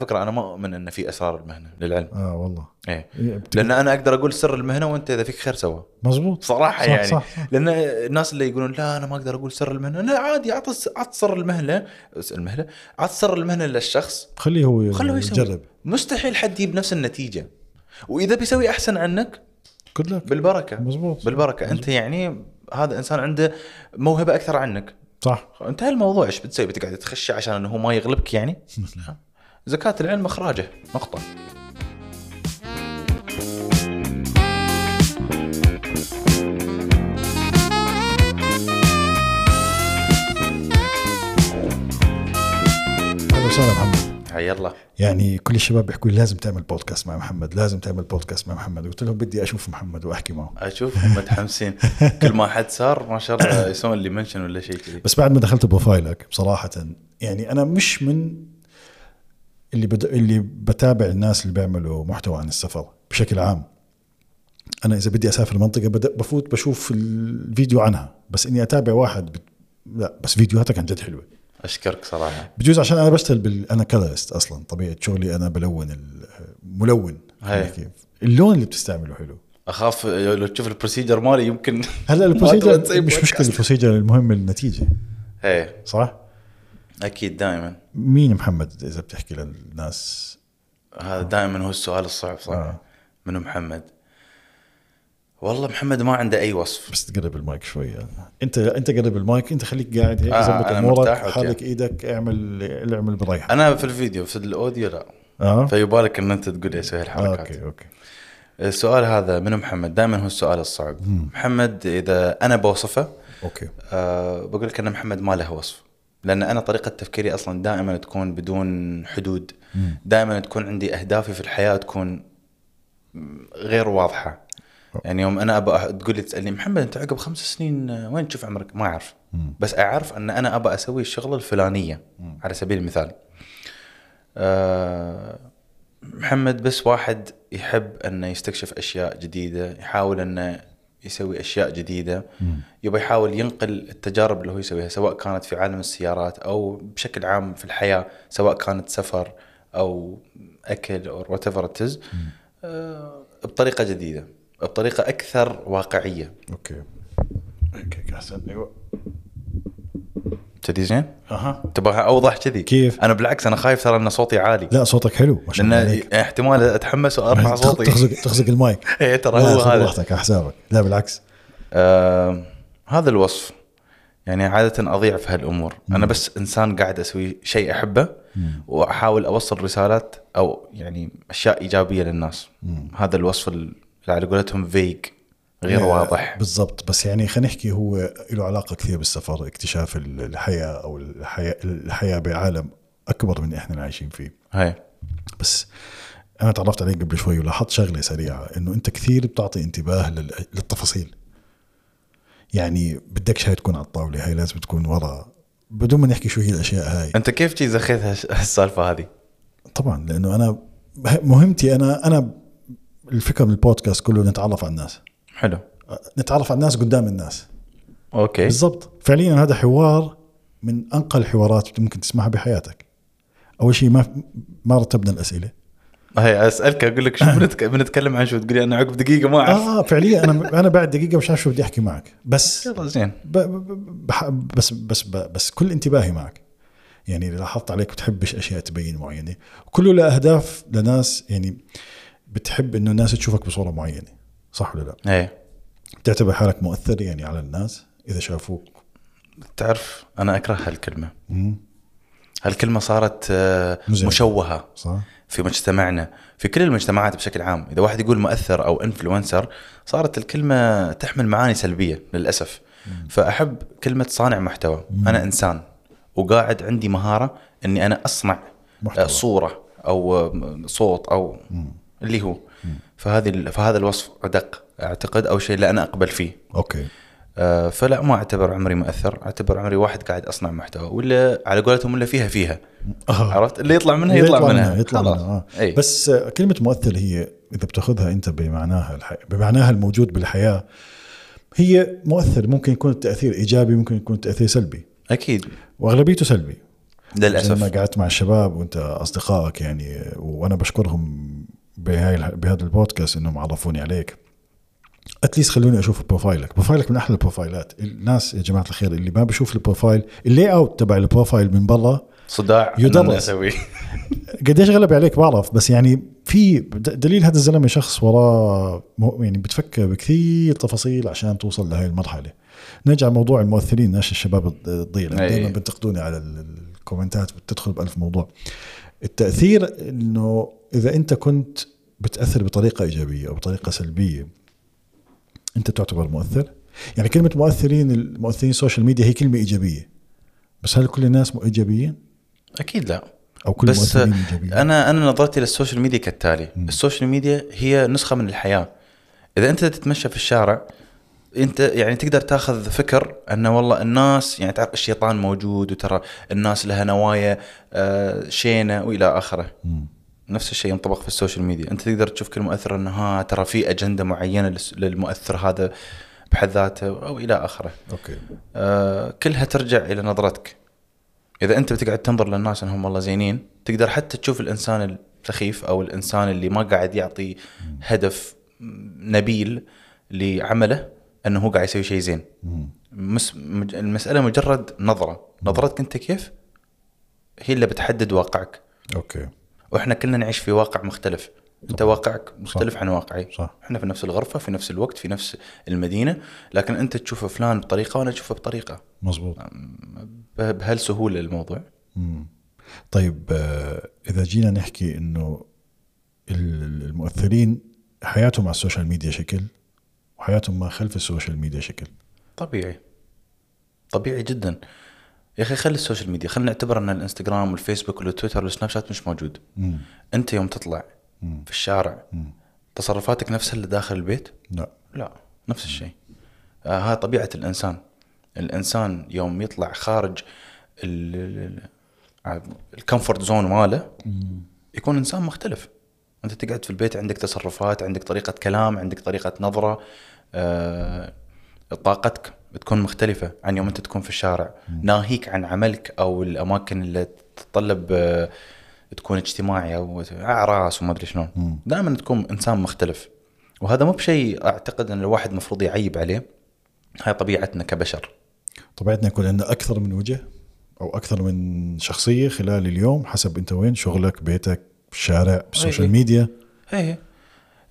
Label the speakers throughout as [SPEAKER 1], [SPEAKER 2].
[SPEAKER 1] فكره انا مؤمن ان في اسرار المهنه للعلم
[SPEAKER 2] اه والله
[SPEAKER 1] إيه.
[SPEAKER 2] بت-
[SPEAKER 1] لان انا اقدر اقول سر المهنه وانت اذا فيك خير سوا
[SPEAKER 2] مزبوط
[SPEAKER 1] صراحه
[SPEAKER 2] صح
[SPEAKER 1] يعني
[SPEAKER 2] صح, صح.
[SPEAKER 1] لان الناس اللي يقولون لا انا ما اقدر اقول سر المهنه لا عادي اعط اعط سر المهنه المهنه اعط سر المهنه للشخص
[SPEAKER 2] خليه هو
[SPEAKER 1] خليه
[SPEAKER 2] خليه
[SPEAKER 1] يسوي.
[SPEAKER 2] يجرب
[SPEAKER 1] مستحيل حد يجيب نفس النتيجه واذا بيسوي احسن عنك
[SPEAKER 2] جود لك
[SPEAKER 1] بالبركه
[SPEAKER 2] مزبوط
[SPEAKER 1] بالبركه انت يعني هذا انسان عنده موهبه اكثر عنك
[SPEAKER 2] صح
[SPEAKER 1] انتهى الموضوع ايش بتسوي بتقعد تخشى عشان انه هو ما يغلبك يعني زكاه العلم اخراجه نقطه
[SPEAKER 2] اهلا وسهلا محمد
[SPEAKER 1] هيا الله
[SPEAKER 2] يعني كل الشباب يحكوا لي لازم تعمل بودكاست مع محمد لازم تعمل بودكاست مع محمد قلت لهم بدي اشوف محمد واحكي معه
[SPEAKER 1] اشوفهم متحمسين كل ما حد صار ما شاء الله يسوون لي منشن ولا شيء كذي
[SPEAKER 2] بس بعد ما دخلت بروفايلك بصراحه يعني انا مش من اللي بد... اللي بتابع الناس اللي بيعملوا محتوى عن السفر بشكل عام انا اذا بدي اسافر منطقه بد... بفوت بشوف الفيديو عنها بس اني اتابع واحد بت... لا بس فيديوهاتك عن جد حلوه
[SPEAKER 1] اشكرك صراحه
[SPEAKER 2] بجوز عشان انا بشتغل بال... انا كلرست اصلا طبيعه شغلي انا بلون ال- ملون
[SPEAKER 1] هي.
[SPEAKER 2] كيف اللون اللي بتستعمله حلو
[SPEAKER 1] اخاف لو تشوف البروسيجر مالي يمكن
[SPEAKER 2] هلا
[SPEAKER 1] ما طيب تبغى تسوي
[SPEAKER 2] البروسيجر مش
[SPEAKER 1] بودكاست.
[SPEAKER 2] مشكله البروسيجر المهم النتيجه
[SPEAKER 1] ايه
[SPEAKER 2] صح؟
[SPEAKER 1] اكيد دائما
[SPEAKER 2] مين محمد اذا بتحكي للناس
[SPEAKER 1] هذا دائما هو السؤال الصعب صراحه
[SPEAKER 2] آه.
[SPEAKER 1] منو محمد والله محمد ما عنده اي وصف
[SPEAKER 2] بس تقرب المايك شوي انت انت قرب المايك انت خليك قاعد هيك
[SPEAKER 1] آه،
[SPEAKER 2] ظبط
[SPEAKER 1] أنا
[SPEAKER 2] امورك
[SPEAKER 1] مرتاح
[SPEAKER 2] حرك ايدك اعمل اللي اعمل بريحه
[SPEAKER 1] انا في الفيديو في الاوديو لا
[SPEAKER 2] اه
[SPEAKER 1] فيبالك ان انت تقول لي اسوي
[SPEAKER 2] آه،
[SPEAKER 1] الحركات
[SPEAKER 2] اوكي اوكي
[SPEAKER 1] السؤال هذا من محمد دائما هو السؤال الصعب محمد اذا انا بوصفه
[SPEAKER 2] اوكي
[SPEAKER 1] أه بقول لك ان محمد ما له وصف لان انا طريقه تفكيري اصلا دائما تكون بدون حدود دائما تكون عندي اهدافي في الحياه تكون غير واضحه يعني يوم انا ابى تقول لي تسالني محمد انت عقب خمس سنين آه، وين تشوف عمرك؟ ما اعرف
[SPEAKER 2] مم.
[SPEAKER 1] بس اعرف ان انا ابى اسوي الشغله الفلانيه على سبيل المثال. آه، محمد بس واحد يحب انه يستكشف اشياء جديده، يحاول انه يسوي اشياء جديده، يبى يحاول ينقل التجارب اللي هو يسويها سواء كانت في عالم السيارات او بشكل عام في الحياه سواء كانت سفر او اكل او وات ايفر آه، بطريقه جديده، بطريقه اكثر واقعيه.
[SPEAKER 2] اوكي اوكي احسن ايوه
[SPEAKER 1] كذي زين؟
[SPEAKER 2] اها
[SPEAKER 1] تبغى اوضح كذي
[SPEAKER 2] كيف؟
[SPEAKER 1] انا بالعكس انا خايف ترى ان صوتي عالي
[SPEAKER 2] لا صوتك حلو ما شاء
[SPEAKER 1] لان
[SPEAKER 2] الله عليك
[SPEAKER 1] احتمال اتحمس وارفع
[SPEAKER 2] تخ-
[SPEAKER 1] صوتي
[SPEAKER 2] تخزق تخزق المايك
[SPEAKER 1] اي ترى
[SPEAKER 2] لا،
[SPEAKER 1] هو
[SPEAKER 2] خذ
[SPEAKER 1] هذا
[SPEAKER 2] راحتك على حسابك لا بالعكس
[SPEAKER 1] آه هذا الوصف يعني عادة أضيع في هالأمور أنا بس إنسان قاعد أسوي شيء أحبه وأحاول أوصل رسالات أو يعني أشياء إيجابية للناس هذا الوصف اللي على قولتهم فيج غير
[SPEAKER 2] آه،
[SPEAKER 1] واضح
[SPEAKER 2] بالضبط بس يعني خلينا نحكي هو له علاقه كثير بالسفر اكتشاف ال- الحياه او الحياه الحياه بعالم اكبر من اللي احنا عايشين فيه
[SPEAKER 1] هاي
[SPEAKER 2] بس انا تعرفت عليك قبل شوي ولاحظت شغله سريعه انه انت كثير بتعطي انتباه لل- للتفاصيل يعني بدكش هاي تكون على الطاوله هاي لازم تكون ورا بدون ما نحكي شو هي الاشياء هاي
[SPEAKER 1] أنت كيف شي زخيت هالش- هالسالفة هذه؟
[SPEAKER 2] طبعا لانه انا مهمتي انا انا الفكره من البودكاست كله نتعرف على الناس
[SPEAKER 1] حلو
[SPEAKER 2] نتعرف على الناس قدام الناس
[SPEAKER 1] أوكي
[SPEAKER 2] بالضبط فعليا هذا حوار من انقى الحوارات اللي ممكن تسمعها بحياتك اول شيء ما ما رتبنا الاسئله
[SPEAKER 1] هاي أسألك أقول لك شو بنتك- بنتكلم عن شو تقول لي أنا عقب دقيقة ما أعرف
[SPEAKER 2] اه فعليا انا انا بعد دقيقه مش عارف شو بدي احكي معك بس
[SPEAKER 1] يلا زين
[SPEAKER 2] ب ب- بح- بس بس ب- بس كل انتباهي معك يعني اللي لاحظت عليك بتحبش اشياء تبين معينه كله لاهداف لناس يعني بتحب انه الناس تشوفك بصوره معينه صح ولا لا
[SPEAKER 1] إيه
[SPEAKER 2] بتعتبر حالك مؤثر يعني على الناس اذا شافوك
[SPEAKER 1] تعرف أنا أكره هالكلمة
[SPEAKER 2] مم،
[SPEAKER 1] هالكلمة صارت آه،
[SPEAKER 2] مزعجة.
[SPEAKER 1] مشوهة
[SPEAKER 2] صح
[SPEAKER 1] في مجتمعنا في كل المجتمعات بشكل عام اذا واحد يقول مؤثر او انفلونسر صارت الكلمه تحمل معاني سلبيه للاسف فاحب كلمه صانع محتوى انا انسان وقاعد عندي مهاره اني انا اصنع
[SPEAKER 2] محتوى.
[SPEAKER 1] محتوى. صوره او آم، آه، صوت او اللي هو فهذه ال- فهذا الوصف ادق اعتقد او شيء لا انا اقبل فيه
[SPEAKER 2] اوكي
[SPEAKER 1] آه، فلا ما اعتبر عمري مؤثر اعتبر عمري واحد قاعد اصنع محتوى ولا على قولتهم ولا فيها فيها
[SPEAKER 2] آه.
[SPEAKER 1] عرفت اللي يطلع منها يطلع, منها
[SPEAKER 2] يطلع
[SPEAKER 1] خلاص. إيه.
[SPEAKER 2] منها آه.
[SPEAKER 1] أي.
[SPEAKER 2] بس آه، كلمه مؤثر هي اذا بتاخذها انت بمعناها الح... بمعناها الموجود بالحياه هي مؤثر ممكن يكون التاثير ايجابي ممكن يكون التاثير سلبي
[SPEAKER 1] اكيد
[SPEAKER 2] واغلبيته سلبي زي ما
[SPEAKER 1] للاسف
[SPEAKER 2] قعدت مع الشباب وانت اصدقائك يعني وانا بشكرهم بهاي بهذا البودكاست انهم عرفوني عليك اتليست خلوني اشوف بروفايلك بروفايلك من احلى البروفايلات الناس يا جماعه الخير اللي ما بيشوف البروفايل اللي اوت تبع البروفايل من برا
[SPEAKER 1] صداع إن
[SPEAKER 2] يدرس.
[SPEAKER 1] أنا اسوي
[SPEAKER 2] قديش غلب عليك بعرف بس يعني في د- دليل هذا الزلمه شخص وراه مو- يعني بتفكر بكثير تفاصيل عشان توصل لهي المرحله نرجع لموضوع الممثلين ناش الشباب الض- الضيله
[SPEAKER 1] أي.
[SPEAKER 2] دائما بنتقدوني على ال- الكومنتات بتدخل بألف موضوع التاثير انه اذا انت كنت بتاثر بطريقه ايجابيه او بطريقه سلبيه انت تعتبر مؤثر يعني كلمه مؤثرين المؤثرين السوشيال ميديا هي كلمه ايجابيه بس هل كل الناس مو ايجابيين
[SPEAKER 1] اكيد لا
[SPEAKER 2] او كل
[SPEAKER 1] بس
[SPEAKER 2] المؤثرين ايجابيين
[SPEAKER 1] انا انا نظرتي للسوشيال ميديا كالتالي السوشيال ميديا هي نسخه من الحياه اذا انت تتمشى في الشارع انت يعني تقدر تاخذ فكر انه والله الناس يعني تعرف الشيطان موجود وترى الناس لها نوايا آه، شينه والى اخره
[SPEAKER 2] مم.
[SPEAKER 1] نفس الشيء ينطبق في السوشيال ميديا انت تقدر تشوف كل مؤثر انه ها ترى في اجنده معينه للس- للمؤثر هذا بحد ذاته او الى اخره
[SPEAKER 2] اوكي
[SPEAKER 1] آه، كلها ترجع الى نظرتك اذا انت بتقعد تنظر للناس انهم والله زينين تقدر حتى تشوف الانسان السخيف او الانسان اللي ما قاعد يعطي هدف نبيل لعمله انه هو قاعد يسوي شيء زين
[SPEAKER 2] مم.
[SPEAKER 1] مس... مج... المساله مجرد نظره نظرتك انت كيف هي اللي بتحدد واقعك
[SPEAKER 2] اوكي
[SPEAKER 1] واحنا كلنا نعيش في واقع مختلف انت واقعك مختلف عن واقعي
[SPEAKER 2] صح.
[SPEAKER 1] احنا في نفس الغرفه في نفس الوقت في نفس المدينه لكن انت تشوف فلان بطريقه وانا اشوفه بطريقه
[SPEAKER 2] مزبوط
[SPEAKER 1] نعم. به- بهالسهوله الموضوع
[SPEAKER 2] مم. طيب آه، اذا جينا نحكي انه ال- المؤثرين حياتهم على السوشيال ميديا شكل وحياتهم ما خلف السوشيال ميديا شكل
[SPEAKER 1] طبيعي طبيعي جدا يا اخي خلي السوشيال ميديا خلينا نعتبر ان الانستغرام والفيسبوك والتويتر والسناب شات مش موجود
[SPEAKER 2] مم.
[SPEAKER 1] انت يوم تطلع
[SPEAKER 2] مم.
[SPEAKER 1] في الشارع
[SPEAKER 2] مم.
[SPEAKER 1] تصرفاتك نفسها اللي داخل البيت
[SPEAKER 2] لا
[SPEAKER 1] لا نفس الشيء آه ها طبيعة الإنسان الإنسان يوم يطلع خارج الكمفورت زون ماله يكون إنسان مختلف أنت تقعد في البيت عندك تصرفات عندك طريقة كلام عندك طريقة نظرة آه طاقتك بتكون مختلفة عن يوم أنت تكون في الشارع ناهيك عن عملك أو الأماكن اللي تتطلب آه تكون اجتماعي أو أعراس وما أدري شلون
[SPEAKER 2] مم.
[SPEAKER 1] دائما تكون انسان مختلف وهذا مو بشيء اعتقد ان الواحد المفروض يعيب عليه هاي طبيعتنا كبشر
[SPEAKER 2] طبيعتنا يكون عندنا اكثر من وجه او اكثر من شخصيه خلال اليوم حسب انت وين شغلك بيتك الشارع السوشيال
[SPEAKER 1] أي.
[SPEAKER 2] ميديا
[SPEAKER 1] اي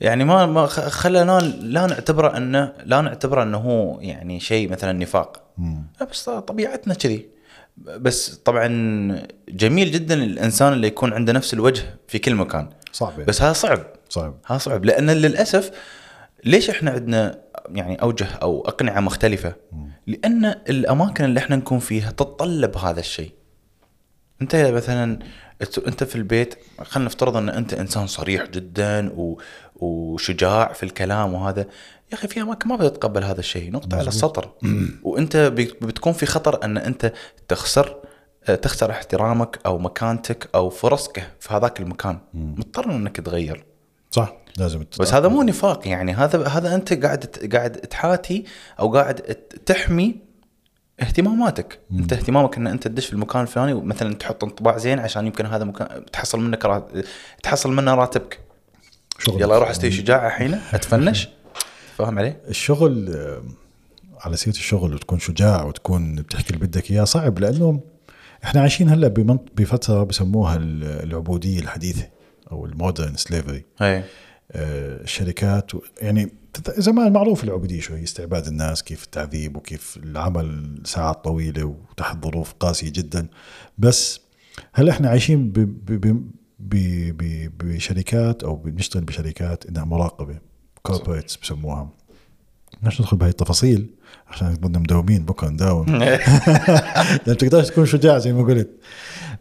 [SPEAKER 1] يعني ما ما خ- خلنا لا نعتبره انه لا نعتبره انه هو يعني شيء مثلا نفاق
[SPEAKER 2] مم.
[SPEAKER 1] لا بس طبيعتنا كذي بس طبعا جميل جدا الانسان اللي يكون عنده نفس الوجه في كل مكان
[SPEAKER 2] صعب يعني.
[SPEAKER 1] بس هذا صعب
[SPEAKER 2] صعب
[SPEAKER 1] ها صعب لان للاسف ليش احنا عندنا يعني اوجه او اقنعه مختلفه؟ لان الاماكن اللي احنا نكون فيها تتطلب هذا الشيء. انت مثلا أت- انت في البيت خلينا نفترض ان انت انسان صريح جدا و... وشجاع في الكلام وهذا يا اخي في اماكن ما بتتقبل هذا الشيء نقطه على السطر وانت بي- بتكون في خطر ان انت تخسر آه، تخسر احترامك او مكانتك او فرصك في هذاك المكان مضطر انك تغير
[SPEAKER 2] صح لازم تت-
[SPEAKER 1] بس هذا مو نفاق يعني هذا هذا انت قاعد ت- قاعد تحاتي او قاعد ت- تحمي اهتماماتك مم. انت اهتمامك ان انت تدش في المكان الفلاني ومثلا تحط انطباع زين عشان يمكن هذا مكان تحصل منك رات... تحصل منه راتبك
[SPEAKER 2] شغلك.
[SPEAKER 1] يلا اروح استوي شجاعه الحين اتفنش فاهم علي؟
[SPEAKER 2] الشغل آه، على سيره الشغل وتكون شجاع وتكون بتحكي اللي بدك اياه صعب لانه احنا عايشين هلا بمنط- بفتره بسموها ال- العبوديه الحديثه او المودرن سليفري
[SPEAKER 1] اي
[SPEAKER 2] الشركات آه، و- يعني تت- زمان معروف العبوديه شو هي استعباد الناس كيف التعذيب وكيف العمل ساعات طويله وتحت ظروف قاسيه جدا بس هل احنا عايشين ب ب ب ب ب بشركات او بنشتغل بشركات انها مراقبه كوربريتس بسموها مش ندخل بهاي التفاصيل عشان بدنا مداومين بكره نداوم لا بتقدرش تكون شجاع زي ما قلت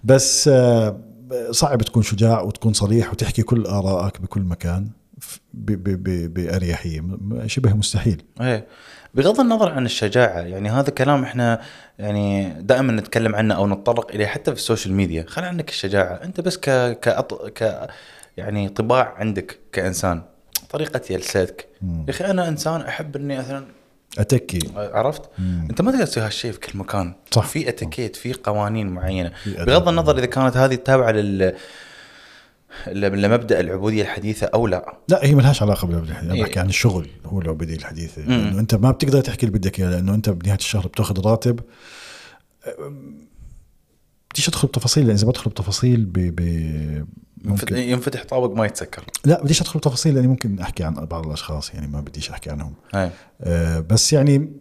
[SPEAKER 2] بس آه، صعب تكون شجاع وتكون صريح وتحكي كل آرائك بكل مكان ف- ب- ب- ب- بأريحية م- شبه مستحيل
[SPEAKER 1] ايه بغض النظر عن الشجاعه يعني هذا كلام احنا يعني دائما نتكلم عنه او نتطرق اليه حتى في السوشيال ميديا خلي عنك الشجاعه انت بس ك كأط... ك يعني طباع عندك كانسان طريقه جلستك يا اخي انا انسان احب اني مثلا
[SPEAKER 2] اتكي
[SPEAKER 1] عرفت؟
[SPEAKER 2] مم.
[SPEAKER 1] انت ما تقدر تسوي هالشيء في كل مكان
[SPEAKER 2] صح.
[SPEAKER 1] في اتيكيت في قوانين معينه
[SPEAKER 2] في أداب.
[SPEAKER 1] بغض النظر اذا كانت هذه تابعه لل ل- لمبدا العبوديه الحديثه او لا
[SPEAKER 2] لا هي ملهاش علاقه بالعبد الحديث انا
[SPEAKER 1] إيه.
[SPEAKER 2] بحكي عن الشغل هو العبوديه الحديثه
[SPEAKER 1] مم.
[SPEAKER 2] لانه انت ما بتقدر تحكي اللي بدك اياه لانه انت بنهايه الشهر بتاخذ راتب أم، بديش ادخل بتفاصيل لان اذا بدخل بتفاصيل ب... ب...
[SPEAKER 1] ينفت-
[SPEAKER 2] ممكن
[SPEAKER 1] ينفتح طابق ما يتسكر
[SPEAKER 2] لا بديش ادخل بتفاصيل لاني ممكن احكي عن بعض الاشخاص يعني ما بديش احكي عنهم
[SPEAKER 1] هاي.
[SPEAKER 2] آه، بس يعني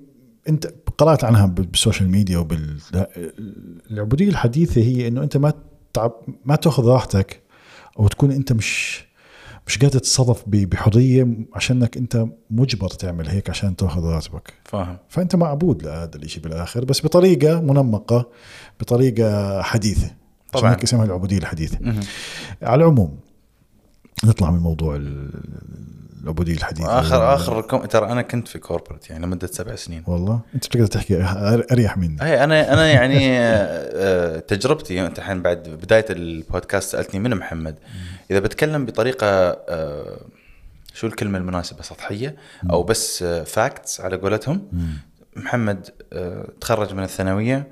[SPEAKER 2] انت قرات عنها بال- بالسوشيال ميديا وبال لا، العبوديه الحديثه هي انه انت ما تعب ما تاخذ راحتك او تكون انت مش مش قادر تتصرف ب- بحريه عشانك انت مجبر تعمل هيك عشان تاخذ راتبك
[SPEAKER 1] فاهم
[SPEAKER 2] فانت معبود لهذا الشيء بالاخر بس بطريقه منمقه بطريقه حديثه
[SPEAKER 1] طبعاً.
[SPEAKER 2] طبعا اسمها العبوديه الحديثه
[SPEAKER 1] مهم.
[SPEAKER 2] على العموم نطلع من موضوع ال- العبوديه الحديثه
[SPEAKER 1] اخر اخر كم... ترى انا كنت في كوربريت يعني لمده سبع سنين
[SPEAKER 2] والله انت بتقدر تحكي أر- اريح مني
[SPEAKER 1] هي انا انا يعني آه، آه، تجربتي انت الحين بعد بدايه البودكاست سالتني من محمد اذا بتكلم بطريقه آه، شو الكلمه المناسبه سطحيه او بس فاكتس على قولتهم محمد آه، تخرج من الثانويه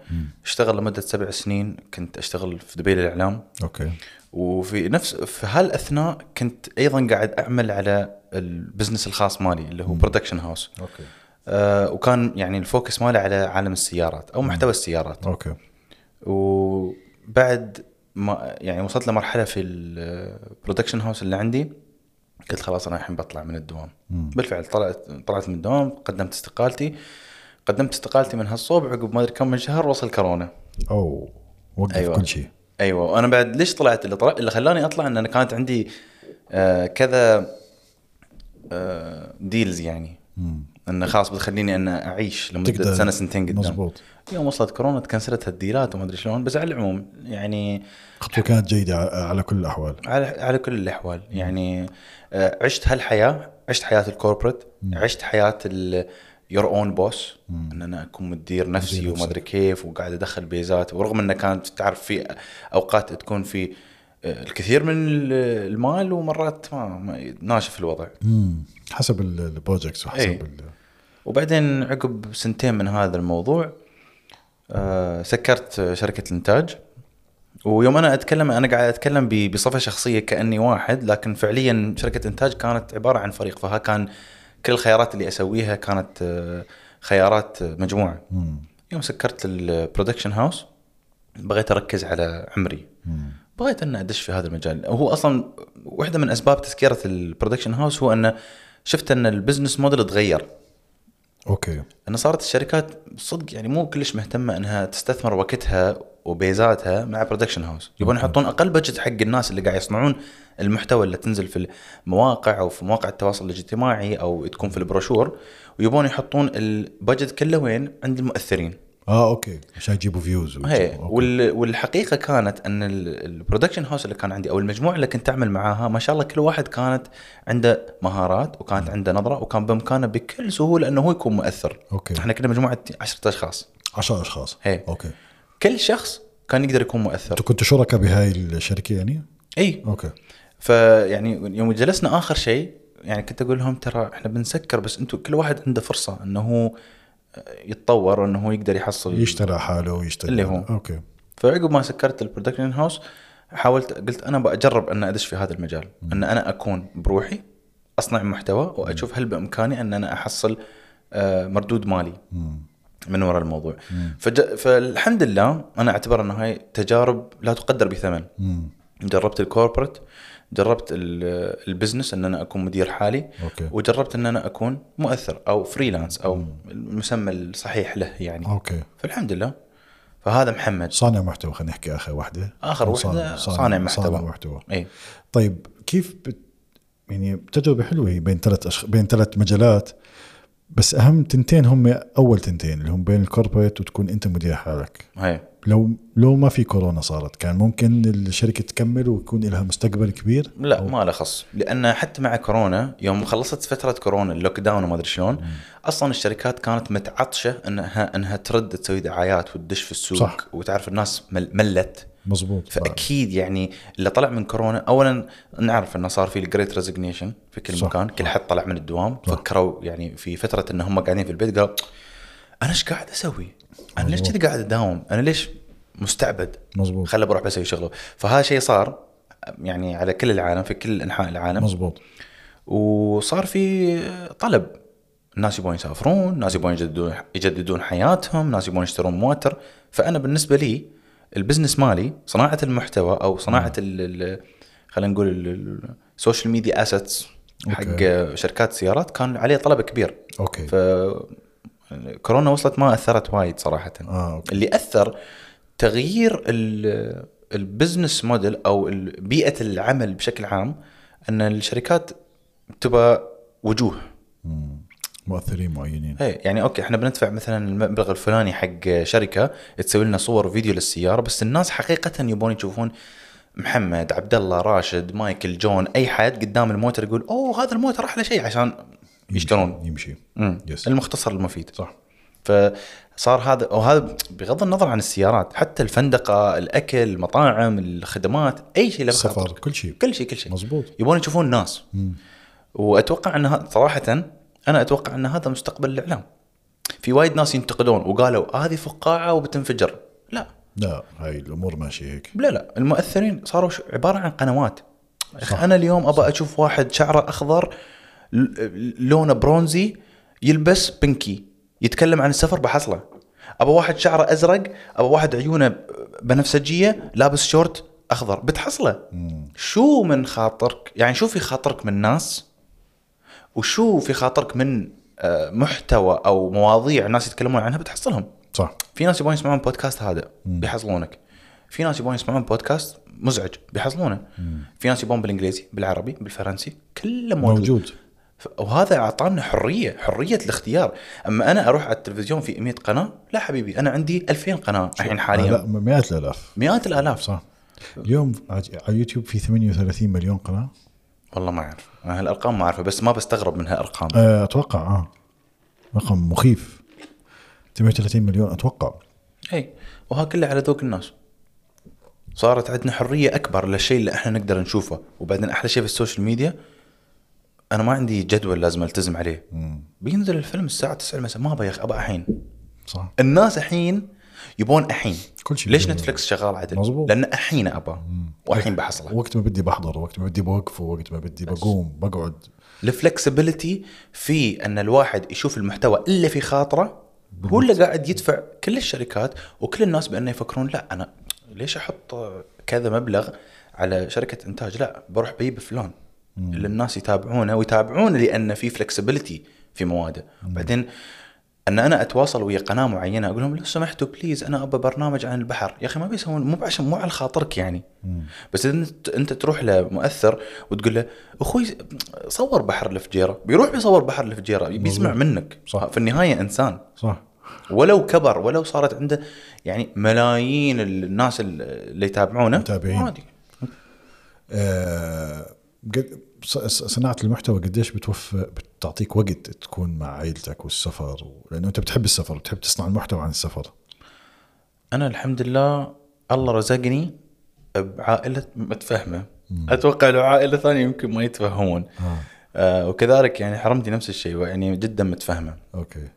[SPEAKER 1] اشتغل لمده سبع سنين كنت اشتغل في دبي للاعلام
[SPEAKER 2] اوكي
[SPEAKER 1] وفي نفس في هالاثناء كنت ايضا قاعد اعمل على البزنس الخاص مالي اللي هو برودكشن هاوس
[SPEAKER 2] اوكي
[SPEAKER 1] آه، وكان يعني الفوكس ماله على عالم السيارات او محتوى السيارات
[SPEAKER 2] اوكي
[SPEAKER 1] وبعد ما يعني وصلت لمرحله في البرودكشن هاوس اللي عندي قلت خلاص انا الحين بطلع من الدوام
[SPEAKER 2] مم.
[SPEAKER 1] بالفعل طلعت طلعت من الدوام قدمت استقالتي قدمت استقالتي من هالصوب عقب ما ادري كم من شهر وصل كورونا
[SPEAKER 2] او وقف أيوة.
[SPEAKER 1] أيوة.
[SPEAKER 2] كل شيء
[SPEAKER 1] ايوه وانا بعد ليش طلعت اللي طلع اللي خلاني اطلع ان انا كانت عندي آه كذا آه ديلز يعني
[SPEAKER 2] مم.
[SPEAKER 1] انه خلاص بتخليني ان اعيش لمده
[SPEAKER 2] تقدر.
[SPEAKER 1] سنه سنتين قدام
[SPEAKER 2] مزبوط
[SPEAKER 1] يوم وصلت كورونا تكنسلت هالديلات وما ادري شلون بس على العموم يعني
[SPEAKER 2] خطوه كانت جيده ع- على كل الاحوال
[SPEAKER 1] على على كل الاحوال يعني آه، عشت هالحياه عشت حياه الكوربريت عشت حياه يور اون بوس ان انا اكون مدير نفسي
[SPEAKER 2] مدير
[SPEAKER 1] وما
[SPEAKER 2] نفسك.
[SPEAKER 1] ادري كيف وقاعد ادخل بيزات ورغم انه كانت تعرف في اوقات تكون في آه، الكثير من ال- المال ومرات ما, ما ناشف الوضع
[SPEAKER 2] مم. حسب ال- البروجكتس وحسب
[SPEAKER 1] إيه.
[SPEAKER 2] ال...
[SPEAKER 1] وبعدين عقب سنتين من هذا الموضوع آه، سكرت شركة الإنتاج ويوم أنا أتكلم أنا قاعد أتكلم ب- بصفة شخصية كأني واحد لكن فعليا شركة إنتاج كانت عبارة عن فريق فها كان كل الخيارات اللي أسويها كانت آه، خيارات آه، مجموعة
[SPEAKER 2] مم.
[SPEAKER 1] يوم سكرت البرودكشن هاوس بغيت أركز على عمري
[SPEAKER 2] مم.
[SPEAKER 1] بغيت ان ادش في هذا المجال هو اصلا واحده من اسباب تسكيره البرودكشن هاوس هو ان شفت ان البزنس موديل تغير
[SPEAKER 2] اوكي
[SPEAKER 1] انه صارت الشركات صدق يعني مو كلش مهتمه انها تستثمر وقتها وبيزاتها مع برودكشن هاوس يبون يحطون اقل بجت حق الناس اللي قاعد يصنعون المحتوى اللي تنزل في المواقع او في مواقع التواصل الاجتماعي او تكون في البروشور ويبون يحطون البجت كله وين عند المؤثرين
[SPEAKER 2] اه اوكي عشان يجيبوا فيوز
[SPEAKER 1] هي إيه. وال- والحقيقه كانت ان البرودكشن هاوس اللي كان عندي او المجموعه اللي كنت اعمل معاها ما شاء الله كل واحد كانت عنده مهارات وكانت عنده نظره وكان بامكانه بكل سهوله انه هو يكون مؤثر
[SPEAKER 2] اوكي
[SPEAKER 1] احنا كنا مجموعه 10 اشخاص
[SPEAKER 2] 10 اشخاص
[SPEAKER 1] هي.
[SPEAKER 2] اوكي
[SPEAKER 1] إيه. كل شخص كان يقدر يكون مؤثر
[SPEAKER 2] انتوا كنتوا شركاء بهاي الشركه يعني؟
[SPEAKER 1] اي
[SPEAKER 2] اوكي
[SPEAKER 1] فيعني يعني يوم جلسنا اخر شيء يعني كنت اقول لهم ترى احنا بنسكر بس انتم كل واحد عنده فرصه انه هو يتطور انه هو يقدر يحصل
[SPEAKER 2] يشتغل على حاله ويشتغل
[SPEAKER 1] اللي هو.
[SPEAKER 2] اوكي
[SPEAKER 1] فعقب ما سكرت البرودكشن هاوس حاولت قلت انا بجرب ان ادش في هذا المجال ان انا اكون بروحي اصنع محتوى واشوف هل بامكاني ان انا احصل آه، مردود مالي
[SPEAKER 2] مم.
[SPEAKER 1] من وراء الموضوع فج... فالحمد لله انا اعتبر ان هاي تجارب لا تقدر بثمن
[SPEAKER 2] مم.
[SPEAKER 1] جربت الكوربريت جربت ال- البزنس ان انا اكون مدير حالي
[SPEAKER 2] اوكي
[SPEAKER 1] وجربت ان انا اكون مؤثر او فريلانس او المسمى الصحيح له يعني
[SPEAKER 2] اوكي
[SPEAKER 1] فالحمد لله فهذا محمد
[SPEAKER 2] صانع محتوى خلينا نحكي اخر واحده
[SPEAKER 1] آخر واحدة صانع محتوى. إيه،
[SPEAKER 2] صانع محتوى
[SPEAKER 1] اي
[SPEAKER 2] طيب كيف بت... يعني تجربه حلوه هي بين ثلاث أشخ... بين ثلاث مجالات بس اهم تنتين هم اول تنتين اللي هم بين الكوربريت وتكون انت مدير حالك
[SPEAKER 1] هي
[SPEAKER 2] لو لو ما في كورونا صارت كان ممكن الشركه تكمل ويكون لها مستقبل كبير
[SPEAKER 1] لا ما له خص لان حتى مع كورونا يوم خلصت فتره كورونا اللوك داون وما ادري شلون اصلا الشركات كانت متعطشه انها انها ترد تسوي دعايات وتدش في السوق
[SPEAKER 2] صح.
[SPEAKER 1] وتعرف الناس مل- ملت
[SPEAKER 2] مزبوط
[SPEAKER 1] فاكيد يعني اللي طلع من كورونا اولا نعرف انه صار في الجريت ريزجنيشن في كل
[SPEAKER 2] صح،
[SPEAKER 1] مكان كل
[SPEAKER 2] صح.
[SPEAKER 1] حد طلع من الدوام
[SPEAKER 2] صح.
[SPEAKER 1] فكروا يعني في فتره ان هم قاعدين في البيت قالوا انا ايش قاعد اسوي؟ انا ليش
[SPEAKER 2] مظبوط.
[SPEAKER 1] كذي قاعد اداوم؟ انا ليش مستعبد؟
[SPEAKER 2] مزبوط
[SPEAKER 1] خله بروح بسوي شغله فهذا شيء صار يعني على كل العالم في كل انحاء العالم
[SPEAKER 2] مزبوط
[SPEAKER 1] وصار في طلب الناس يبون يسافرون ناس يبون يجددون يجددون حياتهم ناس يبون يشترون مواتر فانا بالنسبه لي البزنس مالي صناعه المحتوى او صناعه ال- ال- خلينا نقول ال- ال- السوشيال ميديا اسيتس حق شركات سيارات كان عليه طلب كبير
[SPEAKER 2] اوكي
[SPEAKER 1] ف يعني كورونا وصلت ما اثرت وايد صراحه
[SPEAKER 2] اه اوكي
[SPEAKER 1] اللي اثر تغيير ال- البزنس موديل او ال- بيئه العمل بشكل عام ان الشركات تبى وجوه
[SPEAKER 2] مم. مؤثرين معينين
[SPEAKER 1] هي يعني اوكي احنا بندفع مثلا المبلغ الفلاني حق شركه تسوي لنا صور وفيديو للسياره بس الناس حقيقه يبون يشوفون محمد عبد الله راشد مايكل جون اي حد قدام الموتر يقول اوه هذا الموتر احلى شيء عشان
[SPEAKER 2] يمشي-
[SPEAKER 1] يشترون
[SPEAKER 2] يمشي
[SPEAKER 1] مم.
[SPEAKER 2] يس
[SPEAKER 1] المختصر المفيد
[SPEAKER 2] صح
[SPEAKER 1] فصار هذا وهذا بغض النظر عن السيارات حتى الفندقه الاكل المطاعم الخدمات اي شيء له
[SPEAKER 2] السفر
[SPEAKER 1] خاطرك.
[SPEAKER 2] كل شيء
[SPEAKER 1] كل شيء كل شيء
[SPEAKER 2] مزبوط
[SPEAKER 1] يبون يشوفون ناس
[SPEAKER 2] مم.
[SPEAKER 1] واتوقع ان ه- صراحه انا اتوقع ان هذا مستقبل الاعلام في وايد ناس ينتقدون وقالوا هذه فقاعه وبتنفجر لا
[SPEAKER 2] لا هاي الامور ماشيه هيك
[SPEAKER 1] لا لا المؤثرين صاروا ش- عباره عن قنوات
[SPEAKER 2] صح.
[SPEAKER 1] صح. انا اليوم ابى اشوف واحد شعره اخضر ل- لونه برونزي يلبس بنكي يتكلم عن السفر بحصله ابى واحد شعره ازرق ابى واحد عيونه بنفسجيه لابس شورت اخضر بتحصله
[SPEAKER 2] مم.
[SPEAKER 1] شو من خاطرك يعني شو في خاطرك من ناس وشو في خاطرك من آه، محتوى او مواضيع الناس يتكلمون عنها بتحصلهم
[SPEAKER 2] صح
[SPEAKER 1] في ناس يبون يسمعون بودكاست هذا
[SPEAKER 2] مم.
[SPEAKER 1] بيحصلونك في ناس يبون يسمعون بودكاست مزعج بيحصلونه في ناس يبون بالانجليزي بالعربي بالفرنسي كله موجود, موجود.
[SPEAKER 2] موجود
[SPEAKER 1] وهذا اعطانا حريه حريه الاختيار اما انا اروح على التلفزيون في 100 قناه لا حبيبي انا عندي 2000 قناه الحين
[SPEAKER 2] لا
[SPEAKER 1] حاليا
[SPEAKER 2] مئات الالاف
[SPEAKER 1] مئات الالاف
[SPEAKER 2] صح اليوم عج- على يوتيوب في 38 مليون قناه
[SPEAKER 1] والله ما اعرف أنا هالارقام ما اعرفها بس ما بستغرب من هالارقام
[SPEAKER 2] آه، اتوقع اه رقم مخيف 38 مليون اتوقع
[SPEAKER 1] اي وها كله إيه، على ذوق الناس صارت عندنا حريه اكبر للشيء اللي احنا نقدر نشوفه وبعدين احلى شيء في السوشيال ميديا انا ما عندي جدول لازم التزم عليه
[SPEAKER 2] مم.
[SPEAKER 1] بينزل الفيلم الساعه 9 المساء ما ابى يا اخي ابى الحين
[SPEAKER 2] صح
[SPEAKER 1] الناس الحين يبون الحين
[SPEAKER 2] كل شيء
[SPEAKER 1] ليش
[SPEAKER 2] بيجي-
[SPEAKER 1] نتفلكس شغال عدل
[SPEAKER 2] مزبوط.
[SPEAKER 1] لان الحين ابى والحين بحصله
[SPEAKER 2] وقت ما بدي بحضر وقت ما بدي بوقف وقت ما بدي بقوم بقعد
[SPEAKER 1] الفلكسبيليتي في ان الواحد يشوف المحتوى اللي في خاطره هو اللي قاعد يدفع كل الشركات وكل الناس بانه يفكرون لا انا ليش احط كذا مبلغ على شركه انتاج لا بروح بجيب فلان اللي الناس يتابعونه ويتابعونه لان في فلكسبيليتي في مواده بعدين ان انا اتواصل ويا قناه معينه اقول لهم لو سمحتوا بليز انا ابى برنامج عن البحر يا اخي ما بيسوون مو عشان مو على خاطرك يعني بس إذا انت انت تروح لمؤثر وتقول له اخوي صور بحر الفجيره بيروح بيصور بحر الفجيره بيسمع منك
[SPEAKER 2] صح.
[SPEAKER 1] في النهايه انسان
[SPEAKER 2] صح
[SPEAKER 1] ولو كبر ولو صارت عنده يعني ملايين الناس اللي يتابعونه
[SPEAKER 2] متابعين.
[SPEAKER 1] عادي
[SPEAKER 2] آه، قد- ص- ص- صناعه المحتوى قديش بتوفر بتعطيك وقت تكون مع عائلتك والسفر و... لانه انت بتحب السفر بتحب تصنع المحتوى عن السفر
[SPEAKER 1] انا الحمد لله الله رزقني بعائله متفهمه اتوقع لو عائله ثانيه يمكن ما يتفهمون
[SPEAKER 2] آه.
[SPEAKER 1] آه وكذلك يعني حرمتي نفس الشيء يعني جدا متفهمه
[SPEAKER 2] اوكي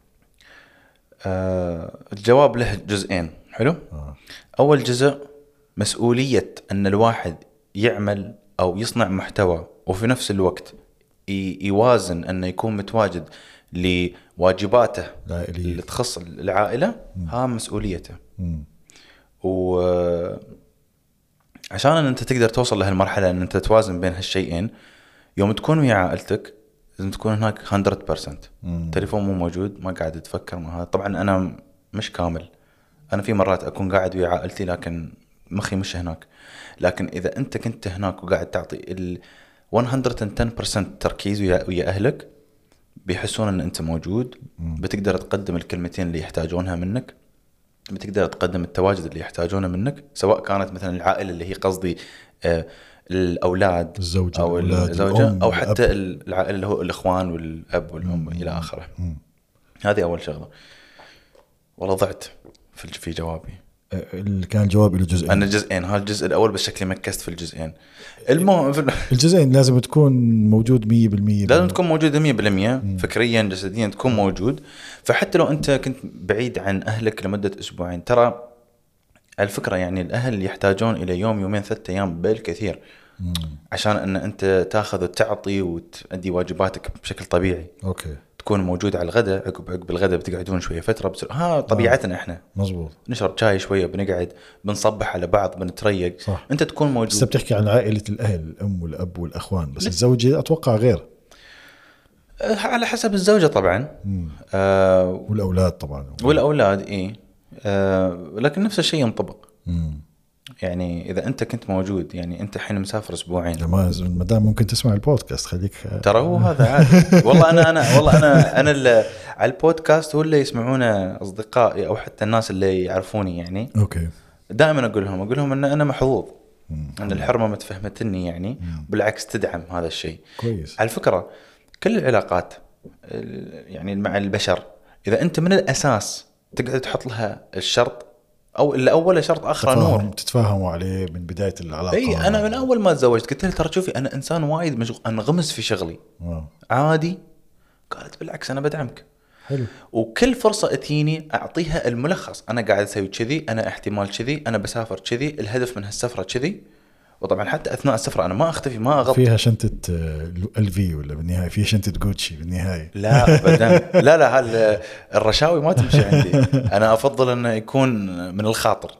[SPEAKER 1] آه الجواب له جزئين حلو
[SPEAKER 2] آه.
[SPEAKER 1] اول جزء مسؤوليه ان الواحد يعمل او يصنع محتوى وفي نفس الوقت ي- يوازن انه يكون متواجد لواجباته
[SPEAKER 2] العائلية.
[SPEAKER 1] اللي تخص العائله ها مسؤوليته
[SPEAKER 2] مم.
[SPEAKER 1] و عشان ان انت تقدر توصل لهالمرحله ان انت توازن بين هالشيئين يوم تكون ويا عائلتك لازم تكون هناك 100%
[SPEAKER 2] مم.
[SPEAKER 1] التليفون مو موجود ما قاعد اتفكر ما هذا طبعا انا مش كامل انا في مرات اكون قاعد ويا عائلتي لكن مخي مش هناك لكن اذا انت كنت هناك وقاعد تعطي ال 110% تركيز ويا ويا اهلك بيحسون ان انت موجود بتقدر تقدم الكلمتين اللي يحتاجونها منك بتقدر تقدم التواجد اللي يحتاجونه منك سواء كانت مثلا العائله اللي هي قصدي آه، الاولاد
[SPEAKER 2] الزوجة،
[SPEAKER 1] او
[SPEAKER 2] الأولاد،
[SPEAKER 1] الزوجه
[SPEAKER 2] الأم،
[SPEAKER 1] او حتى
[SPEAKER 2] الأب.
[SPEAKER 1] العائله اللي هو الاخوان والاب والام الى اخره
[SPEAKER 2] مم.
[SPEAKER 1] هذه اول شغله والله ضعت في في جوابي
[SPEAKER 2] اللي كان الجواب له جزئين
[SPEAKER 1] انا جزئين هذا الجزء الاول بس شكلي مكست في الجزئين المهم
[SPEAKER 2] الجزئين لازم تكون موجود 100%
[SPEAKER 1] لازم تكون موجود 100% فكريا جسديا تكون موجود فحتى لو انت كنت بعيد عن اهلك لمده اسبوعين ترى الفكره يعني الاهل يحتاجون الى يوم يومين ثلاثة ايام بالكثير عشان ان انت تاخذ وتعطي وتؤدي واجباتك بشكل طبيعي
[SPEAKER 2] اوكي
[SPEAKER 1] تكون موجود على الغداء عقب عقب الغداء بتقعدون شويه فتره بتصير ها طبيعتنا احنا
[SPEAKER 2] مزبوط
[SPEAKER 1] نشرب شاي شويه بنقعد بنصبح على بعض بنتريق
[SPEAKER 2] صح.
[SPEAKER 1] انت تكون
[SPEAKER 2] بس
[SPEAKER 1] موجود
[SPEAKER 2] بتحكي عن عائله الاهل الام والاب والاخوان بس الزوجه اتوقع غير
[SPEAKER 1] أه، على حسب الزوجه طبعا آه
[SPEAKER 2] والاولاد طبعا
[SPEAKER 1] والاولاد اي آه لكن نفس الشيء ينطبق
[SPEAKER 2] مم.
[SPEAKER 1] يعني اذا انت كنت موجود يعني انت الحين مسافر اسبوعين
[SPEAKER 2] ما ما دام ممكن تسمع البودكاست خليك آه،
[SPEAKER 1] ترى هو هذا عادي والله انا انا والله انا انا اللي على البودكاست هو اللي يسمعونه اصدقائي او حتى الناس اللي يعرفوني يعني
[SPEAKER 2] اوكي
[SPEAKER 1] دائما اقول لهم اقول لهم ان انا محظوظ ان الحرمه ما تفهمتني يعني بالعكس تدعم هذا الشيء
[SPEAKER 2] كويس
[SPEAKER 1] على فكره كل العلاقات ال- يعني مع البشر اذا انت من الاساس تقعد تحط لها الشرط او الا اوله شرط اخره نور
[SPEAKER 2] تفاهم تتفاهموا عليه من بدايه العلاقه
[SPEAKER 1] اي انا من اول ما تزوجت قلت لها ترى شوفي انا انسان وايد مشغول انغمس في شغلي
[SPEAKER 2] آه.
[SPEAKER 1] عادي قالت بالعكس انا بدعمك
[SPEAKER 2] حلو
[SPEAKER 1] وكل فرصه اتيني اعطيها الملخص انا قاعد اسوي كذي انا احتمال كذي انا بسافر كذي الهدف من هالسفره كذي وطبعا حتى اثناء السفره انا ما اختفي ما اغطي
[SPEAKER 2] فيها شنطه ال في ولا بالنهايه فيها شنطه جوتشي بالنهايه
[SPEAKER 1] لا ابدا لا لا هال الرشاوي ما تمشي عندي انا افضل انه يكون من الخاطر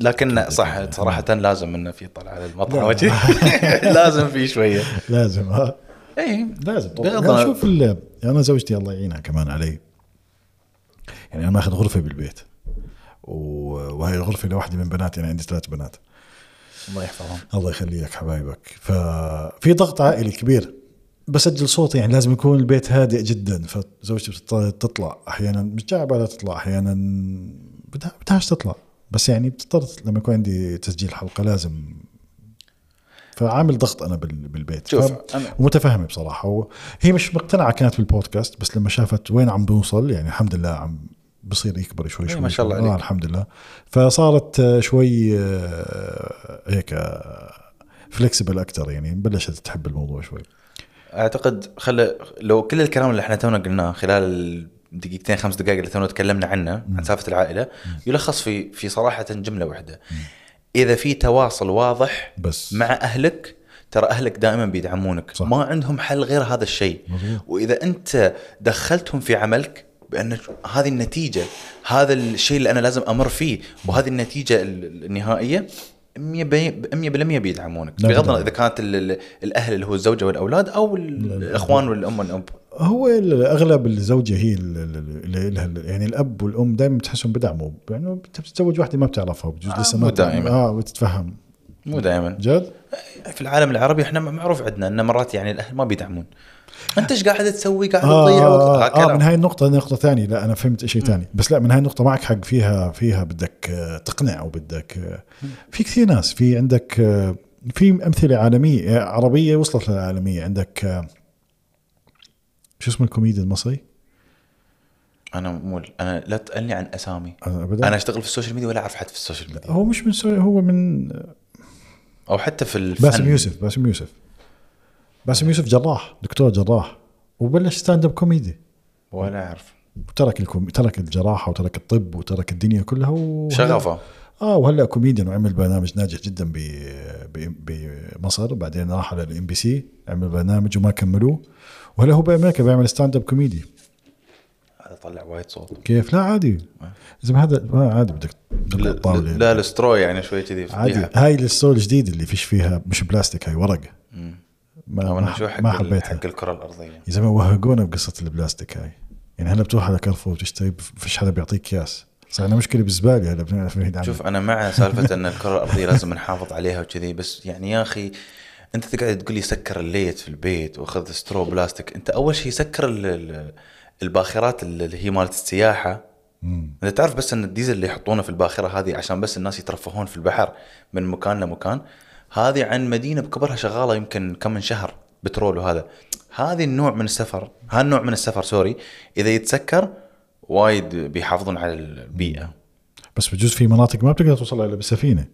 [SPEAKER 1] لكن صح صراحه لازم انه في طلعه للمطعم وجهي. لازم في إيه. شويه
[SPEAKER 2] لازم ها
[SPEAKER 1] اي
[SPEAKER 2] لازم
[SPEAKER 1] بغض
[SPEAKER 2] طبعا
[SPEAKER 1] النظر.
[SPEAKER 2] يعني شوف ال- انا زوجتي الله يعينها كمان علي يعني انا ماخذ غرفه بالبيت و- وهي الغرفه لوحدي من بناتي انا عندي ثلاث بنات
[SPEAKER 1] الله يحفظهم
[SPEAKER 2] الله يخليك حبايبك ففي ضغط عائلي كبير بسجل صوتي يعني لازم يكون البيت هادئ جدا فزوجتي بتضطر تطلع احيانا مش جاي على بالها تطلع احيانا بدها بدهاش تطلع بس يعني بتضطر لما يكون عندي تسجيل حلقه لازم فعامل ضغط انا بال- بالبيت
[SPEAKER 1] شوف،
[SPEAKER 2] ف-
[SPEAKER 1] أنا-
[SPEAKER 2] ومتفهمه بصراحه هو هي مش مقتنعه كانت بالبودكاست بس لما شافت وين عم بنوصل يعني الحمد لله عم بصير يكبر شوي
[SPEAKER 1] إيه،
[SPEAKER 2] شوي
[SPEAKER 1] ما شاء الله
[SPEAKER 2] شوي.
[SPEAKER 1] عليك.
[SPEAKER 2] آه الحمد لله فصارت آه، شوي آه، هيك فلكسبل اكثر يعني بلشت تحب الموضوع شوي
[SPEAKER 1] اعتقد خل لو كل الكلام اللي احنا تونا قلناه خلال دقيقتين خمس دقائق اللي تونا تكلمنا عنه عن سالفه العائله يلخص في في صراحه جمله واحده اذا في تواصل واضح
[SPEAKER 2] بس
[SPEAKER 1] مع اهلك ترى اهلك دائما بيدعمونك
[SPEAKER 2] صح.
[SPEAKER 1] صح. ما عندهم حل غير هذا الشيء
[SPEAKER 2] مظبوط.
[SPEAKER 1] واذا انت دخلتهم في عملك بان هذه النتيجه هذا الشيء اللي انا لازم امر فيه وهذه النتيجه ال- النهائيه 100% بيدعمونك
[SPEAKER 2] لا
[SPEAKER 1] بغض
[SPEAKER 2] بدعم.
[SPEAKER 1] النظر اذا كانت ال- ال- الاهل اللي هو الزوجه والاولاد او ال- الاخوان والام والاب
[SPEAKER 2] هو الاغلب الزوجه هي ال- ال- اللي لها يعني الاب والام دائما بتحسهم بدعموا يعني انت بتتزوج واحده ما بتعرفها بجوز
[SPEAKER 1] آه،
[SPEAKER 2] لسه
[SPEAKER 1] مو
[SPEAKER 2] ما
[SPEAKER 1] دائماً.
[SPEAKER 2] اه بتتفهم
[SPEAKER 1] مو دائما
[SPEAKER 2] جد؟
[SPEAKER 1] في العالم العربي احنا معروف عندنا ان مرات يعني الاهل ما بيدعمون انت ايش قاعد تسوي قاعد تضيع وقت
[SPEAKER 2] آه,
[SPEAKER 1] هذا
[SPEAKER 2] آه,
[SPEAKER 1] كلام.
[SPEAKER 2] من هاي النقطة نقطة ثانية لا أنا فهمت شيء ثاني بس لا من هاي النقطة معك حق فيها فيها بدك آه، تقنع أو بدك آه، في كثير ناس في عندك آه، في أمثلة عالمية آه، عربية وصلت للعالمية عندك آه، شو اسمه الكوميدي المصري؟ آه،
[SPEAKER 1] انا مو انا لا تسالني عن اسامي
[SPEAKER 2] أنا أبدا
[SPEAKER 1] انا اشتغل في السوشيال ميديا ولا اعرف حد في السوشيال ميديا
[SPEAKER 2] هو مش من سوريا هو من
[SPEAKER 1] او حتى في الفن
[SPEAKER 2] باسم يوسف باسم يوسف باسم يوسف جراح دكتور جراح وبلش ستاند اب كوميدي
[SPEAKER 1] ولا اعرف
[SPEAKER 2] وترك الكوم... ترك الجراحه وترك الطب وترك الدنيا كلها و...
[SPEAKER 1] شغفه
[SPEAKER 2] اه وهلا كوميديان وعمل برنامج ناجح جدا ب ب- بمصر بعدين راح على الام بي سي عمل برنامج وما كملوه وهلا هو بامريكا بيعمل ستاند اب كوميدي
[SPEAKER 1] هذا طلع وايد صوت
[SPEAKER 2] كيف لا عادي اذا ما هذا ما عادي بدك تدق
[SPEAKER 1] لا,
[SPEAKER 2] الطاوله
[SPEAKER 1] لا السترو يعني شوي كذي
[SPEAKER 2] عادي
[SPEAKER 1] فضيحة.
[SPEAKER 2] هاي الستول الجديد اللي فيش فيها مش بلاستيك هاي ورق ما
[SPEAKER 1] او
[SPEAKER 2] ما,
[SPEAKER 1] انا شوي حق
[SPEAKER 2] ما
[SPEAKER 1] ال-
[SPEAKER 2] حبيتها
[SPEAKER 1] حق الكره الارضيه
[SPEAKER 2] يا زلمه وهقونا بقصه البلاستيك هاي يعني هلا بتروح على كارفور بتشتري فيش حدا بيعطيك اكياس صار عندنا مشكله بالزباله هلا بنعرف نبعد عنها
[SPEAKER 1] شوف انا مع سالفه ان الكره الارضيه لازم نحافظ عليها وكذي بس يعني يا اخي انت تقعد تقول لي سكر الليت في البيت وخذ سترو بلاستيك انت اول شيء سكر ال- ال- الباخرات اللي هي مالت السياحه
[SPEAKER 2] مم.
[SPEAKER 1] انت تعرف بس ان الديزل اللي يحطونه في الباخره هذه عشان بس الناس يترفهون في البحر من مكان لمكان هذه عن مدينه بكبرها شغاله يمكن كم من شهر بترول وهذا هذه النوع من السفر هالنوع من السفر سوري اذا يتسكر وايد بيحافظون على البيئه
[SPEAKER 2] بس بجوز في مناطق ما بتقدر توصلها الا بالسفينه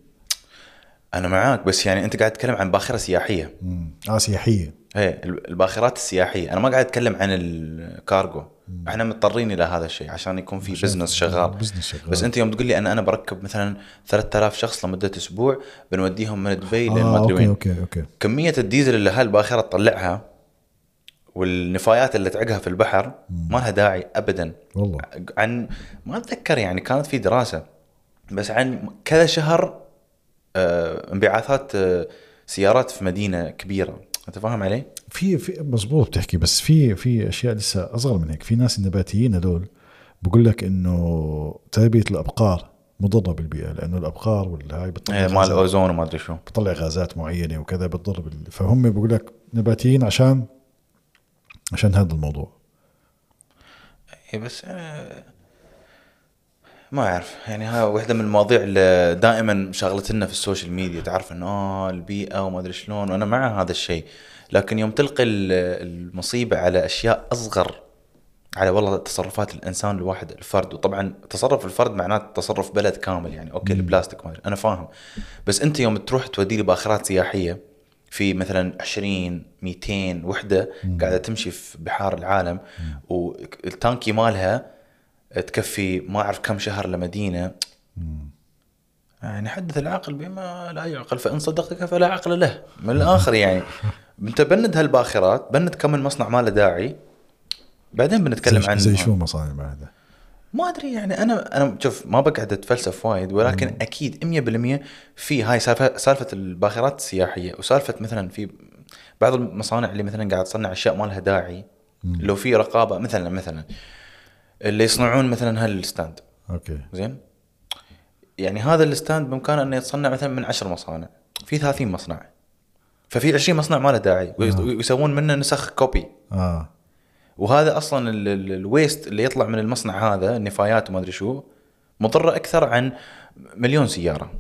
[SPEAKER 1] انا معاك بس يعني انت قاعد تتكلم عن باخره سياحيه
[SPEAKER 2] مم. اه سياحيه
[SPEAKER 1] هي الباخرات السياحيه انا ما قاعد اتكلم عن الكارغو احنا مضطرين الى هذا الشيء عشان يكون في بزنس شغال
[SPEAKER 2] بزنس شغال
[SPEAKER 1] بس انت يوم تقول لي انا انا بركب مثلا 3000 شخص لمده اسبوع بنوديهم من دبي لين ما
[SPEAKER 2] آه
[SPEAKER 1] ادري
[SPEAKER 2] اوكي
[SPEAKER 1] وين
[SPEAKER 2] اوكي اوكي
[SPEAKER 1] كميه الديزل اللي هالباخره تطلعها والنفايات اللي تعقها في البحر ما لها داعي ابدا
[SPEAKER 2] والله
[SPEAKER 1] عن ما اتذكر يعني كانت في دراسه بس عن كذا شهر آه، انبعاثات آه، سيارات في مدينه كبيره انت فاهم علي؟
[SPEAKER 2] في في مزبوط بتحكي بس في في اشياء لسه اصغر من هيك في ناس النباتيين هذول بقول لك انه تربيه الابقار مضره بالبيئه لانه الابقار والهاي بتطلع
[SPEAKER 1] إيه، مال
[SPEAKER 2] غازات-
[SPEAKER 1] الاوزون وما ادري شو
[SPEAKER 2] بتطلع غازات معينه وكذا بتضر بال... فهم بقول لك نباتيين عشان عشان هذا الموضوع
[SPEAKER 1] اي إيه، بس أنا ما اعرف يعني ها واحده من المواضيع اللي دائما شغلتنا في السوشيال ميديا تعرف انه اه البيئه وما ادري شلون وانا مع هذا الشيء لكن يوم تلقي ال- المصيبه على اشياء اصغر على والله تصرفات الانسان الواحد الفرد وطبعا تصرف الفرد معناته تصرف بلد كامل يعني اوكي البلاستيك ما ادري انا فاهم بس انت يوم تروح تودي لي باخرات سياحيه في مثلا 20 200 وحده قاعده تمشي في بحار العالم والتانكي مالها تكفي ما اعرف كم شهر لمدينه يعني حدث العقل بما لا يعقل فان صدقك فلا عقل له من الاخر يعني انت بند هالباخرات بند كم من مصنع ما له داعي بعدين بنتكلم
[SPEAKER 2] زي,
[SPEAKER 1] عن
[SPEAKER 2] زي شو مصانع هذا
[SPEAKER 1] ما ادري يعني انا انا شوف ما بقعد اتفلسف وايد ولكن اكيد 100% في هاي سالفه سالفه الباخرات السياحيه وسالفه مثلا في بعض المصانع اللي مثلا قاعد تصنع اشياء ما لها داعي لو في رقابه مثلا مثلا اللي يصنعون مثلا هالستاند
[SPEAKER 2] اوكي
[SPEAKER 1] زين يعني هذا الستاند بامكانه انه يتصنع مثلا من 10 مصانع في 30 مصنع ففي 20 مصنع ما له داعي ويس- ويسوون منه نسخ كوبي
[SPEAKER 2] اه
[SPEAKER 1] وهذا اصلا ال- ال- الويست اللي يطلع من المصنع هذا النفايات وما ادري شو مضره اكثر عن مليون سياره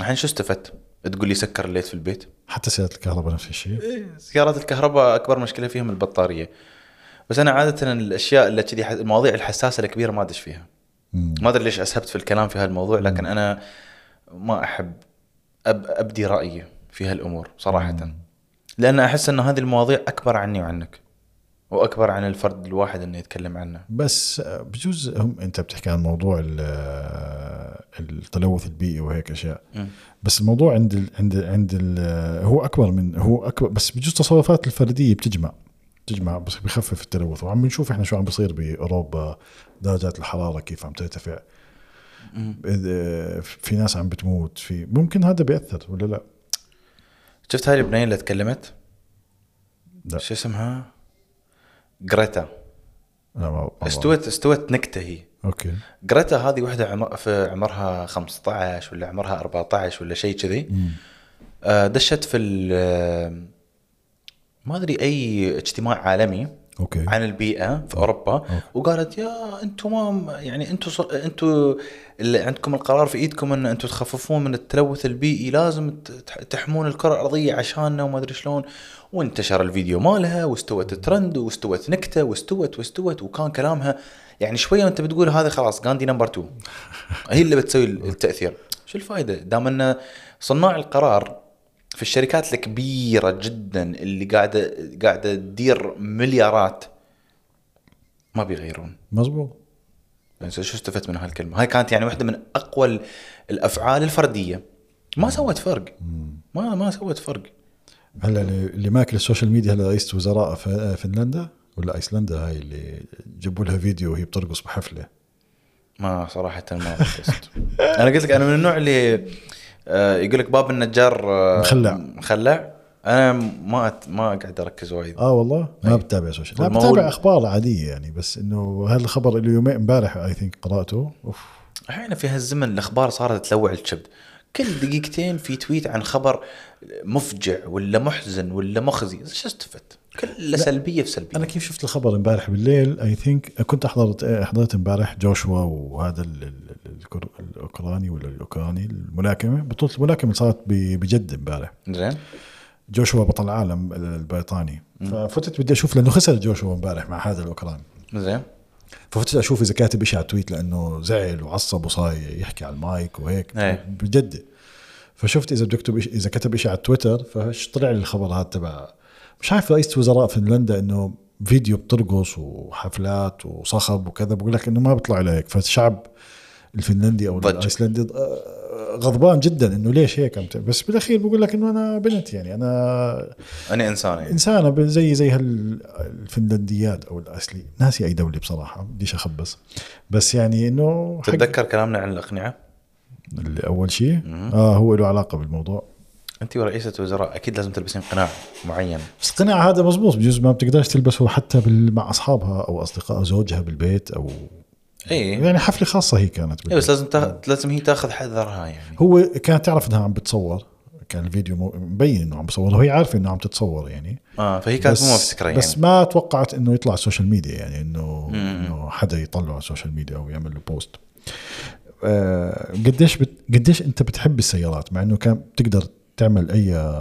[SPEAKER 1] الحين شو استفدت؟ تقول لي سكر الليت في البيت
[SPEAKER 2] حتى سياره الكهرباء نفس الشيء
[SPEAKER 1] إيه، سيارات الكهرباء اكبر مشكله فيهم البطاريه بس انا عاده الاشياء اللي كذي ح- المواضيع الحساسه الكبيره ما ادش فيها
[SPEAKER 2] مم.
[SPEAKER 1] ما ادري ليش اسهبت في الكلام في هالموضوع لكن انا ما احب أب ابدي رايي في هالامور صراحه لان احس ان هذه المواضيع اكبر عني وعنك واكبر عن الفرد الواحد انه يتكلم عنه
[SPEAKER 2] بس آه، بجوز هم انت بتحكي عن موضوع ال- آه، التلوث البيئي وهيك اشياء
[SPEAKER 1] مم.
[SPEAKER 2] بس الموضوع عند ال عند ال عند ال هو اكبر من هو اكبر بس بجوز تصرفات الفرديه بتجمع بتجمع بس بخفف التلوث وعم نشوف احنا شو عم بصير باوروبا درجات الحراره كيف عم ترتفع إذا- في ناس عم بتموت في ممكن هذا بياثر ولا لا؟
[SPEAKER 1] شفت هاي البنيه اللي تكلمت؟
[SPEAKER 2] لا.
[SPEAKER 1] شو اسمها؟ جريتا
[SPEAKER 2] انا ما ما بعرف.
[SPEAKER 1] استوت استوت نكته هي
[SPEAKER 2] اوكي
[SPEAKER 1] جريتا هذه وحده عمر في عمرها 15 ولا عمرها 14 ولا شيء كذي آه، دشت في ال- آه، ما ادري اي اجتماع عالمي
[SPEAKER 2] اوكي
[SPEAKER 1] عن البيئه في اوروبا وقالت يا انتم ما يعني انتم ص... انتم اللي عندكم القرار في ايدكم ان انتم تخففون من التلوث البيئي لازم تح- تحمون الكره الارضيه عشاننا وما ادري شلون وانتشر الفيديو مالها واستوت ترند واستوت نكته واستوت واستوت وكان كلامها يعني شويه وانت بتقول هذا خلاص غاندي نمبر 2 هي اللي بتسوي التاثير شو الفائده دام ان صناع القرار في الشركات الكبيره جدا اللي قاعده قاعده تدير مليارات ما بيغيرون
[SPEAKER 2] مزبوط
[SPEAKER 1] يعني شو استفدت من هالكلمه هاي كانت يعني واحده من اقوى ال- الافعال الفرديه ما سوت فرق ما ما سوت فرق
[SPEAKER 2] هلا اللي- اللي ماكل السوشيال ميديا هلا رئيسة وزراء ف- فنلندا ولا ايسلندا هاي اللي جابوا لها فيديو وهي بترقص بحفله
[SPEAKER 1] ما صراحه ما ركزت انا قلت لك انا من النوع اللي آه، يقول لك باب النجار آه،
[SPEAKER 2] مخلع.
[SPEAKER 1] مخلع انا ما أت- ما قاعد اركز وايد
[SPEAKER 2] اه والله ما بتابع سوشيال لا
[SPEAKER 1] والمول-
[SPEAKER 2] بتابع اخبار عاديه يعني بس انه هذا الخبر اللي يومين امبارح اي ثينك قراته اوف
[SPEAKER 1] احيانا في هالزمن الاخبار صارت تلوع الكبد كل دقيقتين في تويت عن خبر مفجع ولا محزن ولا مخزي شو استفدت كله سلبيه في سلبيه
[SPEAKER 2] انا كيف شفت الخبر امبارح بالليل اي ثينك كنت احضرت آه، حضرت امبارح جوشوا وهذا ال- ال- ال- الكر- الاوكراني ولا الاوكراني الملاكمه بطوله الملاكمه اللي صارت ب- بجده امبارح
[SPEAKER 1] زين
[SPEAKER 2] جوشوا بطل العالم البريطاني ففتت بدي اشوف لانه خسر جوشوا امبارح مع هذا الاوكراني
[SPEAKER 1] زين
[SPEAKER 2] ففتت اشوف اذا كاتب شيء على التويت لانه زعل وعصب وصاير يحكي على المايك وهيك
[SPEAKER 1] إيه.
[SPEAKER 2] بجد فشفت اذا بده يكتب إشي- اذا كتب شيء على تويتر فطلع لي الخبر هذا تبع مش عارف رئيسة وزراء فنلندا انه فيديو بترقص وحفلات وصخب وكذا بقول لك انه ما بيطلع له هيك فالشعب الفنلندي او
[SPEAKER 1] ضج.
[SPEAKER 2] الايسلندي ض- آه، غضبان جدا انه ليش هيك عم تعمل؟ بس بالاخير بقول لك انه انا بنت يعني انا
[SPEAKER 1] انا انسان يعني
[SPEAKER 2] انسانه ب- زي زي هالفنلنديات او الاصلي ناسي اي دوله بصراحه بديش اخبص بس يعني انه حق
[SPEAKER 1] تتذكر كلامنا عن الاقنعه؟
[SPEAKER 2] اللي اول شيء اه هو له علاقه بالموضوع
[SPEAKER 1] انت ورئيسه وزراء اكيد لازم تلبسين قناع معين
[SPEAKER 2] بس القناع هذا مزبوط بجوز ما بتقدرش تلبسه حتى بال... مع اصحابها او اصدقاء زوجها بالبيت او
[SPEAKER 1] اي
[SPEAKER 2] يعني حفله خاصه هي كانت
[SPEAKER 1] اي إيه. بس
[SPEAKER 2] بالبيت.
[SPEAKER 1] لازم تا... لازم هي تاخذ حذرها يعني
[SPEAKER 2] هو كانت تعرف انها عم بتصور كان الفيديو مو- مبين انه عم بصور وهي عارفه انه عم تتصور يعني
[SPEAKER 1] اه فهي كانت
[SPEAKER 2] بس-
[SPEAKER 1] مو مفتكره يعني
[SPEAKER 2] بس ما توقعت انه يطلع على السوشيال ميديا يعني انه انه حدا يطلع على السوشيال ميديا او يعمل له بوست آه، قديش بت... قديش انت بتحب السيارات مع انه كان بتقدر تعمل اي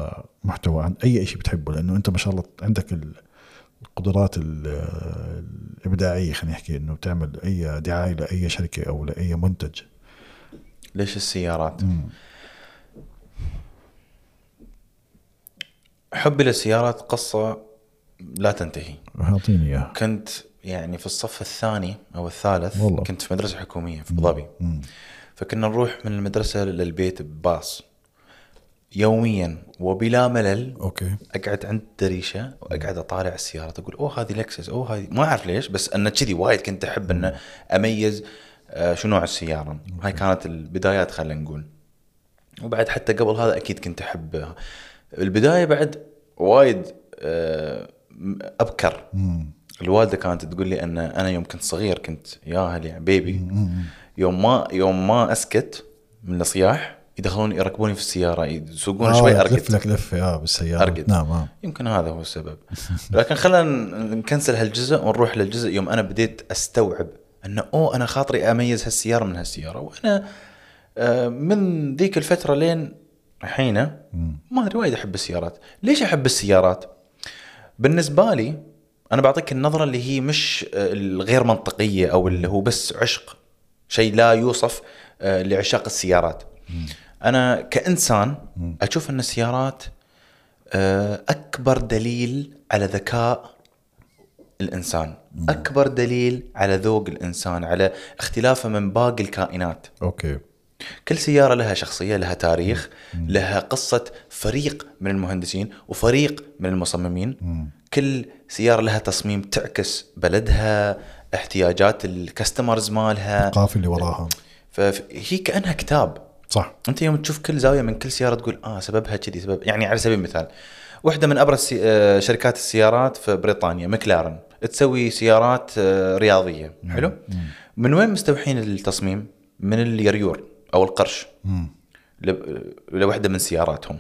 [SPEAKER 2] محتوى عن اي شيء بتحبه لانه انت ما شاء الله عندك ال- القدرات ال- الابداعيه خلينا نحكي انه بتعمل اي دعايه لاي شركه او لاي منتج
[SPEAKER 1] ليش السيارات؟ حبي للسيارات قصه لا تنتهي
[SPEAKER 2] اعطيني اياها
[SPEAKER 1] كنت يعني في الصف الثاني او الثالث
[SPEAKER 2] والله.
[SPEAKER 1] كنت في مدرسه حكوميه في ابو ظبي
[SPEAKER 2] مم.
[SPEAKER 1] فكنا نروح من المدرسه للبيت بباص يوميا وبلا ملل
[SPEAKER 2] اوكي
[SPEAKER 1] اقعد عند الدريشه واقعد اطالع السيارات اقول اوه هذه لكسس اوه هذه ما اعرف ليش بس انا كذي وايد كنت احب انه اميز آه، شو نوع السياره هاي كانت البدايات خلينا نقول وبعد حتى قبل هذا اكيد كنت احب البدايه بعد وايد آه، م- ابكر الوالده كانت تقول لي ان انا يوم كنت صغير كنت ياهل يعني بيبي يوم ما يوم ما اسكت من الصياح يدخلوني يركبوني في السياره يسوقون
[SPEAKER 2] آه،
[SPEAKER 1] شوي
[SPEAKER 2] تلف
[SPEAKER 1] اركد
[SPEAKER 2] لك لفه اه بالسياره
[SPEAKER 1] أرقد.
[SPEAKER 2] نعم آه.
[SPEAKER 1] يمكن هذا هو السبب لكن خلينا نكنسل هالجزء ونروح للجزء يوم انا بديت استوعب انه اوه انا خاطري اميز هالسياره من هالسياره وانا آه، من ذيك الفتره لين الحين ما ادري وايد احب السيارات ليش احب السيارات بالنسبه لي انا بعطيك النظره اللي هي مش آه، الغير منطقيه او اللي هو بس عشق شيء لا يوصف آه، لعشاق السيارات انا كانسان اشوف ان السيارات آه، اكبر دليل على ذكاء الانسان اكبر دليل على ذوق الانسان على اختلافه من باقي الكائنات
[SPEAKER 2] اوكي
[SPEAKER 1] كل سيارة لها شخصية لها تاريخ لها قصة فريق من المهندسين وفريق من المصممين كل سيارة لها تصميم تعكس بلدها احتياجات الكاستمرز مالها
[SPEAKER 2] القافله اللي وراها
[SPEAKER 1] فهي كأنها كتاب
[SPEAKER 2] صح
[SPEAKER 1] انت يوم تشوف كل زاويه من كل سياره تقول اه سببها كذي سبب يعني على سبيل المثال واحده من ابرز سي... آه، شركات السيارات في بريطانيا مكلارن تسوي سيارات آه، رياضيه حلو من وين مستوحين التصميم من اليريور او القرش لب- لوحده من سياراتهم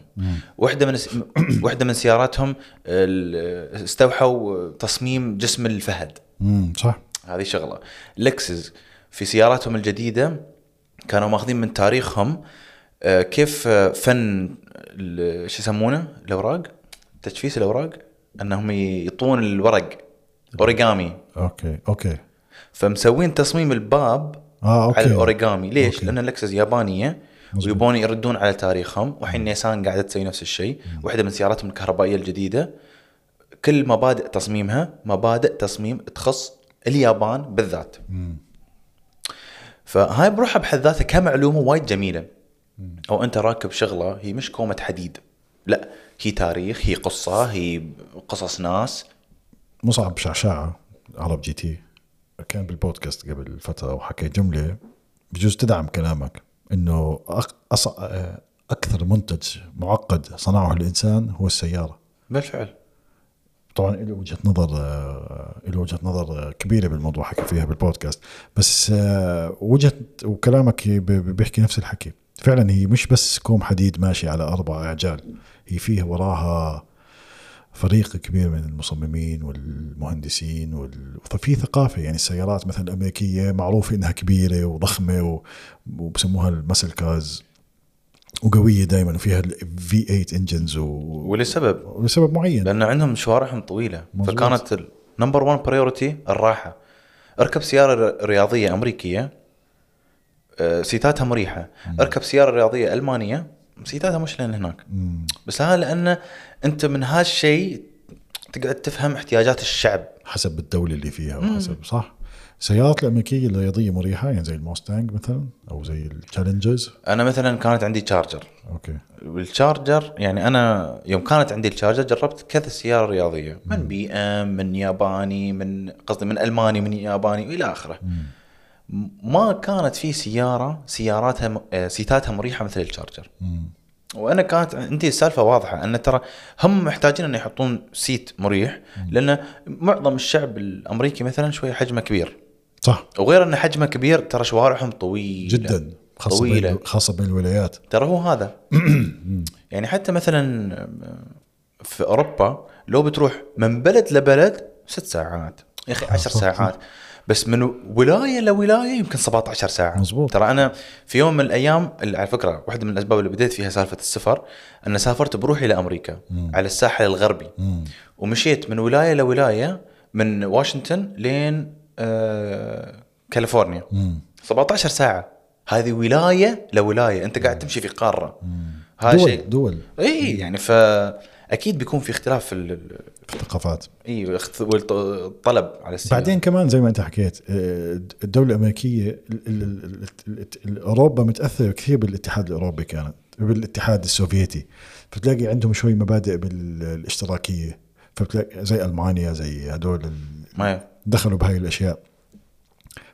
[SPEAKER 1] واحده من س- واحده من سياراتهم ال- استوحوا تصميم جسم الفهد
[SPEAKER 2] امم صح
[SPEAKER 1] هذه شغله لكسس في سياراتهم الجديده كانوا ماخذين من تاريخهم آه، كيف آه، فن ال- شو يسمونه الاوراق تجفيس الاوراق انهم يطون الورق اوريجامي
[SPEAKER 2] اوكي اوكي
[SPEAKER 1] فمسوين تصميم الباب
[SPEAKER 2] اه اوكي
[SPEAKER 1] على الاوريجامي ليش؟
[SPEAKER 2] أوكي.
[SPEAKER 1] لان لكسس يابانيه
[SPEAKER 2] مظبوط.
[SPEAKER 1] ويبون يردون على تاريخهم وحين نيسان قاعده تسوي نفس الشيء واحده من سياراتهم الكهربائيه الجديده كل مبادئ تصميمها مبادئ تصميم تخص اليابان بالذات فهاي بروحها بحد ذاتها كمعلومه وايد جميله او انت راكب شغله هي مش كومه حديد لا هي تاريخ هي قصه هي قصص ناس
[SPEAKER 2] مصعب شعشاعه عرب جي تي كان بالبودكاست قبل فتره وحكى جمله بجوز تدعم كلامك انه أق... أص... آه، اكثر منتج معقد صنعه الانسان هو السياره
[SPEAKER 1] بالفعل
[SPEAKER 2] طبعا له وجهه نظر له وجهه نظر آه، كبيره بالموضوع حكى فيها بالبودكاست بس آه، وجهه وكلامك ب- ب- بيحكي نفس الحكي فعلا هي مش بس كوم حديد ماشي على اربع اعجال هي فيه وراها فريق كبير من المصممين والمهندسين وال... ففي ثقافه يعني السيارات مثلا الامريكيه معروفه انها كبيره وضخمه و... وبسموها المسل كاز وقويه دائما وفيها الفي 8 انجنز و...
[SPEAKER 1] ولسبب
[SPEAKER 2] لسبب معين
[SPEAKER 1] لان عندهم شوارعهم طويله
[SPEAKER 2] مظبوط.
[SPEAKER 1] فكانت النمبر 1 بريورتي الراحه اركب سياره رياضيه امريكيه آه، سيتاتها مريحه اركب سياره رياضيه المانيه سيتاتها مش لين هناك
[SPEAKER 2] مم.
[SPEAKER 1] بس هذا لانه انت من هالشيء تقعد تفهم احتياجات الشعب
[SPEAKER 2] حسب الدوله اللي فيها وحسب صح السيارات الامريكيه الرياضيه مريحه يعني زي الموستانج مثلا او زي التشالنجرز
[SPEAKER 1] انا مثلا كانت عندي تشارجر
[SPEAKER 2] اوكي
[SPEAKER 1] والتشارجر يعني انا يوم كانت عندي التشارجر جربت كذا سياره رياضيه من بي ام من ياباني من قصدي من الماني من ياباني والى اخره م- ما كانت في سياره سياراتها م- آه، سيتاتها مريحه مثل التشارجر
[SPEAKER 2] مم.
[SPEAKER 1] وانا كانت عندي السالفه واضحه ان ترى هم محتاجين ان يحطون سيت مريح لان معظم الشعب الامريكي مثلا شويه حجمه كبير
[SPEAKER 2] صح
[SPEAKER 1] وغير ان حجمه كبير ترى شوارعهم طويله
[SPEAKER 2] جدا خاصه
[SPEAKER 1] طويله
[SPEAKER 2] بين خاصه بين الولايات
[SPEAKER 1] ترى هو هذا يعني حتى مثلا في اوروبا لو بتروح من بلد لبلد ست ساعات يا اخي 10
[SPEAKER 2] صح، صح.
[SPEAKER 1] ساعات بس من ولايه لولايه يمكن 17 ساعه
[SPEAKER 2] مزبوط.
[SPEAKER 1] ترى انا في يوم من الايام اللي على فكره واحده من الاسباب اللي بديت فيها سالفه السفر ان سافرت بروحي لامريكا على الساحل الغربي
[SPEAKER 2] مم.
[SPEAKER 1] ومشيت من ولايه لولايه من واشنطن لين آه كاليفورنيا
[SPEAKER 2] مم.
[SPEAKER 1] 17 ساعه هذه ولايه لولايه انت قاعد تمشي في قاره هذا
[SPEAKER 2] دول
[SPEAKER 1] شيء
[SPEAKER 2] دول
[SPEAKER 1] اي يعني فاكيد بيكون في اختلاف في ال-
[SPEAKER 2] الثقافات
[SPEAKER 1] اي اخت- والط- الطلب على السيارة
[SPEAKER 2] بعدين كمان زي ما انت حكيت آه، الدوله الامريكيه ال- ال- ال- ال- ال- ال- اوروبا متاثره كثير بالاتحاد الاوروبي كانت بالاتحاد السوفيتي فتلاقي عندهم شوي مبادئ بالاشتراكيه فبتلاقي زي المانيا زي هدول ال-
[SPEAKER 1] ما
[SPEAKER 2] دخلوا بهاي الاشياء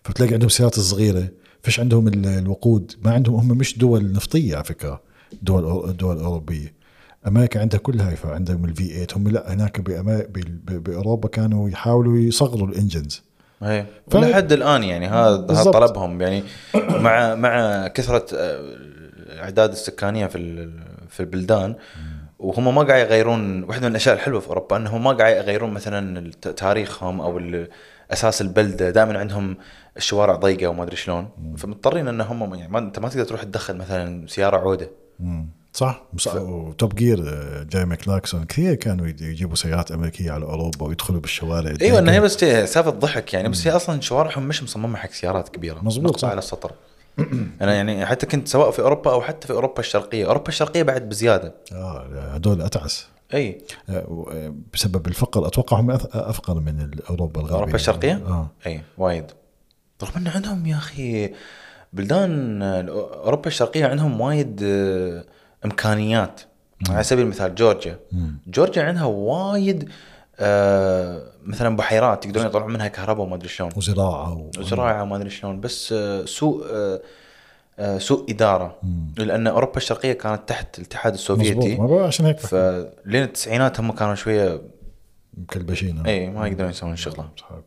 [SPEAKER 2] فبتلاقي عندهم سيارات صغيره فيش عندهم ال- الوقود ما عندهم هم مش دول نفطيه على فكره دول أو- دول اوروبيه امريكا عندها كل هاي فعندهم الفي 8 هم لا هناك بأما- بال- ب- باوروبا كانوا يحاولوا يصغروا الانجنز
[SPEAKER 1] هي
[SPEAKER 2] ف-
[SPEAKER 1] لحد الان يعني هذا هذا
[SPEAKER 2] بالضبط.
[SPEAKER 1] طلبهم يعني مع مع كثره آه، الاعداد السكانيه في ال- في البلدان وهم ما قاعد يغيرون واحده من الاشياء الحلوه في اوروبا انهم ما قاعد يغيرون مثلا الت- تاريخهم او ال- اساس البلده دائما عندهم الشوارع ضيقه وما ادري شلون فمضطرين ان هم يعني ما انت ما تقدر تروح تدخل مثلا سياره عوده
[SPEAKER 2] صح مس- وتوب جير آه، جيمي كلاكسون كثير كانوا يد- يجيبوا سيارات امريكيه على اوروبا ويدخلوا بالشوارع
[SPEAKER 1] ايوه انها هي
[SPEAKER 2] الضيقة.
[SPEAKER 1] بس سالفه ضحك يعني بس هي اصلا شوارعهم مش مصممه حق سيارات كبيره
[SPEAKER 2] مظبوط،
[SPEAKER 1] نقطة
[SPEAKER 2] صح.
[SPEAKER 1] على السطر انا يعني حتى كنت سواء في اوروبا او حتى في اوروبا الشرقيه اوروبا الشرقيه بعد بزياده
[SPEAKER 2] اه هدول اتعس
[SPEAKER 1] اي
[SPEAKER 2] آه، و- آه، بسبب الفقر اتوقع هم أث- افقر من اوروبا الغربيه
[SPEAKER 1] اوروبا الشرقيه
[SPEAKER 2] اه
[SPEAKER 1] اي وايد رغم ان عندهم يا اخي بلدان اوروبا الشرقيه عندهم وايد آه، امكانيات على سبيل المثال جورجيا جورجيا عندها وايد آه، مثلا بحيرات يقدرون يطلعون منها كهرباء وما ادري شلون
[SPEAKER 2] وزراعه و...
[SPEAKER 1] زراعه وما ادري شلون بس آه، سوء آه، آه، سوء اداره لان اوروبا الشرقيه كانت تحت الاتحاد
[SPEAKER 2] مظبوط ما
[SPEAKER 1] السوفيتي
[SPEAKER 2] بعرف عشان هيك ف...
[SPEAKER 1] فلين التسعينات هم كانوا شويه
[SPEAKER 2] مكلبشين آه.
[SPEAKER 1] اي ما يقدرون يسوون شغله
[SPEAKER 2] صحيح.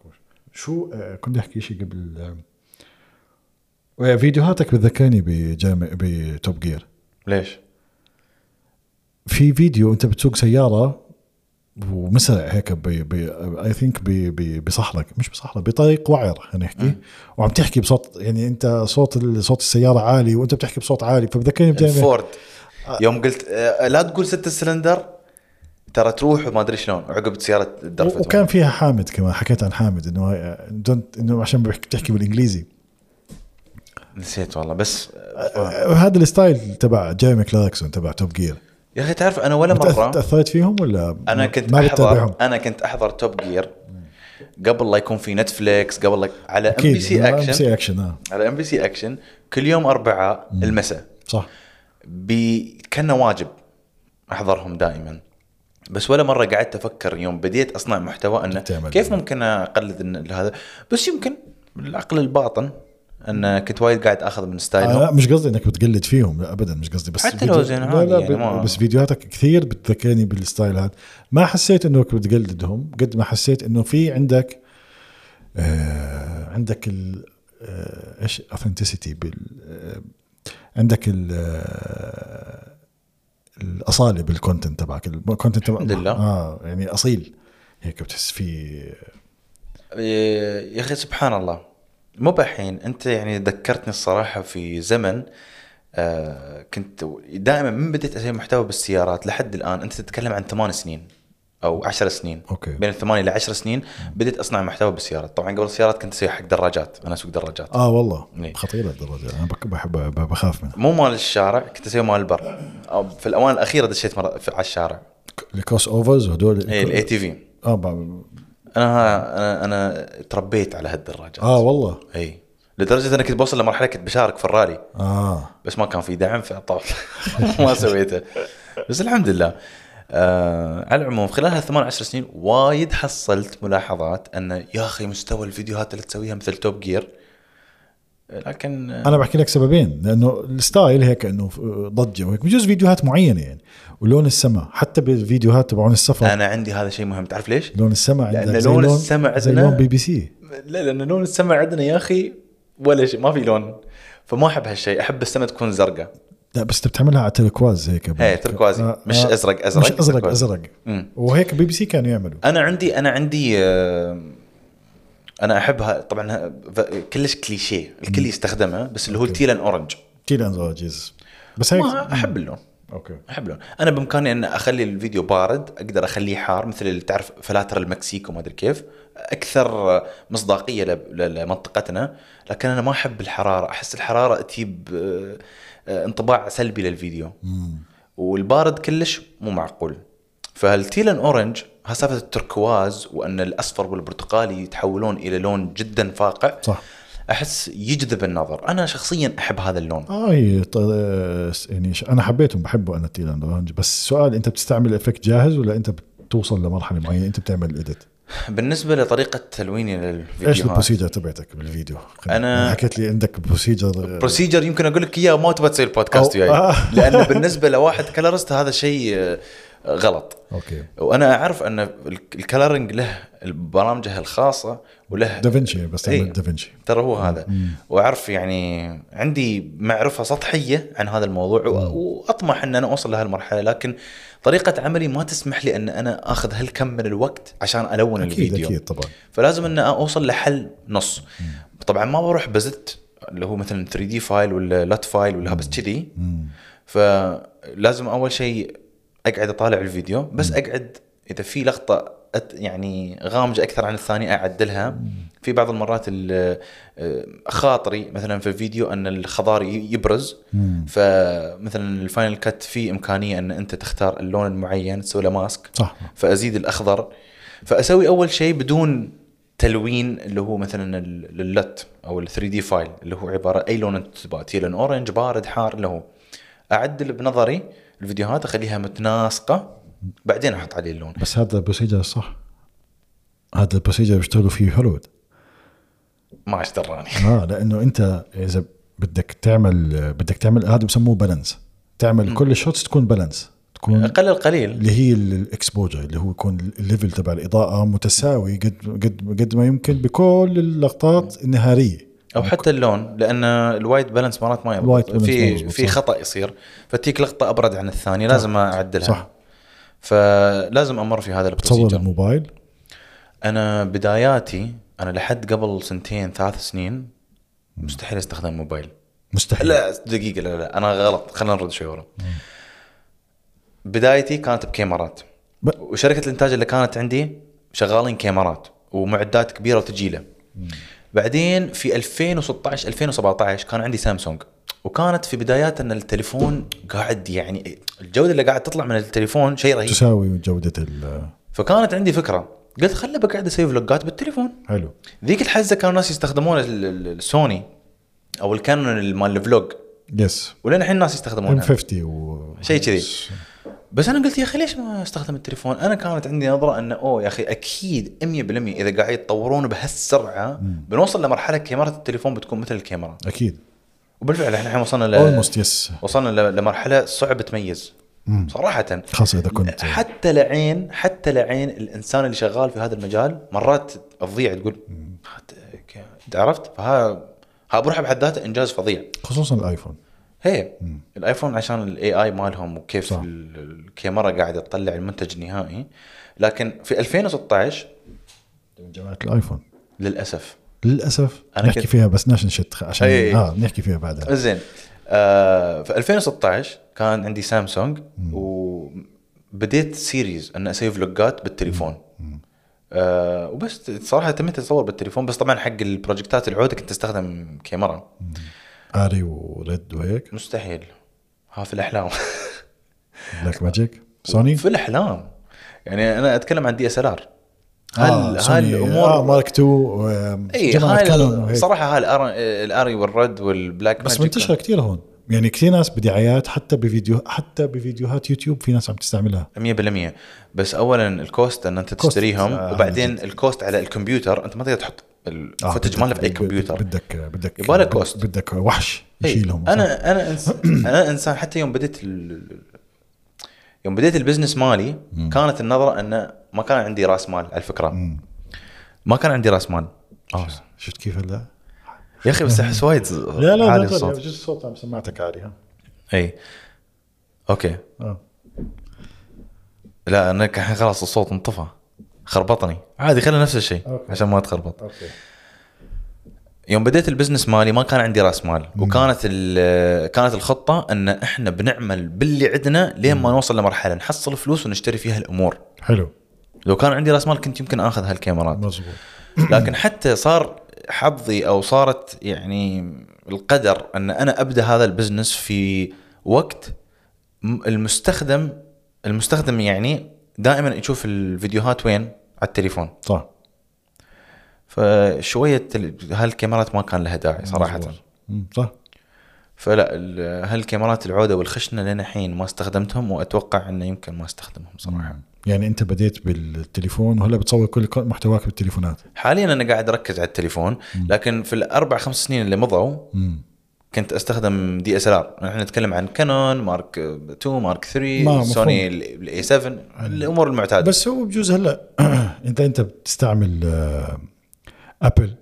[SPEAKER 2] شو آه، كنت احكي شيء قبل آه، فيديوهاتك بتذكرني بجامع بتوب جير
[SPEAKER 1] ليش؟
[SPEAKER 2] في فيديو انت بتسوق سياره ومسرع هيك ب اي ثينك بصحراء مش بصحراء بطريق وعر خلينا نحكي وعم تحكي بصوت يعني انت صوت ال- صوت السياره عالي وانت بتحكي بصوت عالي فبذكرني بجامع
[SPEAKER 1] الفورد يوم قلت آه، لا تقول ست سلندر ترى تروح وما ادري شلون عقب سياره الدرفت
[SPEAKER 2] وكان فيها حامد كمان حكيت عن حامد انه هاي- don't- انه عشان بحكي- بتحكي بالانجليزي
[SPEAKER 1] نسيت والله بس آه،
[SPEAKER 2] آه، هذا الستايل تبع جيمي كلاركسون تبع توب جير
[SPEAKER 1] يا اخي تعرف انا ولا مره
[SPEAKER 2] تاثرت فيهم ولا
[SPEAKER 1] انا كنت
[SPEAKER 2] ما
[SPEAKER 1] احضر
[SPEAKER 2] بتتابعهم
[SPEAKER 1] انا كنت احضر توب جير قبل لا يكون في نتفليكس قبل لا على ام بي سي
[SPEAKER 2] ام
[SPEAKER 1] اكشن
[SPEAKER 2] سي اكشن اه
[SPEAKER 1] على ام بي سي اكشن كل يوم اربعاء المساء
[SPEAKER 2] صح
[SPEAKER 1] بي كان واجب احضرهم دائما بس ولا مره قعدت افكر يوم بديت اصنع محتوى انه
[SPEAKER 2] تعمل
[SPEAKER 1] كيف
[SPEAKER 2] بيه.
[SPEAKER 1] ممكن اقلد إن- هذا بس يمكن العقل الباطن ان كنت وايد قاعد اخذ من
[SPEAKER 2] آه
[SPEAKER 1] ستايلهم
[SPEAKER 2] لا مش قصدي انك بتقلد فيهم لا ابدا مش قصدي بس
[SPEAKER 1] حتى لو
[SPEAKER 2] فيديو-
[SPEAKER 1] زين
[SPEAKER 2] لا
[SPEAKER 1] عادي
[SPEAKER 2] لا
[SPEAKER 1] يعني ما-
[SPEAKER 2] يعني بس فيديوهاتك كثير بتذكرني بالستايل هذا ما حسيت انك بتقلدهم قد ما حسيت انه في عندك آه عندك ال آه، ايش اوثنتسيتي بال آه، عندك ال آه، الاصاله بالكونتنت تبعك الكونتنت تبعك
[SPEAKER 1] الحمد لله.
[SPEAKER 2] اه يعني اصيل هيك بتحس فيه
[SPEAKER 1] إيه، يا اخي سبحان الله مو بحين انت يعني ذكرتني الصراحه في زمن آه كنت دائما من بديت اسوي محتوى بالسيارات لحد الان انت تتكلم عن ثمان سنين او 10 سنين
[SPEAKER 2] أوكي.
[SPEAKER 1] بين الثمانية ل 10 سنين بديت اصنع محتوى بالسيارات طبعا قبل السيارات كنت اسوي حق دراجات انا اسوق دراجات
[SPEAKER 2] اه والله
[SPEAKER 1] إيه.
[SPEAKER 2] خطيره الدرجه انا بك- بحب ب- بخاف منها
[SPEAKER 1] مو مال الشارع كنت اسوي مال البر أو في الاوان الاخيره دشيت مره في- على الشارع
[SPEAKER 2] الكروس اوفرز وهدول
[SPEAKER 1] اي الاي تي في
[SPEAKER 2] اه ب-
[SPEAKER 1] انا انا انا تربيت على هالدراجات
[SPEAKER 2] اه والله
[SPEAKER 1] اي لدرجه اني كنت بوصل لمرحله كنت بشارك في الرالي
[SPEAKER 2] اه
[SPEAKER 1] بس ما كان في دعم فطبعا ما سويته بس الحمد لله آه على العموم خلال هالثمان عشر سنين وايد حصلت ملاحظات ان يا اخي مستوى الفيديوهات اللي تسويها مثل توب جير لكن آه،
[SPEAKER 2] انا بحكي لك سببين لانه الستايل هيك انه ف- ضجه وهيك بجوز فيديوهات معينه يعني ولون السماء حتى بالفيديوهات تبعون السفر
[SPEAKER 1] انا عندي هذا شيء مهم تعرف ليش؟
[SPEAKER 2] لون السماء
[SPEAKER 1] لأن
[SPEAKER 2] عندك زي
[SPEAKER 1] لون السما
[SPEAKER 2] زي
[SPEAKER 1] عندنا-
[SPEAKER 2] لون بي بي سي
[SPEAKER 1] لا لان لون السما عندنا يا اخي ولا شيء ما في لون فما احب هالشيء احب السما تكون زرقاء
[SPEAKER 2] لا بس أنت بتعملها على تركواز هيك أبو.
[SPEAKER 1] إيه، تركوازي. مش أزرق، أزرق،
[SPEAKER 2] مش ازرق
[SPEAKER 1] تركوازي.
[SPEAKER 2] ازرق
[SPEAKER 1] مم.
[SPEAKER 2] وهيك بي بي سي كانوا يعملوا
[SPEAKER 1] انا عندي انا عندي آه، انا احبها طبعا ه- ف- كلش كليشيه الكل يستخدمها بس اللي هو التيلان اورنج
[SPEAKER 2] تيل اند روجرز بس هيك
[SPEAKER 1] ما احب اللون
[SPEAKER 2] اوكي
[SPEAKER 1] احب اللون انا بامكاني ان اخلي الفيديو بارد اقدر اخليه حار مثل اللي تعرف فلاتر المكسيك وما ادري كيف اكثر مصداقيه ل- ل- لمنطقتنا لكن انا ما احب الحراره احس الحراره تجيب آه، آه، انطباع سلبي للفيديو والبارد كلش مو معقول فالتيلن اورنج ها سالفه التركواز وان الاصفر والبرتقالي يتحولون الى لون جدا فاقع
[SPEAKER 2] صح
[SPEAKER 1] احس يجذب النظر انا شخصيا احب هذا اللون
[SPEAKER 2] اه هي ط- يعني ش- انا حبيتهم بحبه انا تيل اند اورنج بس سؤال انت بتستعمل افكت جاهز ولا انت بتوصل لمرحله معينه انت بتعمل الاديت
[SPEAKER 1] بالنسبه لطريقه تلويني
[SPEAKER 2] ايش
[SPEAKER 1] للفيديوهات
[SPEAKER 2] البروسيجر تبعتك بالفيديو؟
[SPEAKER 1] أنا-
[SPEAKER 2] يعني حكيت لي عندك بروسيجر آه،
[SPEAKER 1] بروسيجر يمكن اقول لك اياه ما تبغى تسوي البودكاست
[SPEAKER 2] أو-
[SPEAKER 1] وياي
[SPEAKER 2] آه.
[SPEAKER 1] لانه بالنسبه لواحد كلرست هذا شيء آه، غلط
[SPEAKER 2] اوكي
[SPEAKER 1] وانا اعرف ان ال- الكلرنج له برامجه الخاصه وله
[SPEAKER 2] دافنشي بس
[SPEAKER 1] إيه.
[SPEAKER 2] تعمل دافنشي
[SPEAKER 1] ترى هو هذا واعرف يعني عندي معرفه سطحيه عن هذا الموضوع و- واطمح ان انا اوصل لهالمرحله لكن طريقه عملي ما تسمح لي ان انا اخذ هالكم من الوقت عشان الون
[SPEAKER 2] اكيد
[SPEAKER 1] الفيديو
[SPEAKER 2] اكيد طبعا
[SPEAKER 1] فلازم ان اوصل لحل نص طبعا ما بروح بزت اللي هو مثلا 3 دي فايل ولا لات فايل ولا بس كذي
[SPEAKER 2] مم.
[SPEAKER 1] فلازم اول شيء اقعد اطالع الفيديو بس اقعد اذا في لقطه أت- يعني غامجه اكثر عن الثانيه اعدلها في بعض المرات ال- آه، خاطري مثلا في الفيديو ان الخضار ي- يبرز
[SPEAKER 2] مم.
[SPEAKER 1] فمثلا الفاينل كات في امكانيه ان انت تختار اللون المعين تسوي له ماسك
[SPEAKER 2] صح
[SPEAKER 1] فازيد الاخضر فاسوي اول شيء بدون تلوين اللي هو مثلا ال- اللت او ال 3 دي فايل اللي هو عباره اي لون انت تبغاه تي لون اورنج بارد حار اللي هو اعدل بنظري الفيديوهات اخليها متناسقه بعدين احط عليه اللون
[SPEAKER 2] بس هذا البروسيجر صح هذا البروسيجر بيشتغلوا فيه هوليوود
[SPEAKER 1] ما ايش دراني
[SPEAKER 2] اه لانه انت اذا بدك تعمل بدك تعمل هذا بسموه بالانس تعمل كل الشوتس تكون بالانس تكون
[SPEAKER 1] اقل القليل
[SPEAKER 2] اللي هي الاكسبوجر اللي هو يكون الليفل تبع الاضاءه متساوي قد قد قد ما يمكن بكل اللقطات النهاريه
[SPEAKER 1] او حتى اللون لان الوايت بالانس مرات ما
[SPEAKER 2] الوايت
[SPEAKER 1] يضبط
[SPEAKER 2] بالانس
[SPEAKER 1] في
[SPEAKER 2] ما يزبط،
[SPEAKER 1] في
[SPEAKER 2] صح.
[SPEAKER 1] خطا يصير فتيك لقطه ابرد عن الثانيه لازم اعدلها
[SPEAKER 2] صح.
[SPEAKER 1] فلازم امر في هذا
[SPEAKER 2] تصور
[SPEAKER 1] البروسيجر
[SPEAKER 2] الموبايل
[SPEAKER 1] انا بداياتي انا لحد قبل سنتين ثلاث سنين مستحيل استخدم موبايل
[SPEAKER 2] مستحيل
[SPEAKER 1] لا دقيقه لا لا انا غلط خلينا نرد شوي ورا بدايتي كانت بكاميرات
[SPEAKER 2] ب-
[SPEAKER 1] وشركه الانتاج اللي كانت عندي شغالين كاميرات ومعدات كبيره وتجيله بعدين في 2016 2017 كان عندي سامسونج وكانت في بدايات ان التليفون قاعد يعني الجوده اللي قاعد تطلع من التليفون شيء رهيب
[SPEAKER 2] تساوي جوده ال
[SPEAKER 1] فكانت عندي فكره قلت خلي بقعد اسوي فلوجات بالتليفون
[SPEAKER 2] حلو
[SPEAKER 1] ذيك الحزه كانوا الناس يستخدمون ال- ال- السوني او الكانون مال الفلوج
[SPEAKER 2] يس
[SPEAKER 1] ولين الحين الناس
[SPEAKER 2] ام
[SPEAKER 1] يستخدمونها
[SPEAKER 2] 50 و
[SPEAKER 1] نعم. شيء كذي. بس انا قلت يا اخي ليش ما استخدم التليفون؟ انا كانت عندي نظره انه اوه يا اخي اكيد 100% اذا قاعد يتطورون بهالسرعه بنوصل لمرحله كاميرا التليفون بتكون مثل الكاميرا
[SPEAKER 2] اكيد
[SPEAKER 1] وبالفعل احنا الحين وصلنا ل...
[SPEAKER 2] اولموست يس
[SPEAKER 1] وصلنا ل- لمرحله صعب تميز صراحه
[SPEAKER 2] خاصه اذا كنت
[SPEAKER 1] حتى لعين حتى لعين الانسان اللي شغال في هذا المجال مرات تضيع تقول هات- ك- أنت عرفت فها ها بروح بحد ذاته انجاز فظيع
[SPEAKER 2] خصوصا الايفون
[SPEAKER 1] هي الايفون عشان الاي اي مالهم وكيف
[SPEAKER 2] صح.
[SPEAKER 1] ال- الكاميرا قاعده تطلع المنتج النهائي لكن في 2016
[SPEAKER 2] من جماعه الايفون
[SPEAKER 1] للاسف
[SPEAKER 2] للاسف
[SPEAKER 1] أنا
[SPEAKER 2] نحكي
[SPEAKER 1] كنت-
[SPEAKER 2] فيها بس ناش نشت عشان
[SPEAKER 1] إيه.
[SPEAKER 2] اه نحكي فيها بعدها
[SPEAKER 1] آه، زين آه في 2016 كان عندي سامسونج و بديت سيريز ان اسوي فلوجات بالتليفون آه وبس صراحه تميت اتصور بالتليفون بس طبعا حق البروجكتات العوده كنت استخدم كاميرا
[SPEAKER 2] اري وريد وهيك
[SPEAKER 1] مستحيل ها في الاحلام
[SPEAKER 2] بلاك ماجيك سوني
[SPEAKER 1] في الاحلام يعني انا اتكلم عن دي اس ال ار
[SPEAKER 2] آه،
[SPEAKER 1] هل إيه،
[SPEAKER 2] سوني.
[SPEAKER 1] هل
[SPEAKER 2] آه
[SPEAKER 1] الامور
[SPEAKER 2] مارك 2
[SPEAKER 1] اي هاي صراحه هاي الاري والرد والبلاك
[SPEAKER 2] بس
[SPEAKER 1] ماجيك
[SPEAKER 2] منتشره كثير هون يعني كثير ناس بدعايات حتى بفيديو حتى بفيديوهات يوتيوب في ناس عم تستعملها
[SPEAKER 1] 100% بس اولا الكوست ان انت تشتريهم
[SPEAKER 2] آه،
[SPEAKER 1] وبعدين الكوست على الكمبيوتر انت ما تقدر تحط الفوتج
[SPEAKER 2] آه، بدك-
[SPEAKER 1] ماله في اي
[SPEAKER 2] بدك-
[SPEAKER 1] كمبيوتر
[SPEAKER 2] بدك بدك
[SPEAKER 1] يبغالك
[SPEAKER 2] بدك-
[SPEAKER 1] كوست.
[SPEAKER 2] بدك وحش
[SPEAKER 1] إي،
[SPEAKER 2] يشيلهم
[SPEAKER 1] انا انا إنس- انا انسان حتى يوم بديت ال- يوم بديت البزنس مالي كانت النظره انه ما كان عندي راس مال على الفكره
[SPEAKER 2] مم.
[SPEAKER 1] ما كان عندي راس مال آه.
[SPEAKER 2] شفت كيف هلا؟
[SPEAKER 1] يا اخي بس احس وايد
[SPEAKER 2] لا لا
[SPEAKER 1] عالي
[SPEAKER 2] عالي
[SPEAKER 1] الصوت إيه.
[SPEAKER 2] بجوز الصوت عم سماعتك عالية
[SPEAKER 1] اي اوكي
[SPEAKER 2] اه
[SPEAKER 1] لا انا الحين خلاص الصوت انطفى خربطني عادي خلي نفس الشيء
[SPEAKER 2] أوكي.
[SPEAKER 1] عشان ما تخربط
[SPEAKER 2] اوكي
[SPEAKER 1] يوم بديت البزنس مالي ما كان عندي راس مال وكانت ال- كانت الخطه ان احنا بنعمل باللي عندنا لين ما نوصل لمرحله نحصل فلوس ونشتري فيها الامور
[SPEAKER 2] حلو
[SPEAKER 1] لو كان عندي راس مال كنت يمكن اخذ هالكاميرات
[SPEAKER 2] مزبوط
[SPEAKER 1] لكن حتى صار حظي او صارت يعني القدر ان انا ابدا هذا البزنس في وقت م- المستخدم المستخدم يعني دائما يشوف الفيديوهات وين على التليفون
[SPEAKER 2] صح
[SPEAKER 1] فشويه تل- هالكاميرات ما كان لها داعي صراحه
[SPEAKER 2] مزبوط. مم، صح
[SPEAKER 1] فلا ال- هالكاميرات العوده والخشنه لين الحين ما استخدمتهم واتوقع انه يمكن ما استخدمهم صراحه
[SPEAKER 2] مم. يعني انت بديت بالتليفون وهلا بتصور كل كل محتواك بالتليفونات
[SPEAKER 1] حاليا انا قاعد اركز على التليفون لكن في الاربع خمس سنين اللي مضوا
[SPEAKER 2] مم.
[SPEAKER 1] كنت استخدم دي اس ال ار احنا نتكلم عن كانون مارك 2 مارك
[SPEAKER 2] ما،
[SPEAKER 1] 3
[SPEAKER 2] مفهوم.
[SPEAKER 1] سوني الاي 7 الامور المعتاده
[SPEAKER 2] بس هو بجوز هلا انت انت بتستعمل آه، ابل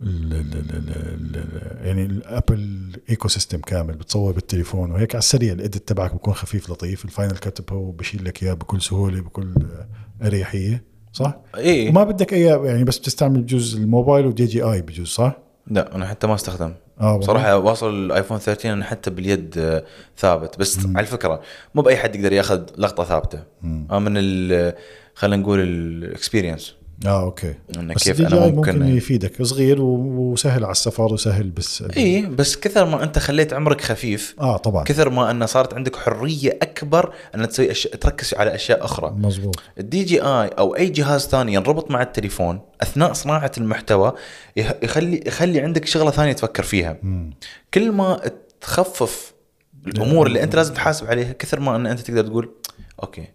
[SPEAKER 2] ال- ال- ال- ال- ال- يعني الابل ايكو سيستم كامل بتصور بالتليفون وهيك على السريع الاديت تبعك بيكون خفيف لطيف الفاينل كت هو بشيل لك اياه بكل سهوله بكل آه، اريحيه صح؟
[SPEAKER 1] اي
[SPEAKER 2] وما بدك اي يعني بس بتستعمل بجوز الموبايل ودي جي اي بجوز صح؟
[SPEAKER 1] لا انا حتى ما استخدم
[SPEAKER 2] اه والله.
[SPEAKER 1] صراحه واصل الايفون 13 انا حتى باليد آه، ثابت بس على الفكره مو باي حد يقدر ياخذ لقطه ثابته آه، من ال- خلينا نقول الاكسبيرينس
[SPEAKER 2] اه اوكي
[SPEAKER 1] إنه
[SPEAKER 2] بس
[SPEAKER 1] يعني كيف
[SPEAKER 2] الدي
[SPEAKER 1] أنا
[SPEAKER 2] جي اي
[SPEAKER 1] ممكن-
[SPEAKER 2] ممكن يفيدك صغير و- وسهل على السفر وسهل بس
[SPEAKER 1] اي إيه، بس كثر ما انت خليت عمرك خفيف
[SPEAKER 2] اه طبعا
[SPEAKER 1] كثر ما انه صارت عندك حريه اكبر ان تسوي أشياء تركز على اشياء اخرى
[SPEAKER 2] مزبوط
[SPEAKER 1] الدي جي اي او اي جهاز ثاني ينربط مع التليفون اثناء صناعه المحتوى يخ- يخلي يخلي عندك شغله ثانيه تفكر فيها كل ما تخفف الامور اللي انت لازم تحاسب عليها كثر ما ان انت تقدر تقول اوكي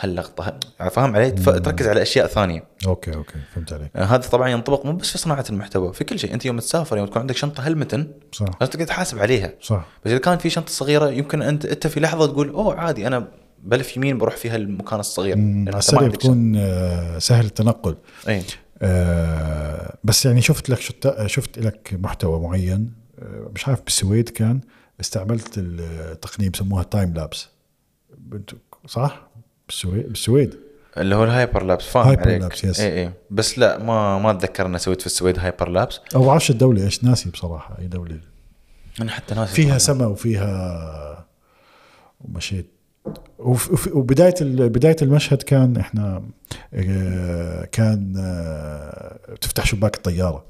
[SPEAKER 1] هاللقطه هل- يعني فاهم علي تف- تركز على اشياء ثانيه
[SPEAKER 2] اوكي اوكي فهمت عليك
[SPEAKER 1] آه، هذا طبعا ينطبق مو بس في صناعه المحتوى في كل شيء انت يوم تسافر يوم تكون عندك شنطه هلمتن
[SPEAKER 2] صح
[SPEAKER 1] لازم تقدر تحاسب عليها
[SPEAKER 2] صح
[SPEAKER 1] بس اذا كان في شنطه صغيره يمكن انت انت في لحظه تقول اوه عادي انا بلف يمين بروح فيها المكان الصغير لأن
[SPEAKER 2] على
[SPEAKER 1] يعني أنت ما
[SPEAKER 2] السريع
[SPEAKER 1] عندك إيه. شنطة.
[SPEAKER 2] بيكون آه، سهل التنقل
[SPEAKER 1] اي
[SPEAKER 2] آه، بس يعني شفت لك شت- شفت لك محتوى معين آه، مش عارف بالسويد كان استعملت التقنيه بسموها تايم لابس بنت- صح بالسويد بالسويد
[SPEAKER 1] اللي هو الهايبر لابس فاهم
[SPEAKER 2] هايبر
[SPEAKER 1] عليك
[SPEAKER 2] لابس، يس.
[SPEAKER 1] اي اي بس لا ما ما اتذكر اني سويت في السويد هايبر لابس
[SPEAKER 2] او بعرفش الدوله ايش ناسي بصراحه اي دوله
[SPEAKER 1] انا حتى ناسي
[SPEAKER 2] فيها سماء وفيها ومشيت وف- وف- وبدايه ال- بدايه المشهد كان احنا آه، كان آه، تفتح شباك الطياره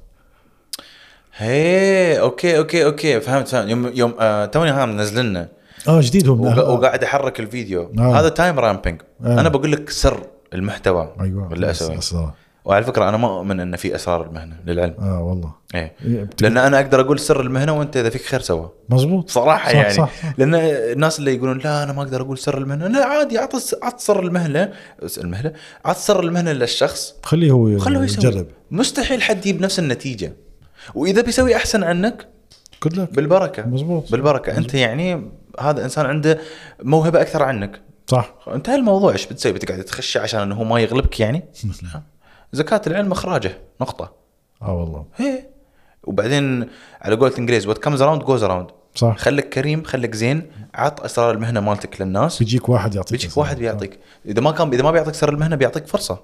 [SPEAKER 1] هي اوكي اوكي اوكي فهمت فهمت يوم يوم آه توني هام نزلنا
[SPEAKER 2] اه جديد هم
[SPEAKER 1] وق- وقاعد احرك الفيديو
[SPEAKER 2] آه.
[SPEAKER 1] هذا تايم رامبينج
[SPEAKER 2] آه.
[SPEAKER 1] انا بقول لك سر المحتوى
[SPEAKER 2] ايوه
[SPEAKER 1] اللي
[SPEAKER 2] أس-
[SPEAKER 1] اسويه
[SPEAKER 2] أسرار.
[SPEAKER 1] وعلى فكره انا ما اؤمن ان في اسرار المهنه للعلم
[SPEAKER 2] اه والله
[SPEAKER 1] ايه
[SPEAKER 2] إيه، بت-
[SPEAKER 1] لان انا اقدر اقول سر المهنه وانت اذا فيك خير سوا
[SPEAKER 2] مزبوط
[SPEAKER 1] صراحه
[SPEAKER 2] صح
[SPEAKER 1] يعني
[SPEAKER 2] صح صح.
[SPEAKER 1] لان الناس اللي يقولون لا انا ما اقدر اقول سر المهنه لا عادي اعط اعط سر المهنه المهنه اعط سر المهنه للشخص
[SPEAKER 2] خليه هو
[SPEAKER 1] خلوه يسوي
[SPEAKER 2] يجرب
[SPEAKER 1] مستحيل حد يجيب نفس النتيجه واذا بيسوي احسن عنك
[SPEAKER 2] قلت لك
[SPEAKER 1] بالبركه
[SPEAKER 2] مزبوط.
[SPEAKER 1] بالبركه انت يعني هذا انسان عنده موهبه اكثر عنك
[SPEAKER 2] صح
[SPEAKER 1] انتهى الموضوع ايش بتسوي بتقعد تخشى عشان انه هو ما يغلبك يعني لا. زكاه العلم اخراجه نقطه
[SPEAKER 2] اه والله
[SPEAKER 1] هي وبعدين على قولة الانجليز وات كمز اراوند جوز اراوند
[SPEAKER 2] صح
[SPEAKER 1] خليك كريم خليك زين عط اسرار المهنه مالتك للناس
[SPEAKER 2] بيجيك واحد يعطيك
[SPEAKER 1] بيجيك
[SPEAKER 2] أسرار.
[SPEAKER 1] واحد بيعطيك اذا ما كان اذا ما بيعطيك سر المهنه بيعطيك فرصه
[SPEAKER 2] آه،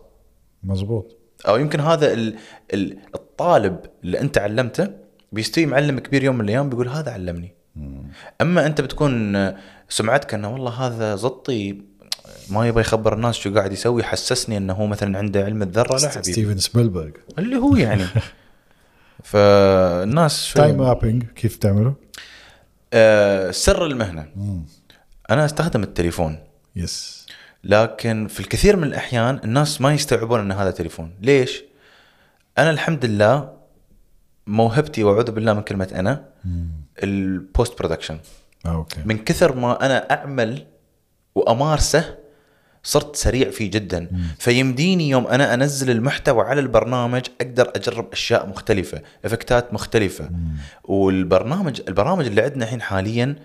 [SPEAKER 2] مزبوط
[SPEAKER 1] او يمكن هذا ال- ال- الطالب اللي انت علمته بيستوي معلم كبير يوم من الايام بيقول هذا علمني اما انت بتكون سمعتك انه والله هذا زطي ما يبغى يخبر الناس شو قاعد يسوي حسسني انه هو مثلا عنده علم الذره لا حبيبي
[SPEAKER 2] ستيفن سبيلبرغ
[SPEAKER 1] اللي هو يعني فالناس شوي-
[SPEAKER 2] تايم مابينج كيف تعمله؟
[SPEAKER 1] آه، سر المهنه انا استخدم التليفون
[SPEAKER 2] يس
[SPEAKER 1] لكن في الكثير من الاحيان الناس ما يستوعبون ان هذا تليفون ليش انا الحمد لله موهبتي واعوذ بالله من كلمه انا البوست برودكشن
[SPEAKER 2] آه، اوكي
[SPEAKER 1] من كثر ما انا اعمل وامارسه صرت سريع فيه جدا فيمديني يوم انا انزل المحتوى على البرنامج اقدر اجرب اشياء مختلفه افكتات مختلفه والبرنامج البرامج اللي عندنا الحين حاليا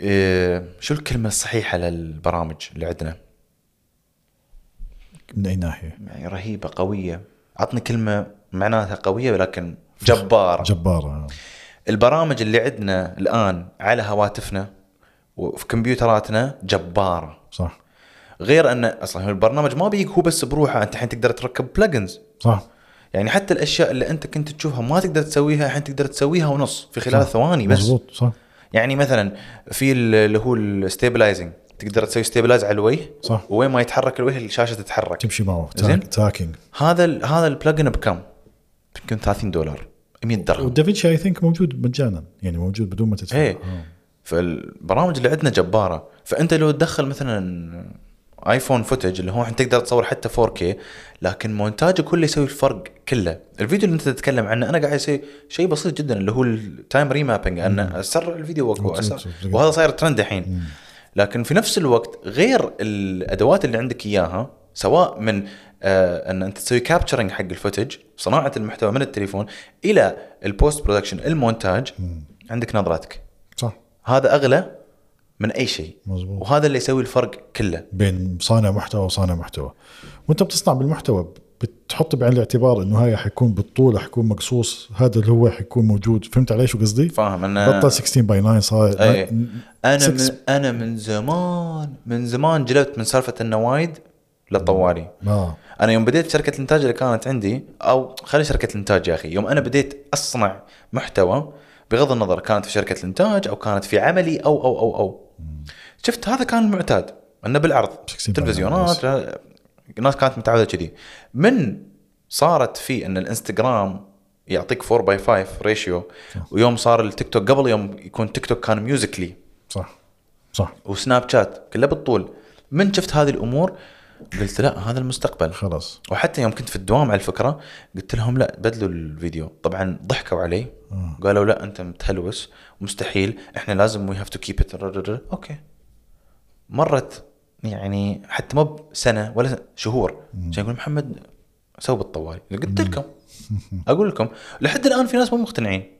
[SPEAKER 1] إيه، شو الكلمه الصحيحه للبرامج اللي عندنا
[SPEAKER 2] من اي ناحيه؟
[SPEAKER 1] يعني رهيبه قويه عطني كلمه معناتها قويه ولكن جباره
[SPEAKER 2] جباره
[SPEAKER 1] البرامج اللي عندنا الان على هواتفنا وفي كمبيوتراتنا جباره
[SPEAKER 2] صح
[SPEAKER 1] غير ان اصلا هو البرنامج ما بيجيك هو بس بروحه انت الحين تقدر تركب بلجنز
[SPEAKER 2] صح
[SPEAKER 1] يعني حتى الاشياء اللي انت كنت تشوفها ما تقدر تسويها الحين تقدر تسويها ونص في خلال ثواني بس
[SPEAKER 2] مضبوط صح
[SPEAKER 1] يعني مثلا في ال- اللي هو الستيبلايزنج تقدر تسوي ستيبلايز على الوجه
[SPEAKER 2] صح.
[SPEAKER 1] وين ما يتحرك الوجه الشاشه تتحرك
[SPEAKER 2] تمشي معه
[SPEAKER 1] زين.
[SPEAKER 2] تاكينج
[SPEAKER 1] هذا ال هذا البلجن بكم؟ يمكن 30 دولار 100 درهم
[SPEAKER 2] ودافنشي اي ثينك موجود مجانا يعني موجود بدون ما تدفع
[SPEAKER 1] ايه
[SPEAKER 2] آه.
[SPEAKER 1] فالبرامج اللي عندنا جباره فانت لو تدخل مثلا ايفون فوتج اللي هو انت تقدر تصور حتى 4K لكن مونتاجك هو اللي يسوي الفرق كله، الفيديو اللي انت تتكلم عنه انا قاعد اسوي شيء بسيط جدا اللي هو التايم ريمابينج ان اسرع الفيديو
[SPEAKER 2] مظبوط،
[SPEAKER 1] وأقوى، أسرع
[SPEAKER 2] مظبوط.
[SPEAKER 1] وهذا صاير ترند الحين لكن في نفس الوقت غير الادوات اللي عندك اياها سواء من آه ان انت تسوي كابتشرنج حق الفوتج صناعه المحتوى من التليفون الى البوست برودكشن المونتاج عندك نظراتك
[SPEAKER 2] صح
[SPEAKER 1] هذا اغلى من اي شيء
[SPEAKER 2] مظبوط.
[SPEAKER 1] وهذا اللي يسوي الفرق كله
[SPEAKER 2] بين صانع محتوى وصانع محتوى وانت بتصنع بالمحتوى بتحط بعين الاعتبار انه هاي حيكون بالطول حيكون مقصوص هذا اللي هو حيكون موجود فهمت علي شو قصدي؟
[SPEAKER 1] فاهم انا
[SPEAKER 2] بطل 16 باي 9 صار
[SPEAKER 1] أي. انا
[SPEAKER 2] سكس-
[SPEAKER 1] من انا من زمان من زمان جلبت من سالفه انه وايد للطواري
[SPEAKER 2] اه
[SPEAKER 1] انا يوم بديت شركه الانتاج اللي كانت عندي او خلي شركه الانتاج يا اخي يوم انا بديت اصنع محتوى بغض النظر كانت في شركه الانتاج او كانت في عملي او او او او شفت هذا كان المعتاد انه بالعرض
[SPEAKER 2] 60
[SPEAKER 1] تلفزيونات الناس كانت متعوده كذي من صارت في ان الانستغرام يعطيك 4 باي 5 ريشيو ويوم صار التيك توك قبل يوم يكون تيك توك كان ميوزيكلي
[SPEAKER 2] صح صح
[SPEAKER 1] وسناب شات كله بالطول من شفت هذه الامور قلت لا هذا المستقبل
[SPEAKER 2] خلاص
[SPEAKER 1] وحتى يوم كنت في الدوام على الفكره قلت لهم لا بدلوا الفيديو طبعا ضحكوا علي
[SPEAKER 2] آه.
[SPEAKER 1] قالوا لا انت متهلوس مستحيل احنا لازم وي هاف تو كيب ات اوكي مرت يعني حتى ما بسنه ولا سنة- شهور عشان يقول محمد سو بالطوال قلت لكم اقول لكم لحد الان في ناس مو مقتنعين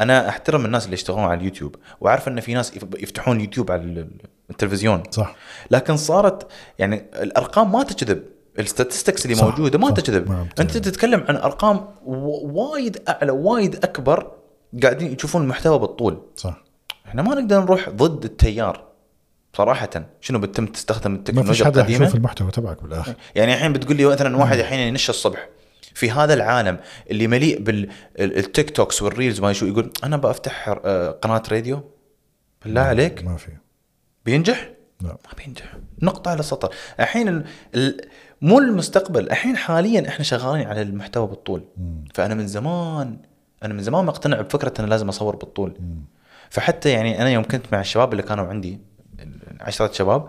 [SPEAKER 1] انا احترم الناس اللي يشتغلون على اليوتيوب واعرف ان في ناس يف- يفتحون يوتيوب على ال- التلفزيون
[SPEAKER 2] صح
[SPEAKER 1] لكن صارت يعني الارقام ما تكذب الستاتستكس اللي
[SPEAKER 2] صح،
[SPEAKER 1] موجوده ما
[SPEAKER 2] صح،
[SPEAKER 1] تكذب
[SPEAKER 2] ما
[SPEAKER 1] انت
[SPEAKER 2] بتكذب.
[SPEAKER 1] تتكلم عن ارقام و- وايد اعلى وايد اكبر قاعدين يشوفون المحتوى بالطول
[SPEAKER 2] صح
[SPEAKER 1] احنا ما نقدر نروح ضد التيار صراحه شنو بتتم تستخدم
[SPEAKER 2] ما فيش
[SPEAKER 1] التكنولوجيا
[SPEAKER 2] حدا يشوف
[SPEAKER 1] القديمه
[SPEAKER 2] المحتوى تبعك بالاخر
[SPEAKER 1] يعني الحين بتقول لي مثلا واحد الحين ينش الصبح في هذا العالم اللي مليء بالتيك توكس والريلز ما شو يقول انا بفتح قناه راديو بالله عليك
[SPEAKER 2] ما في
[SPEAKER 1] بينجح
[SPEAKER 2] لا
[SPEAKER 1] ما بينجح نقطة على سطر الحين ال... ال... مو المستقبل الحين حاليا احنا شغالين على المحتوى بالطول فأنا من زمان أنا من زمان مقتنع بفكرة أنا لازم أصور بالطول فحتى يعني أنا يوم كنت مع الشباب اللي كانوا عندي ال- عشرة شباب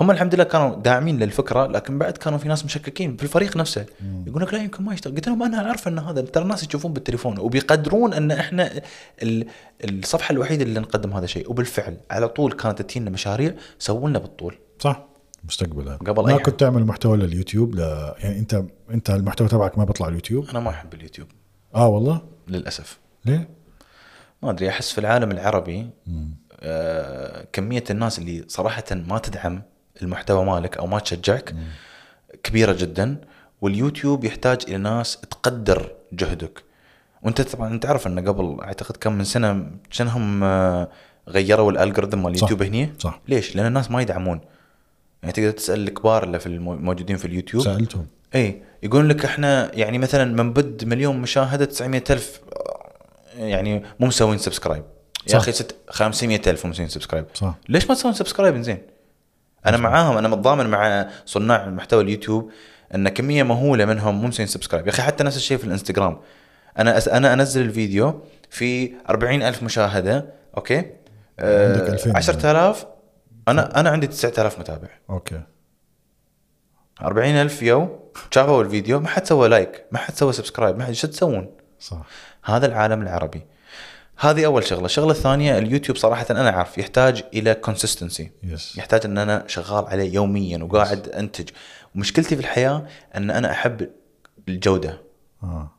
[SPEAKER 1] هم الحمد لله كانوا داعمين للفكره لكن بعد كانوا في ناس مشككين في الفريق نفسه يقول لك لا يمكن ما يشتغل قلت لهم انا اعرف ان هذا ترى الناس يشوفون بالتليفون وبيقدرون ان احنا ال- الصفحه الوحيده اللي نقدم هذا الشيء وبالفعل على طول كانت تجينا مشاريع سووا لنا بالطول
[SPEAKER 2] صح مستقبلا
[SPEAKER 1] قبل
[SPEAKER 2] ما
[SPEAKER 1] أي حد.
[SPEAKER 2] كنت تعمل محتوى لليوتيوب ل... يعني انت انت المحتوى تبعك ما بيطلع اليوتيوب
[SPEAKER 1] انا ما احب اليوتيوب
[SPEAKER 2] اه والله
[SPEAKER 1] للاسف
[SPEAKER 2] ليه؟
[SPEAKER 1] ما ادري احس في العالم العربي آه كميه الناس اللي صراحه ما تدعم المحتوى مالك او ما تشجعك كبيره جدا واليوتيوب يحتاج الى ناس تقدر جهدك وانت طبعا تعرف انه قبل اعتقد كم من سنه شنهم آه، غيروا الالجوريثم مال اليوتيوب هني
[SPEAKER 2] صح.
[SPEAKER 1] ليش؟ لان الناس ما يدعمون يعني تقدر تسال الكبار اللي في المو- موجودين في اليوتيوب
[SPEAKER 2] سالتهم
[SPEAKER 1] اي إيه، يقول لك احنا يعني مثلا من بد مليون مشاهده 900 الف يعني مو مسوين سبسكرايب يا
[SPEAKER 2] صح.
[SPEAKER 1] اخي ست 500 الف مو مسوين سبسكرايب
[SPEAKER 2] صح.
[SPEAKER 1] ليش ما تسوون سبسكرايب زين انا معاهم انا متضامن مع صناع محتوى اليوتيوب ان كميه مهوله منهم مو مسوين سبسكرايب يا اخي حتى نفس الشيء في الانستغرام انا أس... انا انزل الفيديو في 40 الف مشاهده اوكي آه،
[SPEAKER 2] عندك 2000
[SPEAKER 1] 10000 انا انا عندي 9000 متابع
[SPEAKER 2] اوكي
[SPEAKER 1] 40000 يو شافوا الفيديو ما حد سوى لايك ما حد سوى سبسكرايب ما حد شو تسوون
[SPEAKER 2] صح
[SPEAKER 1] هذا العالم العربي هذه اول شغله الشغله الثانيه اليوتيوب صراحه انا اعرف يحتاج الى كونسستنسي
[SPEAKER 2] يس
[SPEAKER 1] يحتاج ان انا شغال عليه يوميا وقاعد انتج ومشكلتي في الحياه ان انا احب الجوده
[SPEAKER 2] اه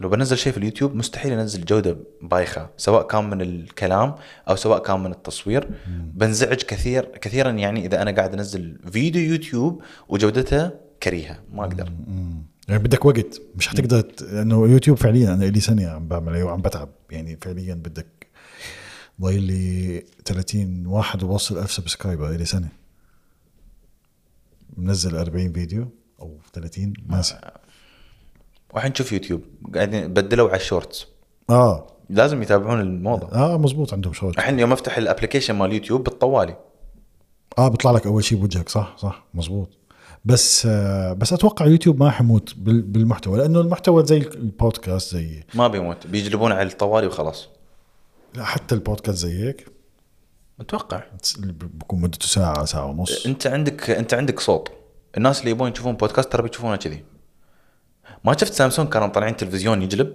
[SPEAKER 1] لو بنزل شيء في اليوتيوب مستحيل انزل جوده بايخه سواء كان من الكلام او سواء كان من التصوير بنزعج كثير كثيرا يعني اذا انا قاعد انزل فيديو يوتيوب وجودته كريهه ما اقدر
[SPEAKER 2] مم. يعني بدك وقت مش حتقدر ت- لانه يوتيوب فعليا انا لي سنه عم بعمل وعم بتعب يعني فعليا بدك ضايل لي 30 واحد ووصل ألف سبسكرايبر لي سنه منزل 40 فيديو او 30 ناسي
[SPEAKER 1] والحين نشوف يوتيوب قاعدين بدلوا على الشورتس
[SPEAKER 2] اه
[SPEAKER 1] لازم يتابعون الموضه
[SPEAKER 2] اه مزبوط عندهم شغل
[SPEAKER 1] الحين يوم افتح الابلكيشن مال يوتيوب بالطوالي
[SPEAKER 2] اه بيطلع لك اول شيء بوجهك صح صح مزبوط بس آه بس اتوقع يوتيوب ما حموت بال- بالمحتوى لانه المحتوى زي البودكاست زي
[SPEAKER 1] ما بيموت بيجلبون على الطوالي وخلاص
[SPEAKER 2] لا حتى البودكاست زي هيك
[SPEAKER 1] اتوقع
[SPEAKER 2] اللي بيكون مدته ساعه ساعه ونص
[SPEAKER 1] انت عندك انت عندك صوت الناس اللي يبون يشوفون بودكاست ترى بيشوفونه كذي ما شفت سامسونج كانوا مطلعين تلفزيون يجلب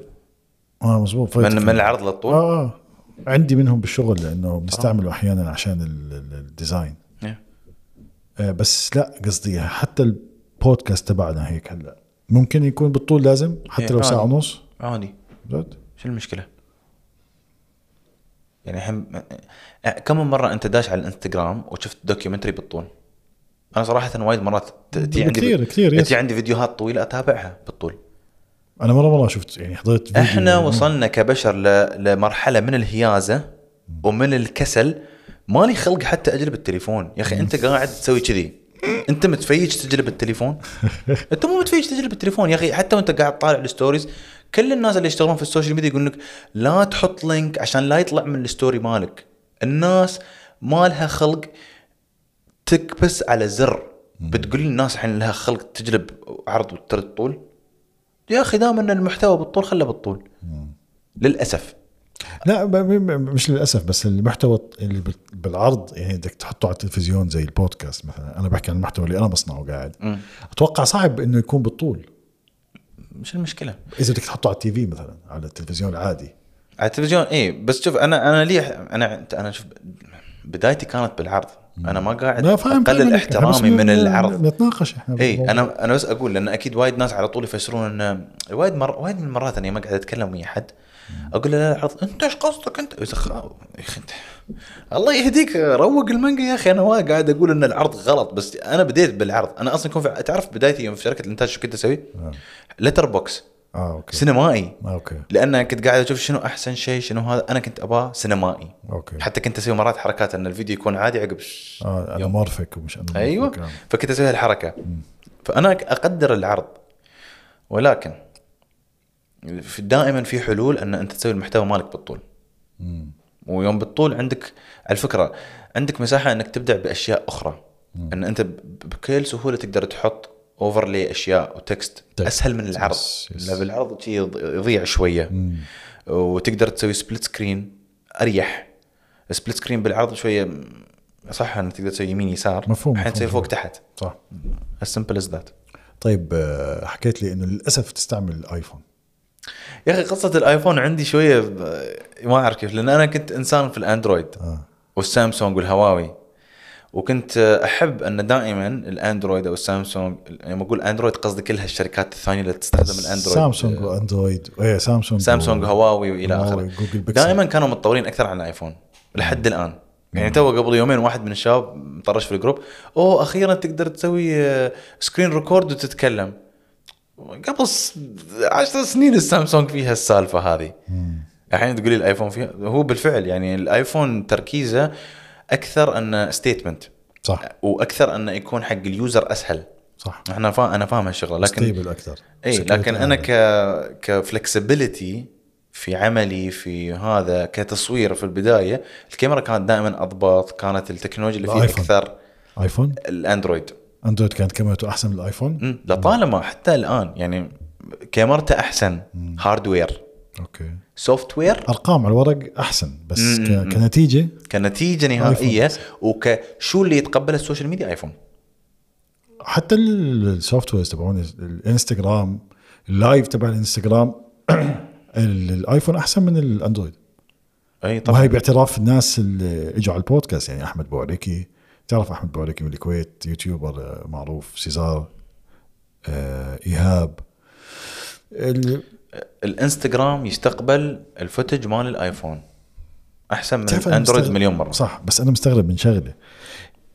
[SPEAKER 2] اه مزبوط
[SPEAKER 1] من
[SPEAKER 2] فايت
[SPEAKER 1] من العرض للطول
[SPEAKER 2] اه اه عندي منهم بالشغل لانه بنستعمله احيانا عشان ال- ال- الديزاين
[SPEAKER 1] إيه.
[SPEAKER 2] آه بس لا قصدي حتى البودكاست تبعنا هيك هلا ممكن يكون بالطول لازم حتى لو
[SPEAKER 1] إيه،
[SPEAKER 2] ساعه
[SPEAKER 1] آه.
[SPEAKER 2] ونص
[SPEAKER 1] عادي
[SPEAKER 2] جد
[SPEAKER 1] شو المشكله؟ يعني الحين أه، كم من مره انت داش على الانستغرام وشفت دوكيومنتري بالطول؟ انا صراحه وايد مرات ت- تي عندي
[SPEAKER 2] كثير- كثير، يس.
[SPEAKER 1] تي عندي فيديوهات طويله اتابعها بالطول
[SPEAKER 2] انا مره مره شفت يعني حضرت فيديو
[SPEAKER 1] احنا وصلنا كبشر ل... لمرحله من الهيازه ومن الكسل مالي خلق حتى اجلب التليفون يا اخي انت قاعد تسوي كذي انت متفيج تجلب التليفون انت مو متفيج تجلب التليفون يا اخي حتى وانت قاعد طالع الستوريز كل الناس اللي يشتغلون في السوشيال ميديا يقول لك لا تحط لينك عشان لا يطلع من الستوري مالك الناس ما لها خلق تكبس على زر بتقول للناس الحين لها خلق تجلب عرض وترد طول يا اخي دام ان المحتوى بالطول خله بالطول للاسف
[SPEAKER 2] لا ب- ب- ب- مش للاسف بس المحتوى اللي بال- بالعرض يعني بدك تحطه على التلفزيون زي البودكاست مثلا انا بحكي عن المحتوى اللي انا بصنعه قاعد اتوقع صعب انه يكون بالطول
[SPEAKER 1] مش المشكله
[SPEAKER 2] اذا بدك تحطه على التي في مثلا على التلفزيون العادي
[SPEAKER 1] على التلفزيون اي بس شوف انا انا لي انا انا شوف بدايتي كانت بالعرض انا ما قاعد
[SPEAKER 2] لا فاهم
[SPEAKER 1] اقلل
[SPEAKER 2] فاهم عليك. إحنا بس
[SPEAKER 1] احترامي من
[SPEAKER 2] ن-
[SPEAKER 1] العرض
[SPEAKER 2] نتناقش احنا
[SPEAKER 1] اي
[SPEAKER 2] بالموضوع.
[SPEAKER 1] انا انا إيه، بس اقول لان اكيد وايد ناس على طول يفسرون ان وايد مر وايد من المرات اني ما قاعد اتكلم ويا حد اقول له لا العرض انت ايش قصدك انت يا اخي انت الله يهديك روق المانجا يا اخي انا ما قاعد اقول ان العرض غلط بس انا بديت بالعرض انا اصلا كنت في- تعرف بدايتي يوم في شركه الانتاج شو كنت اسوي؟
[SPEAKER 2] آه.
[SPEAKER 1] لتر بوكس
[SPEAKER 2] اه اوكي
[SPEAKER 1] سينمائي
[SPEAKER 2] آه، اوكي
[SPEAKER 1] لان كنت قاعد اشوف شنو احسن شيء شنو هذا انا كنت اباه سينمائي
[SPEAKER 2] اوكي
[SPEAKER 1] حتى كنت اسوي مرات حركات ان الفيديو يكون عادي عقب ش-
[SPEAKER 2] اه انا مورفك ومش انا مورفك،
[SPEAKER 1] ايوه
[SPEAKER 2] آه.
[SPEAKER 1] فكنت اسوي هالحركه فانا اقدر العرض ولكن في- دائما في حلول ان انت تسوي المحتوى مالك بالطول ويوم بالطول عندك على فكره عندك مساحه انك تبدع باشياء اخرى ان انت ب- بكل سهوله تقدر تحط اوفرلي اشياء وتكست
[SPEAKER 2] تكست.
[SPEAKER 1] اسهل من العرض
[SPEAKER 2] يس، يس.
[SPEAKER 1] لا بالعرض شي يض- يضيع شويه وتقدر تسوي سبليت سكرين اريح سبليت سكرين بالعرض شويه م- صح انك تقدر تسوي يمين يسار
[SPEAKER 2] مفهوم،
[SPEAKER 1] الحين تسوي
[SPEAKER 2] مفهوم.
[SPEAKER 1] فوق تحت
[SPEAKER 2] صح
[SPEAKER 1] as simple as that
[SPEAKER 2] طيب آه، حكيت لي انه للاسف تستعمل الايفون
[SPEAKER 1] يا اخي قصه الايفون عندي شويه ب- ما اعرف كيف لان انا كنت انسان في الاندرويد
[SPEAKER 2] اه
[SPEAKER 1] والسامسونج والهواوي وكنت احب ان دائما الاندرويد او السامسونج يعني لما اقول اندرويد قصدي كل هالشركات الثانيه اللي تستخدم الاندرويد
[SPEAKER 2] سامسونج واندرويد ايه سامسونج
[SPEAKER 1] سامسونج هواوي والى
[SPEAKER 2] هواوي،
[SPEAKER 1] اخره
[SPEAKER 2] جوجل بيكسل.
[SPEAKER 1] دائما كانوا متطورين اكثر عن الايفون لحد الان يعني تو قبل يومين واحد من الشباب مطرش في الجروب اوه اخيرا تقدر تسوي سكرين ريكورد وتتكلم قبل س- عشر سنين السامسونج فيها السالفه هذه الحين تقولي الايفون فيها هو بالفعل يعني الايفون تركيزه اكثر انه ستيتمنت
[SPEAKER 2] صح
[SPEAKER 1] واكثر انه يكون حق اليوزر اسهل
[SPEAKER 2] صح
[SPEAKER 1] احنا فا... انا فاهم هالشغله آه، لكن
[SPEAKER 2] ستيبل اكثر
[SPEAKER 1] اي
[SPEAKER 2] Security
[SPEAKER 1] إيه، لكن انا
[SPEAKER 2] أعلى.
[SPEAKER 1] ك كفلكسبيليتي في عملي في هذا كتصوير في البدايه الكاميرا كانت دائما اضبط كانت التكنولوجيا اللي فيها
[SPEAKER 2] الآيفون.
[SPEAKER 1] اكثر
[SPEAKER 2] ايفون
[SPEAKER 1] الاندرويد
[SPEAKER 2] اندرويد كانت كاميرته احسن من الايفون
[SPEAKER 1] مم. لطالما حتى الان يعني كاميرته احسن هاردوير
[SPEAKER 2] اوكي
[SPEAKER 1] سوفت وير
[SPEAKER 2] ارقام على الورق احسن بس
[SPEAKER 1] مم،
[SPEAKER 2] ك...
[SPEAKER 1] مم، مم.
[SPEAKER 2] كنتيجه
[SPEAKER 1] كنتيجه نهائيه وكشو اللي يتقبله السوشيال ميديا ايفون
[SPEAKER 2] حتى السوفت ويرز تبعون الانستغرام اللايف تبع الانستغرام ال- الايفون احسن من الاندرويد
[SPEAKER 1] اي طبعا
[SPEAKER 2] وهي باعتراف الناس اللي اجوا على البودكاست يعني احمد بوعريكي تعرف احمد بوعريكي من الكويت يوتيوبر آه، معروف سيزار آه، ايهاب ال-
[SPEAKER 1] الانستغرام يستقبل الفوتج مال الايفون احسن من
[SPEAKER 2] بتعرف أنا
[SPEAKER 1] اندرويد
[SPEAKER 2] مستغرب-
[SPEAKER 1] مليون مره
[SPEAKER 2] صح بس انا مستغرب من شغله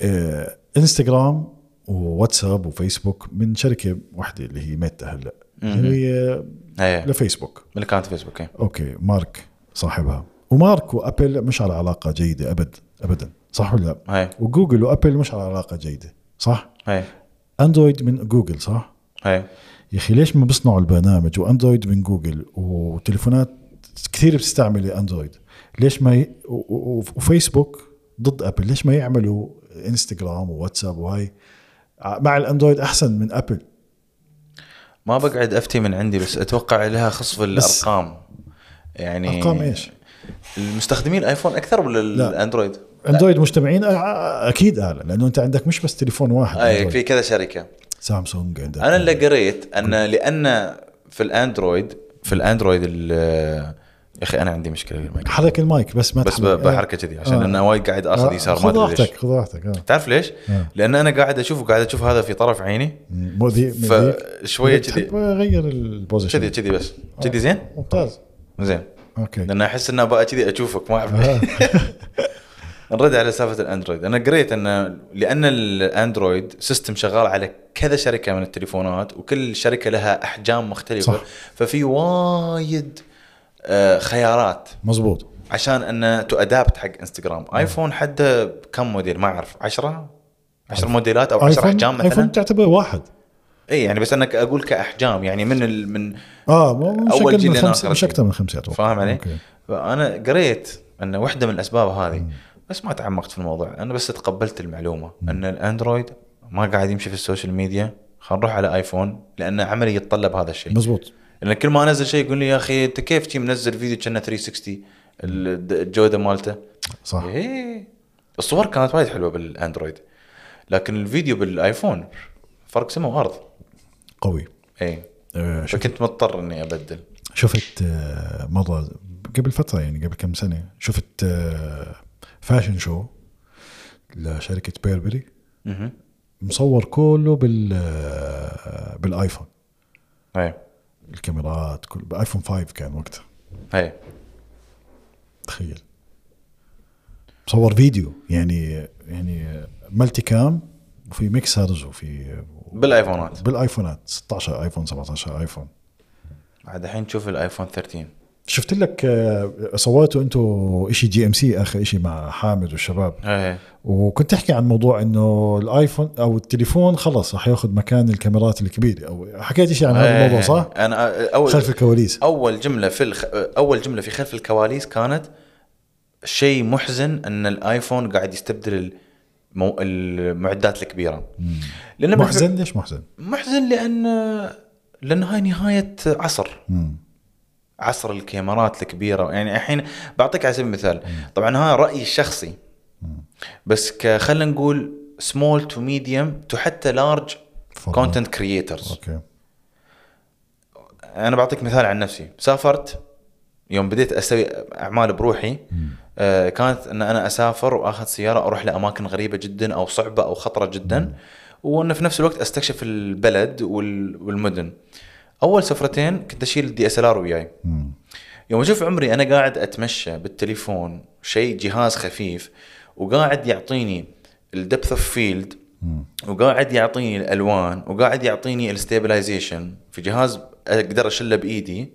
[SPEAKER 2] آه، انستغرام وواتساب وفيسبوك من شركه واحده اللي هي ميتا هلا هي
[SPEAKER 1] ايه
[SPEAKER 2] لفيسبوك
[SPEAKER 1] من كانت فيسبوك إيه.
[SPEAKER 2] اوكي مارك صاحبها ومارك وابل مش على علاقه جيده ابد ابدا صح ولا لا؟
[SPEAKER 1] هاي
[SPEAKER 2] وجوجل وابل مش على علاقه جيده صح؟
[SPEAKER 1] هاي
[SPEAKER 2] اندرويد من جوجل صح؟
[SPEAKER 1] هاي
[SPEAKER 2] يا اخي ليش ما بيصنعوا البرنامج واندرويد من جوجل وتليفونات كثير بتستعمل اندرويد ليش ما ي... و- و- و- وفيسبوك ضد ابل ليش ما يعملوا انستغرام وواتساب وهاي ع- مع الاندرويد احسن من ابل
[SPEAKER 1] ما بقعد افتي من عندي بس اتوقع لها خصف
[SPEAKER 2] بس-
[SPEAKER 1] الارقام يعني
[SPEAKER 2] ارقام ايش؟
[SPEAKER 1] المستخدمين الايفون اكثر ولا الاندرويد؟
[SPEAKER 2] اندرويد مجتمعين أ- أ- اكيد اعلى لانه انت عندك مش بس تليفون واحد
[SPEAKER 1] اي
[SPEAKER 2] أندرويد.
[SPEAKER 1] آه، في كذا شركه
[SPEAKER 2] سامسونج عندك
[SPEAKER 1] انا اللي قريت ان لان في الاندرويد في الاندرويد ال- يا اخي انا عندي مشكله بالمايك
[SPEAKER 2] حرك المايك بس ما
[SPEAKER 1] بس
[SPEAKER 2] تحرك.
[SPEAKER 1] ب- بحركه كذي عشان
[SPEAKER 2] آه.
[SPEAKER 1] انا وايد قاعد اخذ
[SPEAKER 2] آه،
[SPEAKER 1] يسار ما
[SPEAKER 2] خذ
[SPEAKER 1] ادري ليش
[SPEAKER 2] راحتك خذ راحتك آه.
[SPEAKER 1] تعرف ليش؟
[SPEAKER 2] آه.
[SPEAKER 1] لان انا قاعد اشوف وقاعد اشوف هذا في طرف عيني
[SPEAKER 2] مؤذي
[SPEAKER 1] فشويه كذي
[SPEAKER 2] تحب آه. غير البوزيشن
[SPEAKER 1] كذي كذي بس كذي زين؟
[SPEAKER 2] ممتاز
[SPEAKER 1] زين
[SPEAKER 2] اوكي
[SPEAKER 1] لان احس انه بقى كذي اشوفك ما اعرف ليش. نرد على سالفه الاندرويد انا قريت ان لان الاندرويد سيستم شغال على كذا شركه من التليفونات وكل شركه لها احجام مختلفه
[SPEAKER 2] صح.
[SPEAKER 1] صح. ففي وايد آه، خيارات
[SPEAKER 2] مزبوط
[SPEAKER 1] عشان انه تو ادابت حق انستغرام ايفون حده كم موديل ما اعرف 10 10 موديلات او 10 احجام مثلا
[SPEAKER 2] ايفون تعتبر واحد
[SPEAKER 1] اي يعني بس انا ك- اقول كاحجام يعني من ال من
[SPEAKER 2] اه مو- مش
[SPEAKER 1] أول
[SPEAKER 2] اقل
[SPEAKER 1] جيل
[SPEAKER 2] من
[SPEAKER 1] لنا
[SPEAKER 2] خمسه
[SPEAKER 1] آخر
[SPEAKER 2] مش
[SPEAKER 1] جيل.
[SPEAKER 2] اكثر من خمسه اتوقع
[SPEAKER 1] فاهم علي؟
[SPEAKER 2] أوكي.
[SPEAKER 1] فانا قريت ان واحده من الاسباب هذه بس ما تعمقت في الموضوع انا بس تقبلت المعلومه ان الاندرويد ما قاعد يمشي في السوشيال ميديا خلينا نروح على ايفون لان عملي يتطلب هذا الشيء
[SPEAKER 2] مزبوط
[SPEAKER 1] لان كل ما انزل شيء يقول لي يا اخي انت كيف تي منزل فيديو كانه 360 ال- الجوده مالته
[SPEAKER 2] صح
[SPEAKER 1] ايه الصور كانت وايد حلوه بالاندرويد لكن الفيديو بالايفون فرق سما وارض
[SPEAKER 2] قوي
[SPEAKER 1] ايه
[SPEAKER 2] آه، شف-
[SPEAKER 1] فكنت مضطر اني ابدل
[SPEAKER 2] شفت آه، مره قبل فتره يعني قبل كم سنه شفت آه، فاشن شو لشركه بيربري
[SPEAKER 1] اها
[SPEAKER 2] مصور كله بال آه، بالايفون
[SPEAKER 1] ايه
[SPEAKER 2] الكاميرات كل بايفون 5 كان وقتها
[SPEAKER 1] ايه
[SPEAKER 2] تخيل صور فيديو يعني يعني ملتي كام وفي ميكسرز وفي
[SPEAKER 1] بالايفونات
[SPEAKER 2] بالايفونات 16 ايفون 17 ايفون
[SPEAKER 1] عاد الحين تشوف الايفون 13
[SPEAKER 2] شفت لك آه، صورتوا انتم شيء جي ام سي اخر شيء مع حامد والشباب
[SPEAKER 1] ايه
[SPEAKER 2] وكنت تحكي عن موضوع انه الايفون او التليفون خلص راح ياخذ مكان الكاميرات الكبيره او حكيت شيء عن هذا
[SPEAKER 1] إيه.
[SPEAKER 2] الموضوع صح؟
[SPEAKER 1] انا اول
[SPEAKER 2] خلف الكواليس
[SPEAKER 1] اول جمله في الخ... اول جمله في خلف الكواليس كانت شيء محزن ان الايفون قاعد يستبدل المو... المعدات الكبيره لان
[SPEAKER 2] محزن ليش محزن؟
[SPEAKER 1] محزن لان لان هاي نهايه عصر
[SPEAKER 2] مم.
[SPEAKER 1] عصر الكاميرات الكبيره يعني الحين بعطيك على سبيل المثال طبعا هذا رايي الشخصي بس ك- خلينا نقول سمول تو ميديوم تو حتى لارج
[SPEAKER 2] تفضل.
[SPEAKER 1] كونتنت كرييترز
[SPEAKER 2] اوكي
[SPEAKER 1] انا بعطيك مثال عن نفسي سافرت يوم بديت اسوي اعمال بروحي آه، كانت ان انا اسافر واخذ سياره اروح لاماكن غريبه جدا او صعبه او خطره جدا وان في نفس الوقت استكشف البلد وال- والمدن اول سفرتين كنت اشيل الدي اس ال ار وياي
[SPEAKER 2] مم.
[SPEAKER 1] يوم اشوف عمري انا قاعد اتمشى بالتليفون شيء جهاز خفيف وقاعد يعطيني الدبث اوف فيلد
[SPEAKER 2] مم.
[SPEAKER 1] وقاعد يعطيني الالوان وقاعد يعطيني الستابلايزيشن في جهاز اقدر اشله بايدي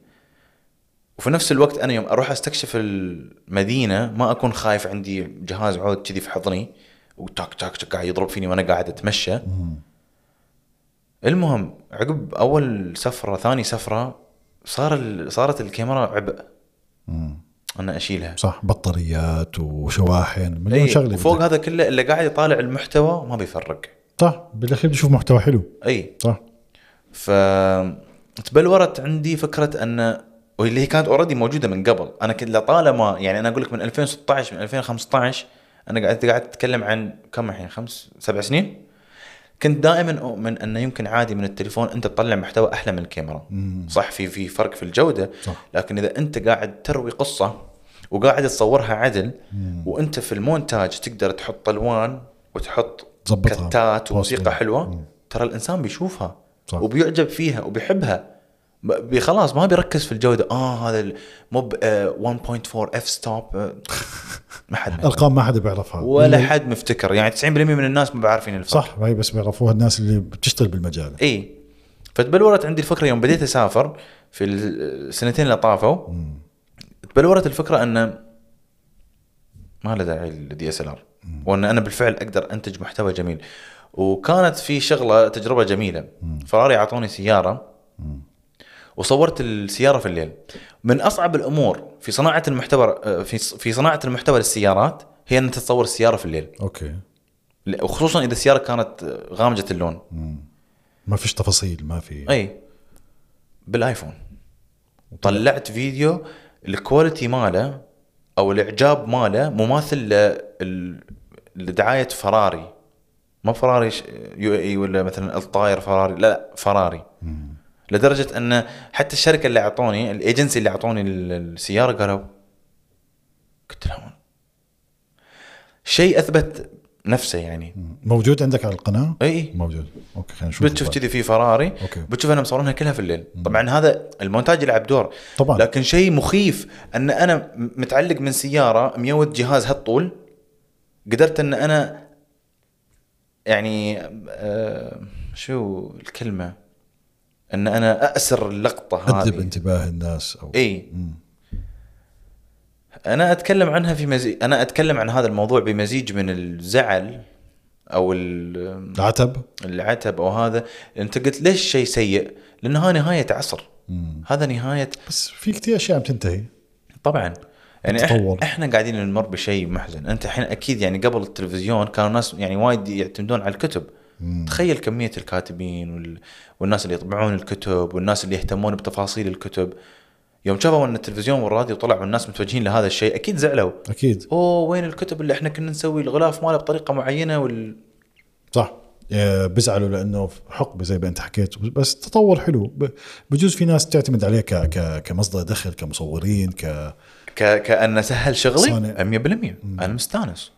[SPEAKER 1] وفي نفس الوقت انا يوم اروح استكشف المدينه ما اكون خايف عندي جهاز عود كذي في حضني وتاك تاك تاك قاعد يضرب فيني وانا قاعد اتمشى
[SPEAKER 2] مم.
[SPEAKER 1] المهم عقب اول سفره ثاني سفره صار ال- صارت الكاميرا عبء
[SPEAKER 2] مم.
[SPEAKER 1] ان اشيلها
[SPEAKER 2] صح بطاريات وشواحن مليون
[SPEAKER 1] اي
[SPEAKER 2] شغله
[SPEAKER 1] إيه، وفوق
[SPEAKER 2] بدك.
[SPEAKER 1] هذا كله اللي قاعد يطالع المحتوى ما بيفرق إيه.
[SPEAKER 2] صح بالاخير بشوف محتوى حلو
[SPEAKER 1] اي
[SPEAKER 2] صح
[SPEAKER 1] ف تبلورت عندي فكره ان واللي هي كانت اوريدي موجوده من قبل انا كنت لطالما يعني انا اقول لك من 2016 من 2015 انا قاعد قاعد اتكلم عن كم الحين خمس سبع سنين كنت دائما اؤمن انه يمكن عادي من التليفون انت تطلع محتوى احلى من الكاميرا
[SPEAKER 2] مم.
[SPEAKER 1] صح في في فرق في الجوده
[SPEAKER 2] صح.
[SPEAKER 1] لكن اذا انت قاعد تروي قصه وقاعد تصورها عدل وانت في المونتاج تقدر تحط الوان وتحط
[SPEAKER 2] تظبطها.
[SPEAKER 1] كتات وموسيقى
[SPEAKER 2] بوستر.
[SPEAKER 1] حلوه ترى الانسان بيشوفها
[SPEAKER 2] صح.
[SPEAKER 1] وبيعجب فيها وبيحبها ب- بي- خلاص ما بيركز في الجوده اه هذا الموب آه 1.4 اف ستوب آه، ما حد
[SPEAKER 2] ارقام ما حدا بيعرفها
[SPEAKER 1] ولا
[SPEAKER 2] اللي-
[SPEAKER 1] حد مفتكر يعني 90% من الناس ما بعرفين الفرق
[SPEAKER 2] صح هاي بس بيعرفوها الناس اللي بتشتغل بالمجال
[SPEAKER 1] اي إيه. فتبلورت عندي الفكره يوم بديت اسافر في السنتين اللي طافوا تبلورت الفكره ان ما له داعي للدي اس ال ار وان انا بالفعل اقدر انتج محتوى جميل وكانت في شغله تجربه جميله فراري اعطوني سياره وصورت السياره في الليل من اصعب الامور في صناعه المحتوى في في صناعه المحتوى للسيارات هي ان تصور السياره في الليل
[SPEAKER 2] اوكي
[SPEAKER 1] وخصوصا اذا السياره كانت غامجه اللون
[SPEAKER 2] ما فيش تفاصيل ما في
[SPEAKER 1] اي بالايفون طلعت فيديو الكواليتي ماله او الاعجاب ماله مماثل لل- لدعايه فراري ما فراري ش- يو اي ولا مثلا الطاير فراري لا لا فراري لدرجه ان حتى الشركه اللي اعطوني الايجنسي اللي اعطوني ال- السياره قالوا قلت لهم شيء اثبت نفسه يعني
[SPEAKER 2] موجود عندك على القناه
[SPEAKER 1] اي
[SPEAKER 2] موجود اوكي خلينا نشوف
[SPEAKER 1] إيه. بتشوف كذي في فراري
[SPEAKER 2] أوكي.
[SPEAKER 1] بتشوف انا مصورينها كلها في الليل طبعا هذا المونتاج يلعب دور
[SPEAKER 2] طبعاً.
[SPEAKER 1] لكن شيء مخيف ان انا م- متعلق من سياره ميود جهاز هالطول قدرت ان انا يعني آه شو الكلمه ان انا اسر اللقطه
[SPEAKER 2] ادب
[SPEAKER 1] هذه
[SPEAKER 2] انتباه الناس او
[SPEAKER 1] اي
[SPEAKER 2] مم.
[SPEAKER 1] انا اتكلم عنها في مزيج انا اتكلم عن هذا الموضوع بمزيج من الزعل او ال-
[SPEAKER 2] العتب
[SPEAKER 1] العتب او هذا انت قلت ليش شيء سيء؟ لانها نهايه عصر
[SPEAKER 2] مم.
[SPEAKER 1] هذا نهايه
[SPEAKER 2] بس في كثير اشياء عم تنتهي
[SPEAKER 1] طبعا يعني احنا,
[SPEAKER 2] التطور.
[SPEAKER 1] احنا قاعدين نمر بشيء محزن انت الحين اكيد يعني قبل التلفزيون كانوا ناس يعني وايد يعتمدون على الكتب تخيل كميه الكاتبين وال... والناس اللي يطبعون الكتب والناس اللي يهتمون بتفاصيل الكتب يوم شافوا ان التلفزيون والراديو طلعوا الناس متوجهين لهذا الشيء اكيد زعلوا
[SPEAKER 2] اكيد
[SPEAKER 1] اوه وين الكتب اللي احنا كنا نسوي الغلاف ماله بطريقه معينه وال...
[SPEAKER 2] صح آه، بزعلوا لانه حقبه زي ما انت حكيت بس تطور حلو ب- بجوز في ناس تعتمد عليه ك... ك... كمصدر دخل كمصورين ك
[SPEAKER 1] ك... كانه سهل شغلي
[SPEAKER 2] صانع.
[SPEAKER 1] 100% انا مستانس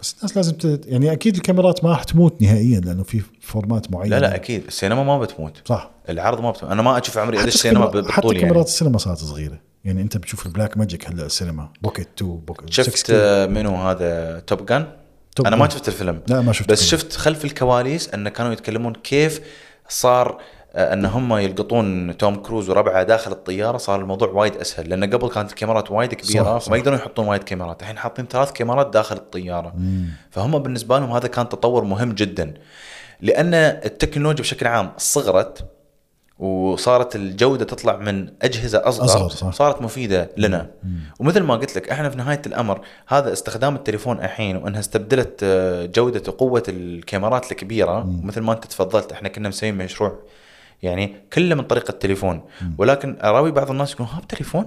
[SPEAKER 2] بس الناس لازم ت... يعني اكيد الكاميرات ما راح تموت نهائيا لانه في فورمات معين
[SPEAKER 1] لا لا اكيد السينما ما بتموت
[SPEAKER 2] صح
[SPEAKER 1] العرض ما بتموت انا ما اشوف عمري ادش سينما
[SPEAKER 2] الكاميرا- حتى
[SPEAKER 1] بالطول
[SPEAKER 2] كاميرات
[SPEAKER 1] يعني
[SPEAKER 2] السينما صارت صغيره يعني انت بتشوف البلاك ماجيك هلا السينما بوكيت 2 بوكيت
[SPEAKER 1] شفت
[SPEAKER 2] 16.
[SPEAKER 1] آه، منو هذا توب جان
[SPEAKER 2] توب
[SPEAKER 1] انا ما
[SPEAKER 2] جان. نعم.
[SPEAKER 1] شفت الفيلم
[SPEAKER 2] لا، ما شفت
[SPEAKER 1] بس
[SPEAKER 2] الفيلم.
[SPEAKER 1] شفت خلف الكواليس ان كانوا يتكلمون كيف صار آه، ان هم يلقطون توم كروز وربعه داخل الطياره صار الموضوع وايد اسهل لان قبل كانت الكاميرات وايد كبيره
[SPEAKER 2] صح،
[SPEAKER 1] فما
[SPEAKER 2] صح.
[SPEAKER 1] يقدرون يحطون وايد كاميرات الحين حاطين ثلاث كاميرات داخل الطياره
[SPEAKER 2] نعم.
[SPEAKER 1] فهم بالنسبه لهم هذا كان تطور مهم جدا لان التكنولوجيا بشكل عام صغرت وصارت الجوده تطلع من اجهزه اصغر,
[SPEAKER 2] أصغر، صح.
[SPEAKER 1] صارت مفيده لنا ومثل ما قلت لك احنا في نهايه الامر هذا استخدام التليفون الحين وانها استبدلت آه، جوده وقوه الكاميرات الكبيره مثل ما انت تفضلت احنا كنا مسويين مشروع يعني كله من طريق التليفون ولكن اراوي بعض الناس يقولون ها بتليفون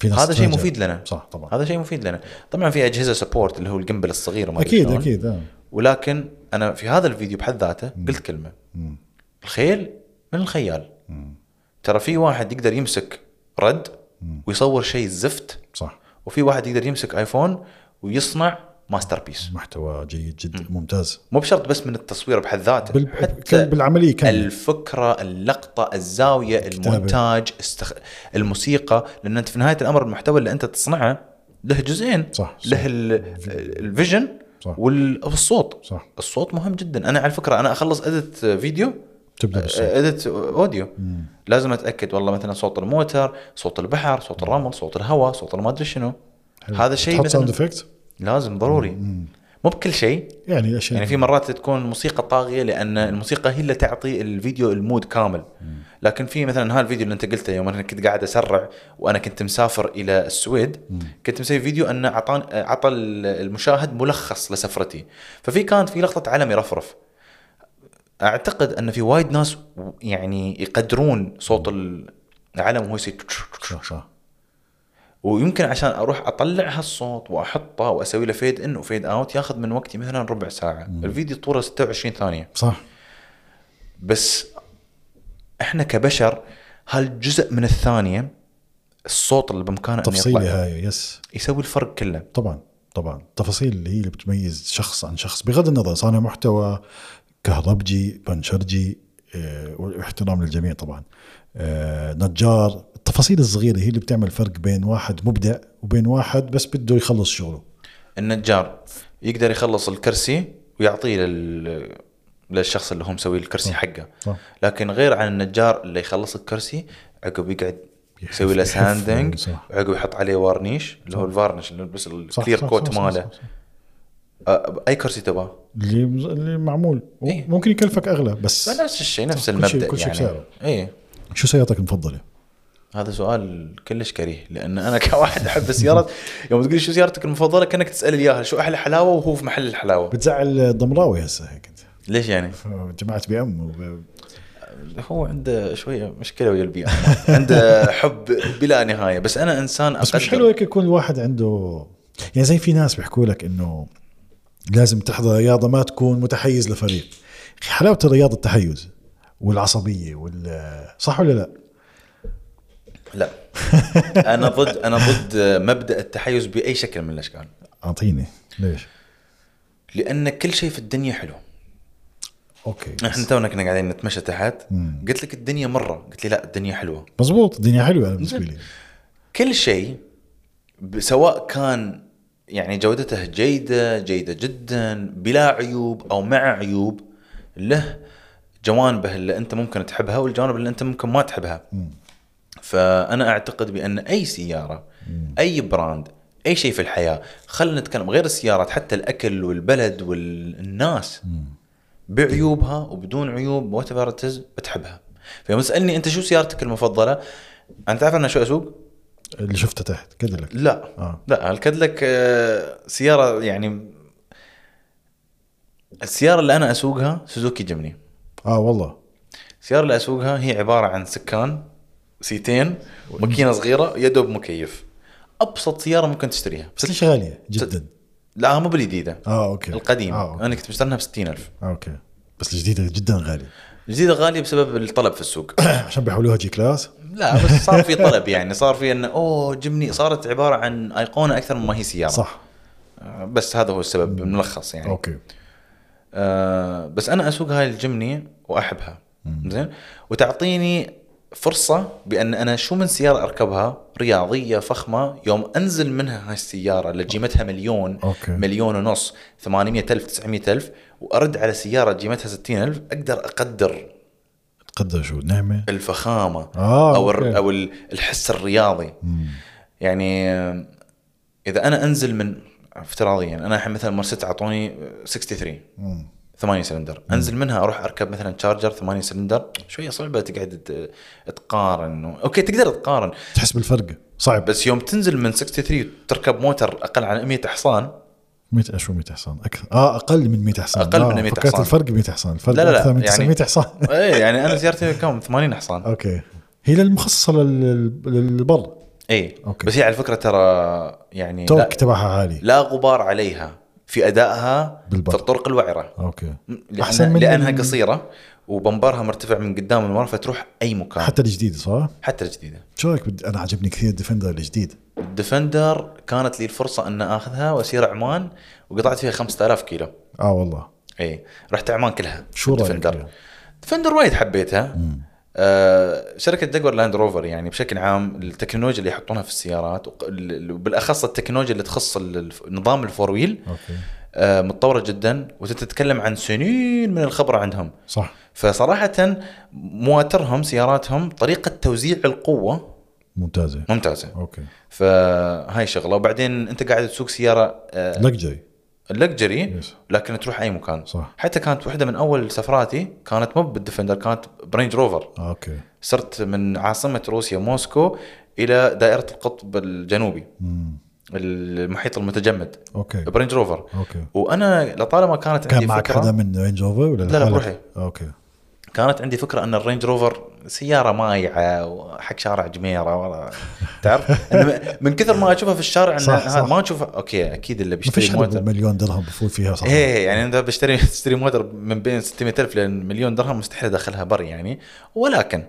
[SPEAKER 2] في ناس
[SPEAKER 1] هذا شيء
[SPEAKER 2] تتفاجأ.
[SPEAKER 1] مفيد لنا
[SPEAKER 2] صح طبعا
[SPEAKER 1] هذا شيء مفيد لنا طبعا في اجهزه سبورت اللي هو الجنبل الصغير ما أدري
[SPEAKER 2] اكيد
[SPEAKER 1] شلون.
[SPEAKER 2] اكيد آه.
[SPEAKER 1] ولكن انا في هذا الفيديو بحد ذاته قلت كلمه
[SPEAKER 2] مم.
[SPEAKER 1] الخيل من الخيال ترى في واحد يقدر يمسك رد ويصور شيء زفت
[SPEAKER 2] صح
[SPEAKER 1] وفي واحد يقدر يمسك ايفون ويصنع ماستر بيس
[SPEAKER 2] محتوى جيد جدا ممتاز
[SPEAKER 1] مو بشرط بس من التصوير بحد ذاته
[SPEAKER 2] بال...
[SPEAKER 1] حتى
[SPEAKER 2] حتى بالعمليه كامله
[SPEAKER 1] الفكره اللقطه الزاويه
[SPEAKER 2] الكتابة.
[SPEAKER 1] المونتاج استخ... الموسيقى لان انت في نهايه الامر المحتوى اللي انت تصنعه له جزئين
[SPEAKER 2] صح، صح.
[SPEAKER 1] له ال... الفيجن
[SPEAKER 2] صح.
[SPEAKER 1] وال- والصوت
[SPEAKER 2] صح
[SPEAKER 1] الصوت مهم جدا انا على فكره انا اخلص ادت فيديو آه،
[SPEAKER 2] تبدا بالصوت
[SPEAKER 1] اديت اوديو لازم اتاكد والله مثلا صوت الموتر صوت البحر صوت الرمل صوت الهواء صوت ما ادري شنو آه، هذا شيء
[SPEAKER 2] تحط ساوند
[SPEAKER 1] مثلا
[SPEAKER 2] افكت
[SPEAKER 1] لازم ضروري مو بكل شيء
[SPEAKER 2] يعني الاشياء
[SPEAKER 1] يعني في مرات تكون الموسيقى طاغيه لان الموسيقى هي اللي تعطي الفيديو المود كامل لكن في مثلا هالفيديو اللي انت قلته يوم انا كنت قاعد اسرع وانا كنت مسافر الى السويد كنت مسوي فيديو انه اعطان عطى المشاهد ملخص لسفرتي ففي كانت في لقطه علم يرفرف اعتقد ان في وايد ناس يعني يقدرون صوت العلم وهو يصير
[SPEAKER 2] صح صح
[SPEAKER 1] ويمكن عشان اروح اطلع هالصوت واحطه واسوي له فيد ان وفيد اوت ياخذ من وقتي مثلا ربع ساعه
[SPEAKER 2] مم.
[SPEAKER 1] الفيديو طوله 26 ثانيه
[SPEAKER 2] صح
[SPEAKER 1] بس احنا كبشر هالجزء من الثانيه الصوت اللي بامكانه انه
[SPEAKER 2] تفصيلي
[SPEAKER 1] يطلع
[SPEAKER 2] هاي يس
[SPEAKER 1] يسوي الفرق كله
[SPEAKER 2] طبعا طبعا التفاصيل اللي هي اللي بتميز شخص عن شخص بغض النظر صانع محتوى كهربجي بنشرجي آه، واحترام للجميع طبعا آه، نجار التفاصيل الصغيره هي اللي بتعمل فرق بين واحد مبدع وبين واحد بس بده يخلص شغله
[SPEAKER 1] النجار يقدر يخلص الكرسي ويعطيه لل... للشخص اللي هو مسوي الكرسي حقه
[SPEAKER 2] صح.
[SPEAKER 1] لكن غير عن النجار اللي يخلص الكرسي عقب يقعد يسوي له
[SPEAKER 2] يحف- يحف-
[SPEAKER 1] ساندنج
[SPEAKER 2] يعني، صح.
[SPEAKER 1] عقب يحط عليه وارنيش اللي هو الفارنيش اللي بس
[SPEAKER 2] صح،
[SPEAKER 1] الكلير
[SPEAKER 2] صح، صح،
[SPEAKER 1] كوت
[SPEAKER 2] صح،
[SPEAKER 1] ماله
[SPEAKER 2] صح، صح.
[SPEAKER 1] أ- اي كرسي تباه
[SPEAKER 2] اللي اللي معمول
[SPEAKER 1] إيه.
[SPEAKER 2] ممكن يكلفك اغلى بس
[SPEAKER 1] نفس الشيء نفس
[SPEAKER 2] صح، كل شيء-
[SPEAKER 1] المبدا
[SPEAKER 2] كل شيء
[SPEAKER 1] يعني
[SPEAKER 2] بسعره.
[SPEAKER 1] اي
[SPEAKER 2] شو سيارتك المفضله؟
[SPEAKER 1] هذا سؤال كلش كريه لان انا كواحد احب السيارات يوم تقول لي شو سيارتك المفضله كانك تسالي اياها شو احلى حلاوه وهو في محل الحلاوه
[SPEAKER 2] بتزعل الضمراوي هسه هيك انت
[SPEAKER 1] ليش يعني؟
[SPEAKER 2] جماعه بي ام وب-
[SPEAKER 1] هو عنده شويه مشكله ويا البيئه عنده حب بلا نهايه بس انا انسان
[SPEAKER 2] بس مش حلو هيك يكون الواحد عنده يعني زي في ناس بيحكوا لك انه لازم تحضر رياضه ما تكون متحيز لفريق أخي حلاوه الرياضه التحيز والعصبيه وال صح ولا لا؟
[SPEAKER 1] لا انا ضد انا ضد مبدا التحيز باي شكل من الاشكال
[SPEAKER 2] اعطيني ليش؟
[SPEAKER 1] لان كل شيء في الدنيا حلو
[SPEAKER 2] اوكي
[SPEAKER 1] احنا
[SPEAKER 2] بس-
[SPEAKER 1] تونا كنا قاعدين نتمشى تحت
[SPEAKER 2] مم.
[SPEAKER 1] قلت لك الدنيا مره قلت لي لا الدنيا حلوه
[SPEAKER 2] مزبوط الدنيا حلوه انا بالنسبه لي
[SPEAKER 1] كل شيء ب- سواء كان يعني جودته جيدة جيدة جدا بلا عيوب أو مع عيوب له جوانبه اللي أنت ممكن تحبها والجوانب اللي أنت ممكن ما تحبها فأنا أعتقد بأن أي سيارة أي براند أي شيء في الحياة خلينا نتكلم غير السيارات حتى الأكل والبلد والناس بعيوبها وبدون عيوب وات بتحبها فيوم تسألني أنت شو سيارتك المفضلة أنت تعرف أنا شو أسوق؟
[SPEAKER 2] اللي شفته تحت كدلك
[SPEAKER 1] لا
[SPEAKER 2] آه.
[SPEAKER 1] لا الكادلك آه، سياره يعني السياره اللي انا اسوقها سوزوكي جيمني
[SPEAKER 2] اه والله
[SPEAKER 1] السياره اللي اسوقها هي عباره عن سكان سيتين ماكينه صغيره يدوب مكيف ابسط سياره ممكن تشتريها
[SPEAKER 2] بس ليش غاليه جدا؟
[SPEAKER 1] لا مو بالجديده
[SPEAKER 2] اه اوكي
[SPEAKER 1] القديمه
[SPEAKER 2] اه اوكي,
[SPEAKER 1] انا كنت مشتريها ب 60000
[SPEAKER 2] آه، أوكي. بس الجديده جدا غاليه
[SPEAKER 1] الجديده غاليه بسبب الطلب في السوق
[SPEAKER 2] عشان بيحولوها جي كلاس
[SPEAKER 1] لا بس صار في طلب يعني صار في انه اوه جمني صارت عباره عن ايقونه اكثر مما هي سياره
[SPEAKER 2] صح
[SPEAKER 1] آه، بس هذا هو السبب الملخص يعني
[SPEAKER 2] اوكي
[SPEAKER 1] آه، بس انا اسوق هاي الجمني واحبها زين وتعطيني فرصه بان انا شو من سياره اركبها رياضيه فخمه يوم انزل منها هاي السياره اللي قيمتها مليون
[SPEAKER 2] أوكي.
[SPEAKER 1] مليون ونص 800 الف 900 الف وارد على سياره قيمتها 60 الف اقدر اقدر
[SPEAKER 2] تقدر شو نعمه
[SPEAKER 1] الفخامه
[SPEAKER 2] آه،
[SPEAKER 1] او الر-
[SPEAKER 2] أوكي.
[SPEAKER 1] او ال- الحس الرياضي
[SPEAKER 2] مم.
[SPEAKER 1] يعني آه، اذا انا انزل من افتراضيا انا الحين مثلا مرسيدس اعطوني 63
[SPEAKER 2] مم.
[SPEAKER 1] ثمانية سلندر انزل منها اروح اركب مثلا تشارجر ثمانية سلندر شويه صعبه تقعد ت- تقارن و... اوكي تقدر تقارن
[SPEAKER 2] تحس بالفرق صعب
[SPEAKER 1] بس يوم تنزل من 63 تركب موتر اقل عن 100 حصان
[SPEAKER 2] 100 شو 100 حصان اكثر اه اقل من 100 حصان
[SPEAKER 1] أقل
[SPEAKER 2] آه
[SPEAKER 1] من 100
[SPEAKER 2] فكرت
[SPEAKER 1] حصان.
[SPEAKER 2] الفرق 100 حصان الفرق
[SPEAKER 1] لا، لا، لا،
[SPEAKER 2] اكثر من
[SPEAKER 1] يعني-
[SPEAKER 2] 900 حصان
[SPEAKER 1] اي يعني انا سيارتي كم 80 حصان
[SPEAKER 2] اوكي هي للمخصصه لل- للبر
[SPEAKER 1] اي
[SPEAKER 2] أوكي.
[SPEAKER 1] إيه. بس هي على فكره ترى يعني لا,
[SPEAKER 2] توك تبعها عالي
[SPEAKER 1] لا غبار عليها في ادائها
[SPEAKER 2] بالبر.
[SPEAKER 1] في الطرق الوعره
[SPEAKER 2] اوكي
[SPEAKER 1] لأن
[SPEAKER 2] أحسن من-
[SPEAKER 1] لانها قصيره وبمبرها مرتفع من قدام المرة فتروح اي مكان حتى,
[SPEAKER 2] حتى الجديد صح؟
[SPEAKER 1] حتى الجديده
[SPEAKER 2] شو رايك بد- انا عجبني كثير الديفندر الجديد
[SPEAKER 1] الديفندر كانت لي الفرصه ان اخذها واسير عمان وقطعت فيها 5000 كيلو
[SPEAKER 2] اه والله
[SPEAKER 1] اي رحت عمان كلها
[SPEAKER 2] شو رأيك فيها؟
[SPEAKER 1] ديفندر ديفندر وايد حبيتها آه شركه دجور لاند روفر يعني بشكل عام التكنولوجيا اللي يحطونها في السيارات وق- ال- ال- وبالاخص التكنولوجيا اللي تخص ال- الف- نظام الفور ويل
[SPEAKER 2] اوكي
[SPEAKER 1] آه متطوره جدا وتتكلم عن سنين من الخبره عندهم
[SPEAKER 2] صح
[SPEAKER 1] فصراحه مواترهم سياراتهم طريقه توزيع القوه
[SPEAKER 2] ممتازه
[SPEAKER 1] ممتازه
[SPEAKER 2] اوكي
[SPEAKER 1] فهاي شغله وبعدين انت قاعد تسوق سياره آه،
[SPEAKER 2] لكجري
[SPEAKER 1] اللكجري
[SPEAKER 2] Yes.
[SPEAKER 1] لكن تروح اي مكان
[SPEAKER 2] صح.
[SPEAKER 1] حتى كانت واحده من اول سفراتي كانت مو بالديفندر كانت برينج روفر
[SPEAKER 2] اوكي
[SPEAKER 1] صرت من عاصمه روسيا موسكو الى دائره القطب الجنوبي
[SPEAKER 2] مم.
[SPEAKER 1] المحيط المتجمد
[SPEAKER 2] اوكي
[SPEAKER 1] برينج روفر
[SPEAKER 2] اوكي
[SPEAKER 1] وانا لطالما كانت عندي
[SPEAKER 2] كان معك
[SPEAKER 1] فكره
[SPEAKER 2] حدا من رينج اوفر ولا
[SPEAKER 1] لا، لا،
[SPEAKER 2] لحالك؟
[SPEAKER 1] بروحي.
[SPEAKER 2] اوكي
[SPEAKER 1] كانت عندي فكره ان الرينج روفر سياره مايعه وحق شارع جميره ورا تعرف إن من كثر ما اشوفها في الشارع ان
[SPEAKER 2] صح،
[SPEAKER 1] هذا
[SPEAKER 2] صح.
[SPEAKER 1] ما اشوفها اوكي اكيد اللي
[SPEAKER 2] ما فيش
[SPEAKER 1] بيشتري
[SPEAKER 2] حدا
[SPEAKER 1] موتر
[SPEAKER 2] بمليون درهم بفوت فيها صح
[SPEAKER 1] ايه يعني انت بشتري تشتري موتر من بين 600000 لين مليون درهم مستحيل ادخلها بر يعني ولكن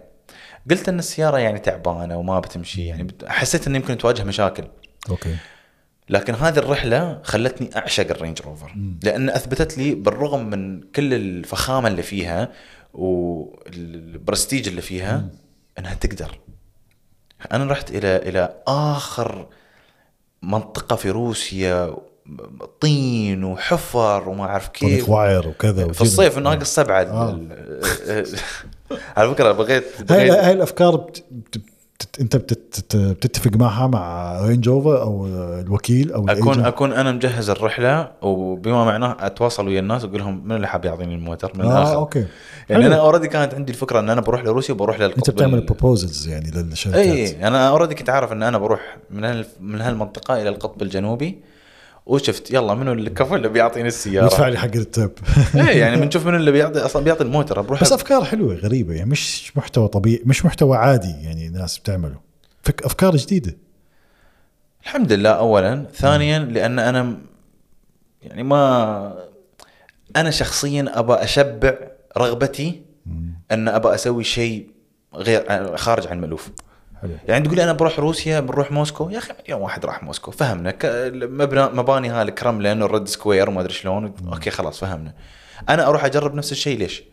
[SPEAKER 1] قلت ان السياره يعني تعبانه وما بتمشي يعني بت- حسيت ان يمكن تواجه مشاكل
[SPEAKER 2] اوكي
[SPEAKER 1] لكن هذه الرحله خلتني اعشق الرينج روفر لان اثبتت لي بالرغم من كل الفخامه اللي فيها والبرستيج اللي فيها انها تقدر انا رحت الى الى اخر منطقه في روسيا طين وحفر وما اعرف كيف
[SPEAKER 2] طريق وعر وكذا
[SPEAKER 1] في
[SPEAKER 2] وجبل.
[SPEAKER 1] الصيف ناقص سبعه
[SPEAKER 2] آه.
[SPEAKER 1] على فكره بغيت
[SPEAKER 2] هاي
[SPEAKER 1] بغيت
[SPEAKER 2] هاي الافكار بت... بت... بت... انت بتت... بت- بتتفق معها مع رينج اوفر او الوكيل او
[SPEAKER 1] اكون
[SPEAKER 2] الagent.
[SPEAKER 1] اكون انا مجهز الرحله وبما معناه اتواصل ويا الناس واقول لهم من اللي حاب يعطيني الموتر من
[SPEAKER 2] اه
[SPEAKER 1] الاخر
[SPEAKER 2] اوكي
[SPEAKER 1] يعني
[SPEAKER 2] حلو.
[SPEAKER 1] انا اوريدي كانت عندي الفكره ان انا بروح لروسيا وبروح للقطب
[SPEAKER 2] انت بتعمل
[SPEAKER 1] ال- إيه،
[SPEAKER 2] بروبوزلز يعني للشركات
[SPEAKER 1] اي انا اوريدي كنت عارف ان انا بروح من هال من هالمنطقه الى القطب الجنوبي وشفت يلا منو الكفو اللي بيعطيني
[SPEAKER 2] يدفع
[SPEAKER 1] السياره
[SPEAKER 2] لي حق الترب
[SPEAKER 1] اي يعني بنشوف منو اللي بيعطي اصلا بيعطي الموتر بروح
[SPEAKER 2] بس افكار حلوه غريبه يعني مش محتوى طبيعي مش محتوى عادي يعني ناس بتعمله فك افكار جديده
[SPEAKER 1] الحمد لله اولا ثانيا لان انا م- يعني ما انا شخصيا ابى اشبع رغبتي ان ابى اسوي شيء غير خارج عن المألوف
[SPEAKER 2] حلو
[SPEAKER 1] يعني تقول لي انا بروح روسيا بنروح موسكو يا اخي يوم واحد راح موسكو فهمنا ك- مبنى مباني هاي الكرملين والريد سكوير وما ادري شلون اوكي خلاص فهمنا انا اروح اجرب نفس الشيء ليش؟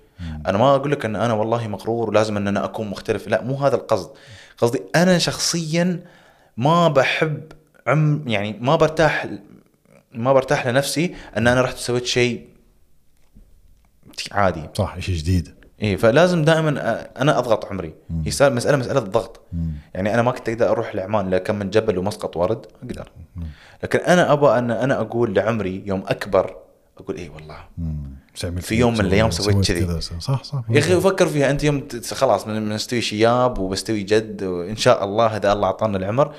[SPEAKER 1] انا ما اقول لك ان انا والله مغرور ولازم ان انا اكون مختلف لا مو هذا القصد قصدي انا شخصيا ما بحب عم يعني ما برتاح ما برتاح لنفسي ان انا رحت سويت شيء عادي
[SPEAKER 2] صح شيء جديد
[SPEAKER 1] اي إيه، فلازم دائما أ- انا اضغط عمري هي سا- مساله مساله ضغط يعني انا ما كنت اقدر اروح لعمان لكم من جبل ومسقط ورد اقدر لكن انا ابى ان انا اقول لعمري يوم اكبر اقول اي والله
[SPEAKER 2] مم. تعمل
[SPEAKER 1] في يوم من الأيام سويت كذي.
[SPEAKER 2] صح صح
[SPEAKER 1] يا اخي فكر فيها انت يوم تت- خلاص من من استوي شياب وبستوي جد وان شاء الله هذا الله اعطانا العمر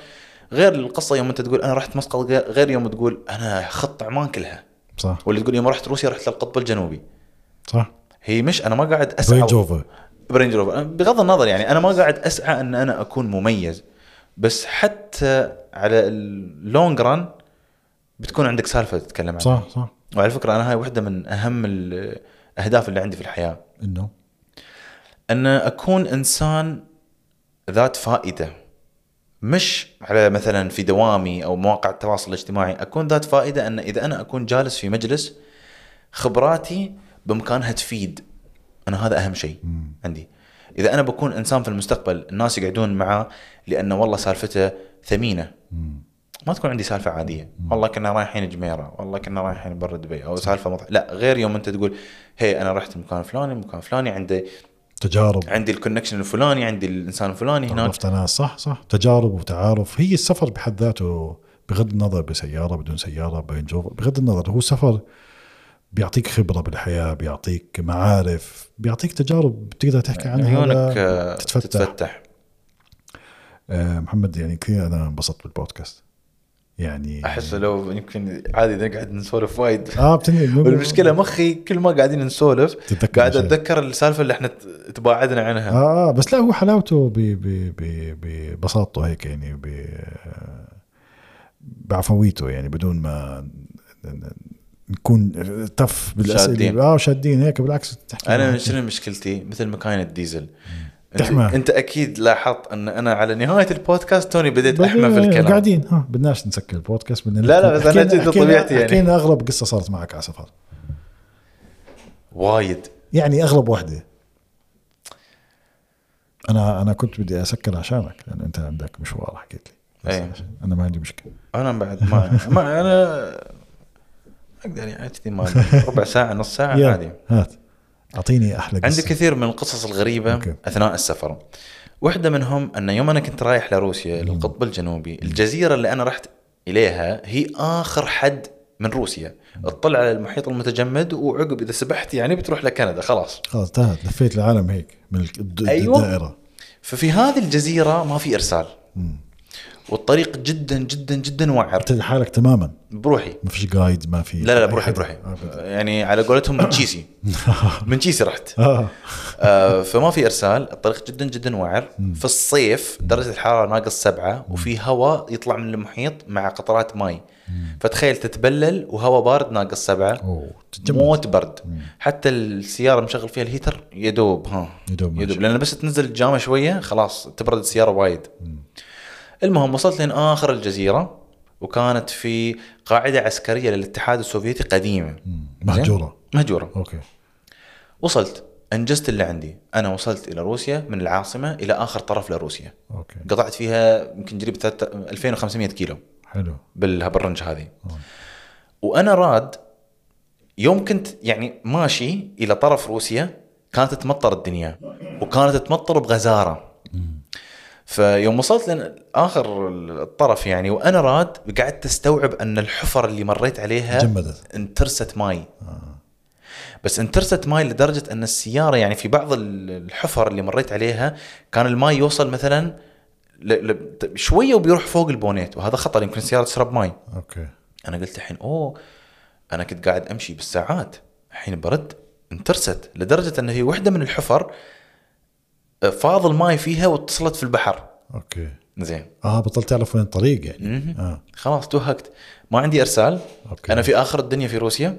[SPEAKER 1] غير القصه يوم انت تقول انا رحت مسقط غير غير يوم تقول انا خط عمان كلها
[SPEAKER 2] صح
[SPEAKER 1] ولا تقول يوم رحت روسيا رحت للقطب الجنوبي
[SPEAKER 2] صح
[SPEAKER 1] هي مش انا ما قاعد اسعى
[SPEAKER 2] رينج اوفر
[SPEAKER 1] برينج روفر بغض النظر يعني انا ما قاعد اسعى ان انا اكون مميز بس حتى على اللونج ران بتكون عندك سالفه تتكلم عنها
[SPEAKER 2] صح صح
[SPEAKER 1] وعلى فكره انا هاي واحده من اهم الاهداف اللي عندي في الحياه
[SPEAKER 2] انه
[SPEAKER 1] ان اكون انسان ذات فائده مش على مثلا في دوامي او مواقع التواصل الاجتماعي اكون ذات فائده ان اذا انا اكون جالس في مجلس خبراتي بامكانها تفيد انا هذا اهم شيء عندي اذا انا بكون انسان في المستقبل الناس يقعدون معاه لانه والله سالفته ثمينه ما تكون عندي سالفه عاديه والله كنا رايحين جميره والله كنا رايحين بر دبي او سالفه مضح لا غير يوم انت تقول هي انا رحت المكان الفلاني المكان الفلاني عنده
[SPEAKER 2] تجارب
[SPEAKER 1] عندي الكونكشن الفلاني عندي الانسان الفلاني هناك
[SPEAKER 2] عرفت ناس صح صح تجارب وتعارف هي السفر بحد ذاته بغض النظر بسياره بدون سياره برينج اوفر بغض النظر هو سفر بيعطيك خبره بالحياه بيعطيك معارف بيعطيك تجارب تقدر تحكي عنها
[SPEAKER 1] عيونك آه،
[SPEAKER 2] لا-
[SPEAKER 1] تتفتح.
[SPEAKER 2] تتفتح آه، محمد يعني كثير انا انبسطت بالبودكاست يعني
[SPEAKER 1] احس لو يمكن عادي نقعد نسولف وايد
[SPEAKER 2] اه بتنقل
[SPEAKER 1] والمشكله مخي كل ما قاعدين نسولف
[SPEAKER 2] تتذكر
[SPEAKER 1] قاعد
[SPEAKER 2] أشياء.
[SPEAKER 1] اتذكر السالفه اللي احنا ت- تباعدنا عنها
[SPEAKER 2] اه آه، بس لا هو حلاوته ب- ب- ب- ببساطته هيك يعني ب- بعفويته يعني بدون ما ن- ن- نكون تف بالاسئله
[SPEAKER 1] شادين.
[SPEAKER 2] اه شادين هيك بالعكس تحكي
[SPEAKER 1] انا
[SPEAKER 2] معك.
[SPEAKER 1] من شنو مشكلتي مثل مكاين الديزل أنت-
[SPEAKER 2] تحمى.
[SPEAKER 1] انت اكيد لاحظت ان انا على نهايه البودكاست توني بديت احمى في
[SPEAKER 2] بعدين
[SPEAKER 1] الكلام
[SPEAKER 2] آه، قاعدين ها بدناش نسكر البودكاست
[SPEAKER 1] لا،
[SPEAKER 2] بدنا
[SPEAKER 1] لا،
[SPEAKER 2] نحكي-
[SPEAKER 1] بس أنا
[SPEAKER 2] حكينا-
[SPEAKER 1] جد
[SPEAKER 2] حكينا-
[SPEAKER 1] طبيعتي يعني.
[SPEAKER 2] حكينا اغلب قصه صارت معك على سفر
[SPEAKER 1] وايد
[SPEAKER 2] يعني اغلب وحده انا انا كنت بدي اسكر عشانك لان انت عندك مشوار حكيت لي بس
[SPEAKER 1] أي.
[SPEAKER 2] عشان- انا ما عندي مشكله
[SPEAKER 1] انا بعد ما, ما انا اقدر يعني كذي ما ربع ساعه نص ساعه
[SPEAKER 2] يلا،
[SPEAKER 1] آه، عادي
[SPEAKER 2] هات اعطيني احلى قصه
[SPEAKER 1] عندي كثير من القصص الغريبة
[SPEAKER 2] أوكي.
[SPEAKER 1] أثناء السفر واحدة منهم أن يوم أنا كنت رايح لروسيا للقطب الجنوبي الجزيرة اللي أنا رحت إليها هي آخر حد من روسيا تطلع على المحيط المتجمد وعقب اذا سبحت يعني بتروح لكندا خلاص
[SPEAKER 2] خلاص انتهت لفيت العالم هيك من الد- الد-
[SPEAKER 1] أيوة.
[SPEAKER 2] الدائره
[SPEAKER 1] ففي هذه الجزيره ما في ارسال
[SPEAKER 2] مم.
[SPEAKER 1] والطريق جدا جدا جدا وعر
[SPEAKER 2] انت لحالك تماما
[SPEAKER 1] بروحي
[SPEAKER 2] ما فيش جايد ما في
[SPEAKER 1] لا لا, لا
[SPEAKER 2] أي آه،
[SPEAKER 1] بروحي
[SPEAKER 2] حدا.
[SPEAKER 1] بروحي يعني على قولتهم من تشيسي من تشيسي رحت
[SPEAKER 2] آه.
[SPEAKER 1] آه، فما في ارسال الطريق جدا جدا وعر في الصيف درجه الحراره ناقص سبعة وفي هواء يطلع من المحيط مع قطرات ماي فتخيل تتبلل وهواء بارد ناقص سبعة
[SPEAKER 2] اوه تتجمد.
[SPEAKER 1] موت برد حتى السياره مشغل فيها الهيتر يدوب ها
[SPEAKER 2] يدوب ماشي.
[SPEAKER 1] يدوب لان بس تنزل الجامه شويه خلاص تبرد السياره وايد المهم وصلت لين اخر الجزيره وكانت في قاعده عسكريه للاتحاد السوفيتي قديمه
[SPEAKER 2] مهجوره
[SPEAKER 1] مهجوره
[SPEAKER 2] اوكي
[SPEAKER 1] وصلت انجزت اللي عندي انا وصلت الى روسيا من العاصمه الى اخر طرف لروسيا
[SPEAKER 2] اوكي
[SPEAKER 1] قطعت فيها يمكن قريب ثلاثة- 2500 كيلو
[SPEAKER 2] حلو
[SPEAKER 1] بالهبرنج هذه
[SPEAKER 2] آه.
[SPEAKER 1] وانا راد يوم كنت يعني ماشي الى طرف روسيا كانت تمطر الدنيا وكانت تمطر بغزاره فيوم وصلت لاخر الطرف يعني وانا راد قعدت استوعب ان الحفر اللي مريت عليها
[SPEAKER 2] تجمدت. آه،
[SPEAKER 1] انترست ماي بس انترست ماي لدرجه ان السياره يعني في بعض ال- الحفر اللي مريت عليها كان الماي يوصل مثلا ل... ل... شويه وبيروح فوق البونيت وهذا خطر يمكن السياره تشرب ماي
[SPEAKER 2] اوكي
[SPEAKER 1] انا قلت الحين اوه انا كنت قاعد امشي بالساعات الحين برد انترست لدرجه ان هي واحده من الحفر آه، فاض الماي فيها واتصلت في البحر
[SPEAKER 2] اوكي
[SPEAKER 1] زين
[SPEAKER 2] اه بطلت تعرف وين الطريق يعني
[SPEAKER 1] مهم.
[SPEAKER 2] اه
[SPEAKER 1] خلاص توهقت ما عندي ارسال
[SPEAKER 2] أوكي.
[SPEAKER 1] أوكي. انا في اخر الدنيا في روسيا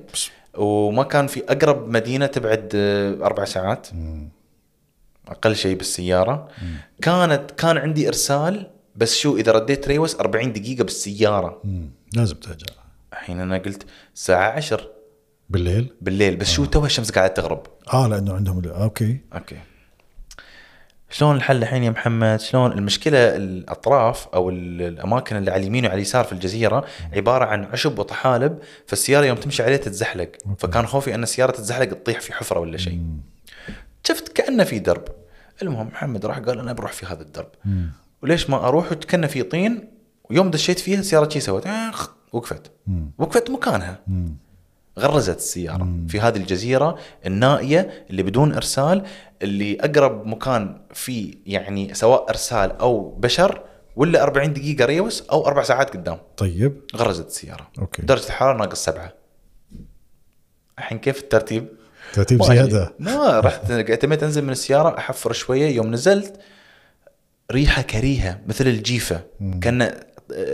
[SPEAKER 1] وما كان في اقرب مدينه تبعد آه، اربع ساعات اقل شيء بالسياره كانت كان عندي ارسال بس شو اذا رديت ريوس 40 دقيقه بالسياره
[SPEAKER 2] مم. لازم ترجع
[SPEAKER 1] الحين انا قلت الساعه 10
[SPEAKER 2] بالليل
[SPEAKER 1] بالليل بس شو توها الشمس قاعده تغرب
[SPEAKER 2] اه لانه عندهم ال- اوكي
[SPEAKER 1] اوكي شلون الحل الحين يا محمد؟ شلون المشكله الاطراف او ال- الاماكن اللي على اليمين وعلى اليسار في الجزيره عباره عن عشب وطحالب فالسياره يوم تمشي عليه تتزحلق فكان خوفي ان السياره تتزحلق تطيح في حفره ولا شيء. شفت كانه في درب. المهم محمد راح قال انا بروح في هذا الدرب. وليش ما اروح وكانه في طين ويوم دشيت فيها السياره شي سوت آخ، وقفت. وقفت مكانها. غرزت السيارة في هذه الجزيرة النائية اللي بدون إرسال اللي أقرب مكان في يعني سواء إرسال أو بشر ولا 40 دقيقة ريوس أو أربع ساعات قدام
[SPEAKER 2] طيب
[SPEAKER 1] غرزت السيارة
[SPEAKER 2] أوكي.
[SPEAKER 1] درجة الحرارة ناقص سبعة الحين كيف الترتيب؟
[SPEAKER 2] ترتيب
[SPEAKER 1] ما عليك.
[SPEAKER 2] زياده
[SPEAKER 1] ما رحت اعتمدت أنزل من السيارة أحفر شوية يوم نزلت ريحة كريهة مثل الجيفة كأن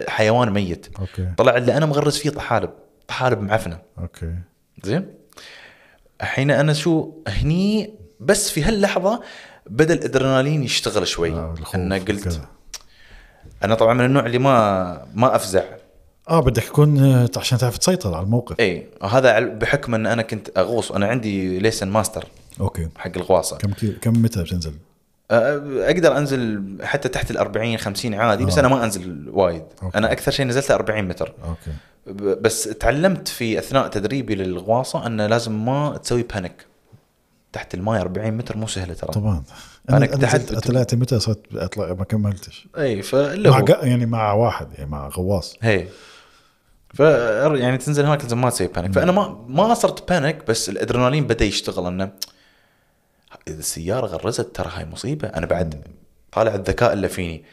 [SPEAKER 1] حيوان ميت
[SPEAKER 2] اوكي
[SPEAKER 1] طلع اللي أنا مغرز فيه طحالب طحالب معفنة
[SPEAKER 2] اوكي
[SPEAKER 1] زين الحين انا شو هني بس في هاللحظه بدا الادرينالين يشتغل شوي
[SPEAKER 2] آه،
[SPEAKER 1] آه
[SPEAKER 2] الخوف
[SPEAKER 1] انا قلت
[SPEAKER 2] وكذا.
[SPEAKER 1] انا طبعا من النوع اللي ما ما افزع
[SPEAKER 2] اه بدك تكون آه، عشان تعرف تسيطر على الموقف
[SPEAKER 1] اي إيه، هذا عل- بحكم ان انا كنت اغوص انا عندي ليسن ماستر
[SPEAKER 2] اوكي
[SPEAKER 1] حق الغواصه
[SPEAKER 2] كم كيلو كم متى بتنزل؟
[SPEAKER 1] أ- اقدر انزل حتى تحت ال 40 50 عادي بس
[SPEAKER 2] آه.
[SPEAKER 1] انا ما انزل وايد
[SPEAKER 2] أوكي.
[SPEAKER 1] انا اكثر شيء نزلته 40 متر
[SPEAKER 2] اوكي
[SPEAKER 1] ب- بس تعلمت في اثناء تدريبي للغواصه ان لازم ما تسوي بانيك تحت الماي 40 متر مو سهله ترى
[SPEAKER 2] طبعا
[SPEAKER 1] طيب. أنا
[SPEAKER 2] انا
[SPEAKER 1] اجتهدت
[SPEAKER 2] انا
[SPEAKER 1] بت-
[SPEAKER 2] طلعت متى صرت اطلع ما كملتش
[SPEAKER 1] اي إيه، فاللي
[SPEAKER 2] مع
[SPEAKER 1] هو
[SPEAKER 2] قا- يعني مع واحد يعني مع غواص
[SPEAKER 1] هي ف يعني تنزل هناك لازم ما تسوي بانيك فانا ما ما صرت بانيك بس الادرينالين بدا يشتغل انه اذا السياره غرزت ترى هاي مصيبه انا بعد طالع الذكاء اللي فيني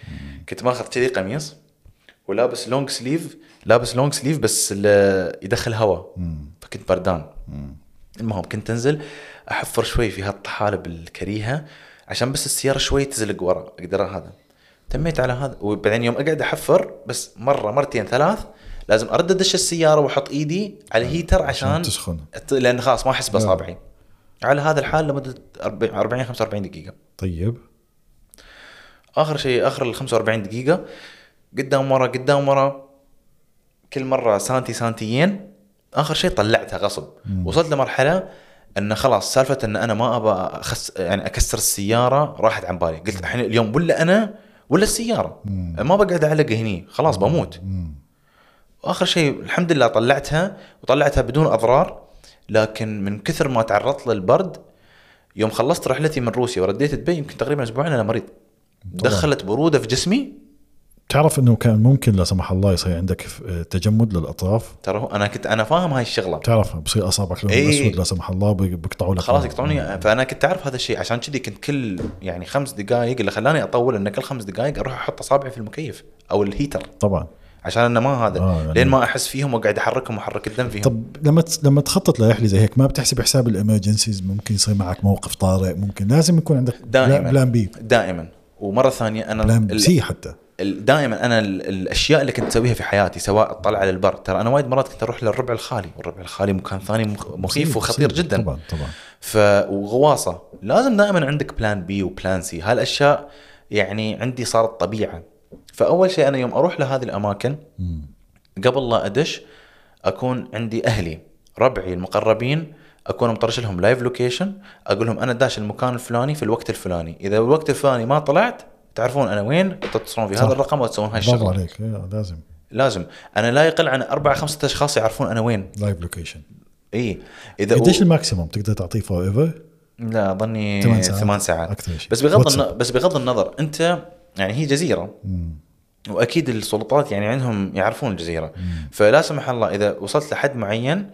[SPEAKER 1] كنت ماخذ كذي قميص ولابس لونج سليف لابس لونج سليف بس ال- يدخل هواء فكنت بردان المهم كنت انزل احفر شوي في هالطحالب الكريهه عشان بس السياره شوي تزلق ورا اقدر هذا تميت على هذا وبعدين يوم اقعد احفر بس مره مرتين ثلاث لازم ارد ادش السياره واحط ايدي على الهيتر عشان,
[SPEAKER 2] عشان تسخن.
[SPEAKER 1] أت- لان خلاص ما احس باصابعي على هذا الحال لمده 40 40 45 دقيقه
[SPEAKER 2] طيب
[SPEAKER 1] اخر شيء اخر ال 45 دقيقه قدام ورا قدام ورا كل مره سانتي سانتيين اخر شيء طلعتها غصب مم. وصلت لمرحله ان خلاص سالفه ان انا ما ابى أخس يعني اكسر السياره راحت عن بالي قلت الحين اليوم ولا انا ولا السياره
[SPEAKER 2] مم.
[SPEAKER 1] ما بقعد اعلق هني خلاص بموت
[SPEAKER 2] مم.
[SPEAKER 1] واخر شيء الحمد لله طلعتها وطلعتها بدون اضرار لكن من كثر ما تعرضت للبرد يوم خلصت رحلتي من روسيا ورديت دبي يمكن تقريبا اسبوعين انا مريض دخلت بروده في جسمي
[SPEAKER 2] تعرف انه كان ممكن لا سمح الله يصير عندك ف- تجمد للاطراف
[SPEAKER 1] ترى هو- انا كنت انا فاهم هاي الشغله
[SPEAKER 2] تعرف بصير اصابعك لون
[SPEAKER 1] إيه.
[SPEAKER 2] اسود لا سمح الله بي- بيقطعوا لك آه،
[SPEAKER 1] خلاص
[SPEAKER 2] لون.
[SPEAKER 1] يقطعوني فانا كنت اعرف هذا الشيء عشان كذي كنت كل يعني خمس دقائق اللي خلاني اطول ان كل خمس دقائق اروح احط اصابعي في المكيف او الهيتر
[SPEAKER 2] طبعا
[SPEAKER 1] عشان انه ما هذا
[SPEAKER 2] آه، يعني-
[SPEAKER 1] لين ما احس فيهم واقعد احركهم واحرك الدم فيهم
[SPEAKER 2] طب لما تس- لما تخطط لرحله زي هيك ما بتحسب حساب الامرجنسيز ممكن يصير معك موقف طارئ ممكن لازم يكون عندك
[SPEAKER 1] دائما
[SPEAKER 2] بلان بي
[SPEAKER 1] دائما ومره ثانيه انا
[SPEAKER 2] بلان
[SPEAKER 1] ال-
[SPEAKER 2] سي حتى
[SPEAKER 1] ال- دائما انا ال- الاشياء اللي كنت اسويها في حياتي سواء الطلعه للبر ترى انا وايد مرات كنت اروح للربع الخالي والربع الخالي مكان ثاني مخ- مخيف وخطير
[SPEAKER 2] بصير.
[SPEAKER 1] جدا
[SPEAKER 2] طبعا طبعا
[SPEAKER 1] ف وغواصه لازم دائما عندك بلان بي وبلان سي هالاشياء يعني عندي صارت طبيعه فاول شيء انا يوم اروح لهذه الاماكن
[SPEAKER 2] مم.
[SPEAKER 1] قبل لا ادش اكون عندي اهلي ربعي المقربين اكون مطرش لهم لايف لوكيشن اقول لهم انا داش المكان الفلاني في الوقت الفلاني اذا الوقت الفلاني ما طلعت تعرفون انا وين تتصلون في
[SPEAKER 2] صح.
[SPEAKER 1] هذا الرقم وتسوون هاي
[SPEAKER 2] برافو
[SPEAKER 1] الشغله
[SPEAKER 2] عليك إيه، لازم
[SPEAKER 1] لازم انا لا يقل عن اربع خمسة اشخاص يعرفون انا وين إيه.
[SPEAKER 2] لايف لوكيشن
[SPEAKER 1] اي اذا
[SPEAKER 2] قديش الماكسيموم تقدر تعطيه فور ايفر؟
[SPEAKER 1] لا اظني
[SPEAKER 2] ثمان ساعات.
[SPEAKER 1] ثمان ساعات
[SPEAKER 2] أكثر شيء.
[SPEAKER 1] بس بغض
[SPEAKER 2] واتساب.
[SPEAKER 1] النظر بس بغض النظر انت يعني هي جزيره واكيد السلطات يعني عندهم يعرفون الجزيره فلا سمح الله اذا وصلت لحد معين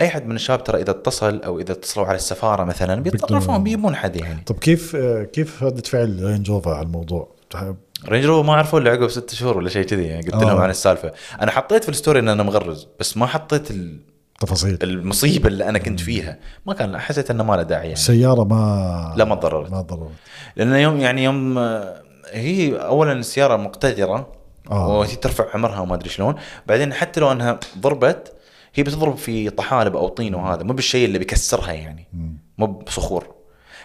[SPEAKER 1] اي حد من الشباب ترى اذا اتصل او اذا اتصلوا على السفاره مثلا بيتصرفون بيجيبون حد يعني
[SPEAKER 2] طب كيف آه، كيف ردة فعل رينج روفر على الموضوع؟ تح-
[SPEAKER 1] رينج روفر ما عرفوا الا عقب ست شهور ولا شيء كذي يعني قلت
[SPEAKER 2] آه.
[SPEAKER 1] لهم عن السالفه انا حطيت في الستوري ان انا مغرز بس ما حطيت ال-
[SPEAKER 2] تفاصيل
[SPEAKER 1] المصيبه اللي انا كنت فيها ما كان حسيت انه ما له داعي يعني
[SPEAKER 2] السياره ما
[SPEAKER 1] لا ما تضررت
[SPEAKER 2] ما تضررت
[SPEAKER 1] لان يوم يعني يوم آه، هي اولا السياره مقتدره
[SPEAKER 2] آه.
[SPEAKER 1] وهي ترفع عمرها وما ادري شلون بعدين حتى لو انها ضربت هي بتضرب في طحالب او طين وهذا مو بالشيء اللي بيكسرها يعني
[SPEAKER 2] مم.
[SPEAKER 1] مو بصخور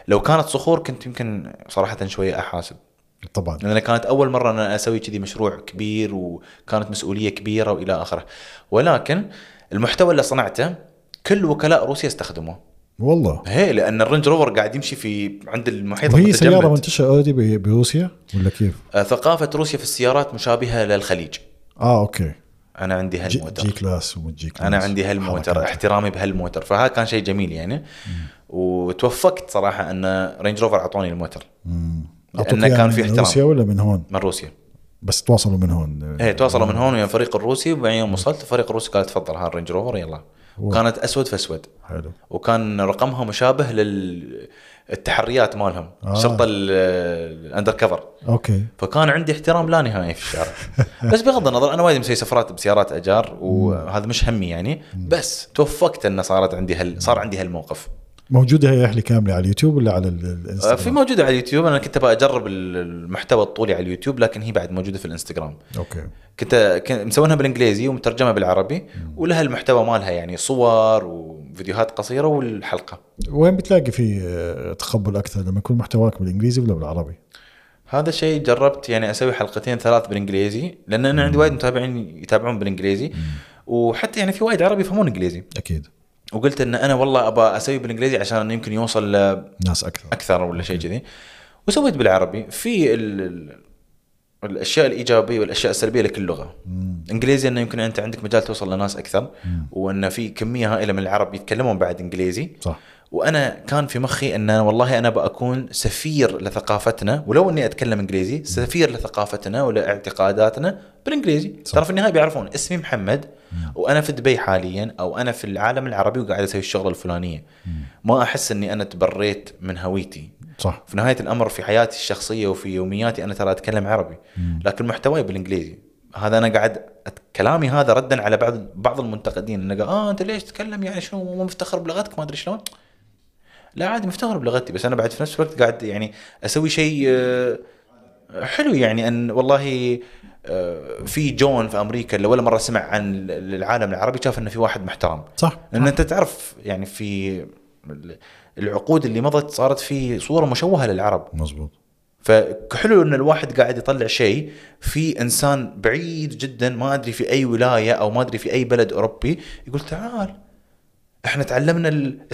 [SPEAKER 1] لو كانت صخور كنت يمكن صراحه شويه احاسب
[SPEAKER 2] طبعا
[SPEAKER 1] لان كانت اول مره انا اسوي كذي مشروع كبير وكانت مسؤوليه كبيره والى اخره ولكن المحتوى اللي صنعته كل وكلاء روسيا استخدموه
[SPEAKER 2] والله
[SPEAKER 1] هي لان الرينج روفر قاعد يمشي في عند المحيط
[SPEAKER 2] وهي
[SPEAKER 1] المتجمد.
[SPEAKER 2] سياره منتشره اوريدي ب- بروسيا ولا كيف؟
[SPEAKER 1] آه، ثقافة روسيا في السيارات مشابهة للخليج
[SPEAKER 2] اه اوكي
[SPEAKER 1] أنا عندي
[SPEAKER 2] جي,
[SPEAKER 1] هالموتر
[SPEAKER 2] جي كلاس ومن جي كلاس
[SPEAKER 1] أنا عندي هالموتر
[SPEAKER 2] حركات.
[SPEAKER 1] احترامي بهالموتر فهذا كان شيء جميل يعني وتوفقت صراحة أن رينج روفر أعطوني الموتر
[SPEAKER 2] مم.
[SPEAKER 1] لأنه
[SPEAKER 2] أعطوك إياها
[SPEAKER 1] كان
[SPEAKER 2] من
[SPEAKER 1] في احترام.
[SPEAKER 2] روسيا ولا من هون؟
[SPEAKER 1] من روسيا
[SPEAKER 2] بس تواصلوا من هون
[SPEAKER 1] هي تواصلوا من هون ويا الفريق الروسي وبعدين يوم وصلت الفريق الروسي قال تفضل ها الرينج روفر يلا
[SPEAKER 2] واو.
[SPEAKER 1] كانت أسود فأسود
[SPEAKER 2] حلو
[SPEAKER 1] وكان رقمها مشابه للتحريات مالهم
[SPEAKER 2] آه.
[SPEAKER 1] الشرطة الأندر كفر
[SPEAKER 2] اوكي
[SPEAKER 1] فكان عندي احترام لا نهائي في الشارع بس بغض النظر انا وايد مسوي سفرات بسيارات اجار وهذا مش همي يعني بس توفقت انه صارت عندي هال صار عندي هالموقف
[SPEAKER 2] موجوده هي رحله كامله على اليوتيوب ولا على ال-
[SPEAKER 1] آه، في
[SPEAKER 2] الانستغرام؟
[SPEAKER 1] موجوده على اليوتيوب انا كنت ابغى اجرب ال- المحتوى الطولي على اليوتيوب لكن هي بعد موجوده في الانستغرام
[SPEAKER 2] اوكي
[SPEAKER 1] كنت كنت مسوينها بالانجليزي ومترجمه بالعربي ولها المحتوى مالها يعني صور وفيديوهات قصيره والحلقه
[SPEAKER 2] وين بتلاقي في آه، تقبل اكثر لما يكون محتواك بالانجليزي ولا بالعربي؟
[SPEAKER 1] هذا شيء جربت يعني اسوي حلقتين ثلاث بالانجليزي لان انا عندي وايد متابعين يتابعون بالانجليزي وحتى يعني في وايد عربي يفهمون انجليزي
[SPEAKER 2] اكيد
[SPEAKER 1] وقلت ان انا والله ابى اسوي بالانجليزي عشان يمكن يوصل
[SPEAKER 2] ناس اكثر
[SPEAKER 1] اكثر ولا شيء كذي وسويت بالعربي في ال... ال- الاشياء الايجابيه والاشياء السلبيه لكل لغه
[SPEAKER 2] مم.
[SPEAKER 1] انجليزي انه يمكن انت عندك مجال توصل لناس اكثر
[SPEAKER 2] مم.
[SPEAKER 1] وان في كميه هائله من العرب يتكلمون بعد انجليزي
[SPEAKER 2] صح
[SPEAKER 1] وانا كان في مخي ان أنا والله انا بكون سفير لثقافتنا ولو اني اتكلم انجليزي سفير لثقافتنا ولاعتقاداتنا بالانجليزي
[SPEAKER 2] صح.
[SPEAKER 1] ترى في النهايه بيعرفون اسمي محمد وانا في دبي حاليا او انا في العالم العربي وقاعد اسوي الشغله الفلانيه ما احس اني انا تبريت من هويتي
[SPEAKER 2] صح
[SPEAKER 1] في نهايه الامر في حياتي الشخصيه وفي يومياتي انا ترى اتكلم عربي لكن محتواي بالانجليزي هذا انا قاعد أت... كلامي هذا ردا على بعض بعض المنتقدين انه قال اه انت ليش تتكلم يعني شو مو مفتخر بلغتك ما ادري شلون لا عادي مفتخر بلغتي بس انا بعد في نفس الوقت قاعد يعني اسوي شيء آه، حلو يعني ان والله آه، في جون في امريكا اللي ولا مره سمع عن ال- العالم العربي شاف انه في واحد محترم
[SPEAKER 2] صح
[SPEAKER 1] لان انت تعرف يعني في ال- العقود اللي مضت صارت في صوره مشوهه للعرب
[SPEAKER 2] مزبوط
[SPEAKER 1] فحلو ان الواحد قاعد يطلع شيء في انسان بعيد جدا ما ادري في اي ولايه او ما ادري في اي بلد اوروبي يقول تعال احنا تعلمنا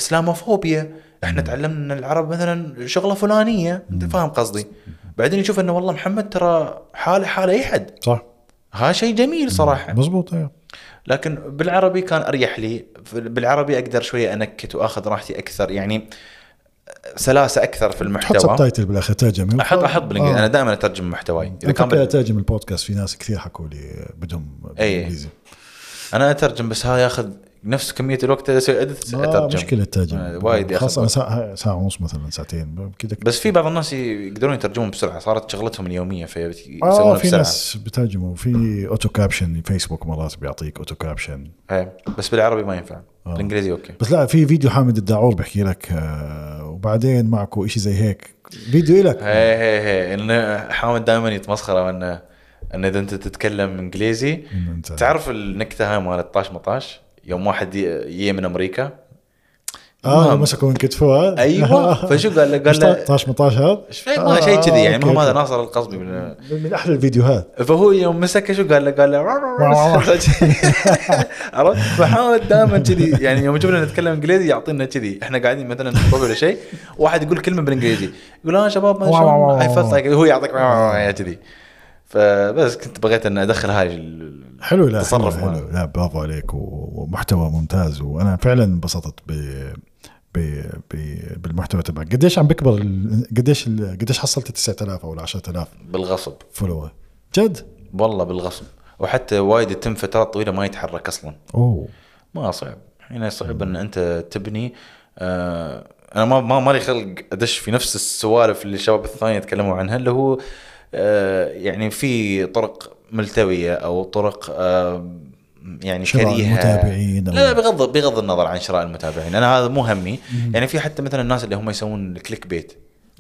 [SPEAKER 1] الاسلاموفوبيا احنا تعلمنا ان العرب مثلا شغله فلانيه انت فاهم قصدي بعدين يشوف انه والله محمد ترى حاله حاله اي حد
[SPEAKER 2] صح
[SPEAKER 1] ها شيء جميل صراحه
[SPEAKER 2] مزبوط ايوه
[SPEAKER 1] لكن بالعربي كان اريح لي بالعربي اقدر شويه انكت واخذ راحتي اكثر يعني سلاسه اكثر في
[SPEAKER 2] تحط
[SPEAKER 1] المحتوى
[SPEAKER 2] سبتايتل بالاخير ترجم
[SPEAKER 1] احط احط بالانجليزي
[SPEAKER 2] آه.
[SPEAKER 1] انا دائما اترجم محتواي اذا
[SPEAKER 2] انا
[SPEAKER 1] كان
[SPEAKER 2] كنت
[SPEAKER 1] بال...
[SPEAKER 2] اترجم البودكاست في ناس كثير حكوا لي بدهم
[SPEAKER 1] إيه.
[SPEAKER 2] بالانجليزي
[SPEAKER 1] انا اترجم بس هذا ياخذ نفس كميه الوقت اللي اسوي ادت
[SPEAKER 2] آه
[SPEAKER 1] اترجم
[SPEAKER 2] مشكله الترجمه
[SPEAKER 1] آه، وايد ياخذ
[SPEAKER 2] خاصه انا
[SPEAKER 1] وقت.
[SPEAKER 2] ساعه ساعه ونص مثلا ساعتين كذا
[SPEAKER 1] بس في بعض الناس يقدرون يترجمون بسرعه صارت شغلتهم اليوميه فيسوونها
[SPEAKER 2] اه في
[SPEAKER 1] بسرعه
[SPEAKER 2] ناس بترجموا في اوتو كابشن فيسبوك مرات بيعطيك اوتو كابشن
[SPEAKER 1] إيه. بس بالعربي ما ينفع
[SPEAKER 2] آه.
[SPEAKER 1] بالانجليزي اوكي
[SPEAKER 2] بس لا في فيديو حامد الداعور بحكي لك آه، وبعدين معكو إشي زي هيك فيديو إلك
[SPEAKER 1] هي هي هي انه حامد دائما يتمسخر انه انه اذا انت تتكلم انجليزي
[SPEAKER 2] إنه أنت-
[SPEAKER 1] تعرف النكته هاي مال الطاش مطاش يوم واحد ي- يي من امريكا
[SPEAKER 2] اه
[SPEAKER 1] نعم.
[SPEAKER 2] مسكوا من كتفه آه.
[SPEAKER 1] ايوه فشو قال له؟ قال له
[SPEAKER 2] 15 18 هذا
[SPEAKER 1] ايش في- ما شيء كذي يعني
[SPEAKER 2] آه،
[SPEAKER 1] المهم
[SPEAKER 2] أوكي،
[SPEAKER 1] هذا
[SPEAKER 2] أوكي.
[SPEAKER 1] ناصر القصبي من
[SPEAKER 2] من من احلى الفيديوهات
[SPEAKER 1] فهو يوم مسكه شو قال له؟ قال له عرفت؟ فحامد دائما كذي يعني يوم يشوفنا نتكلم انجليزي يعطينا كذي احنا قاعدين مثلا نطبخ ولا شيء واحد يقول كلمه بالانجليزي يقول اه شباب ما شلون اي فيلت هو يعطيك "آه، كذي فبس كنت بغيت ان ادخل هاي ال-
[SPEAKER 2] حلو لا
[SPEAKER 1] تصرف
[SPEAKER 2] حلو,
[SPEAKER 1] ماله.
[SPEAKER 2] حلو لا برافو عليك و- ومحتوى ممتاز وانا فعلا انبسطت ب ب ب- بالمحتوى تبعك قديش عم بكبر ال- قديش ال- قديش حصلت 9000 او 10000
[SPEAKER 1] بالغصب
[SPEAKER 2] فولور جد
[SPEAKER 1] والله بالغصب وحتى وايد يتم فترات طويله ما يتحرك اصلا
[SPEAKER 2] اوه
[SPEAKER 1] ما صعب هنا صعب ان انت تبني آه انا ما ما مالي خلق ادش في نفس السوالف اللي الشباب الثانيه تكلموا عنها اللي هو آه يعني في طرق ملتويه او طرق آه يعني
[SPEAKER 2] شراء
[SPEAKER 1] كريهه
[SPEAKER 2] المتابعين أو-
[SPEAKER 1] لا بغض بغض النظر عن شراء المتابعين انا هذا مو همي يعني في حتى مثلا الناس اللي هم يسوون الكليك بيت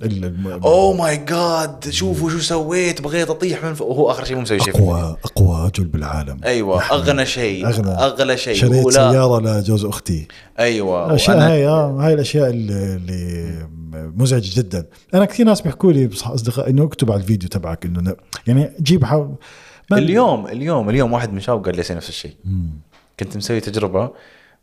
[SPEAKER 2] ال- الم-
[SPEAKER 1] اوه ماي جاد شوفوا شو سويت بغيت اطيح من فوق وهو اخر شيء مو مسوي شيء في الدنيا.
[SPEAKER 2] اقوى اقوى رجل بالعالم
[SPEAKER 1] ايوه
[SPEAKER 2] نحن
[SPEAKER 1] اغنى شيء
[SPEAKER 2] أغنى.
[SPEAKER 1] اغلى شيء
[SPEAKER 2] شريت
[SPEAKER 1] ولا-
[SPEAKER 2] سياره لجوز اختي
[SPEAKER 1] ايوه
[SPEAKER 2] الاشياء
[SPEAKER 1] وأنا-
[SPEAKER 2] هاي آه، هاي الاشياء اللي اللي مزعجه جدا انا كثير ناس بيحكوا لي بص- اصدقاء انه اكتب على الفيديو تبعك انه ن- يعني جيب حاول ما-
[SPEAKER 1] اليوم اليوم اليوم واحد من الشباب قال لي نفس الشيء كنت مسوي تجربه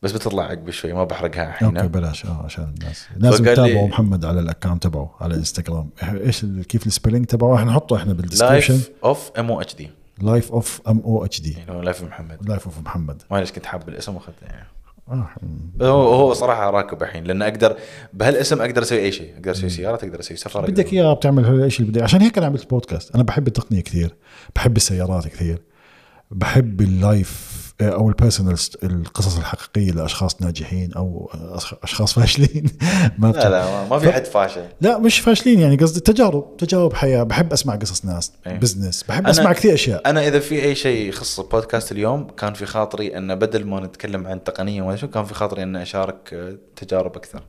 [SPEAKER 1] بس بتطلع عقب شوي ما بحرقها
[SPEAKER 2] اوكي
[SPEAKER 1] الحين
[SPEAKER 2] بلاش اه عشان الناس لازم
[SPEAKER 1] فقال لي-
[SPEAKER 2] تتابعوا محمد على الاكونت تبعه على الانستغرام إح- ايش ال- كيف السبيلينج تبعه احنا نحطه احنا بالدسكربشن
[SPEAKER 1] لايف اوف ام او اتش دي
[SPEAKER 2] لايف اوف ام او اتش دي
[SPEAKER 1] اللي يعني هو لايف محمد
[SPEAKER 2] لايف اوف محمد
[SPEAKER 1] ما ليش كنت حاب الاسم واخذته يعني
[SPEAKER 2] آه.
[SPEAKER 1] هو هو صراحه راكب الحين لان اقدر بهالاسم اقدر اسوي اي شيء اقدر اسوي سيارات اقدر اسوي سفر أقدر-
[SPEAKER 2] بدك اياها بتعمل هذا الشيء اللي بدي إياه. عشان هيك انا عملت بودكاست انا بحب التقنيه كثير بحب السيارات كثير بحب اللايف او البيرسونال القصص الحقيقيه لاشخاص ناجحين او أشخ- اشخاص فاشلين ما
[SPEAKER 1] لا لا ما- ما في حد فاشل
[SPEAKER 2] لا مش فاشلين يعني قصدي تجارب تجارب حياه بحب اسمع قصص ناس
[SPEAKER 1] إيه.
[SPEAKER 2] بزنس بحب
[SPEAKER 1] أنا-
[SPEAKER 2] اسمع كثير اشياء
[SPEAKER 1] انا اذا في اي شيء يخص البودكاست اليوم كان في خاطري ان بدل ما نتكلم عن تقنيه ولا شو كان في خاطري ان اشارك آه، تجارب اكثر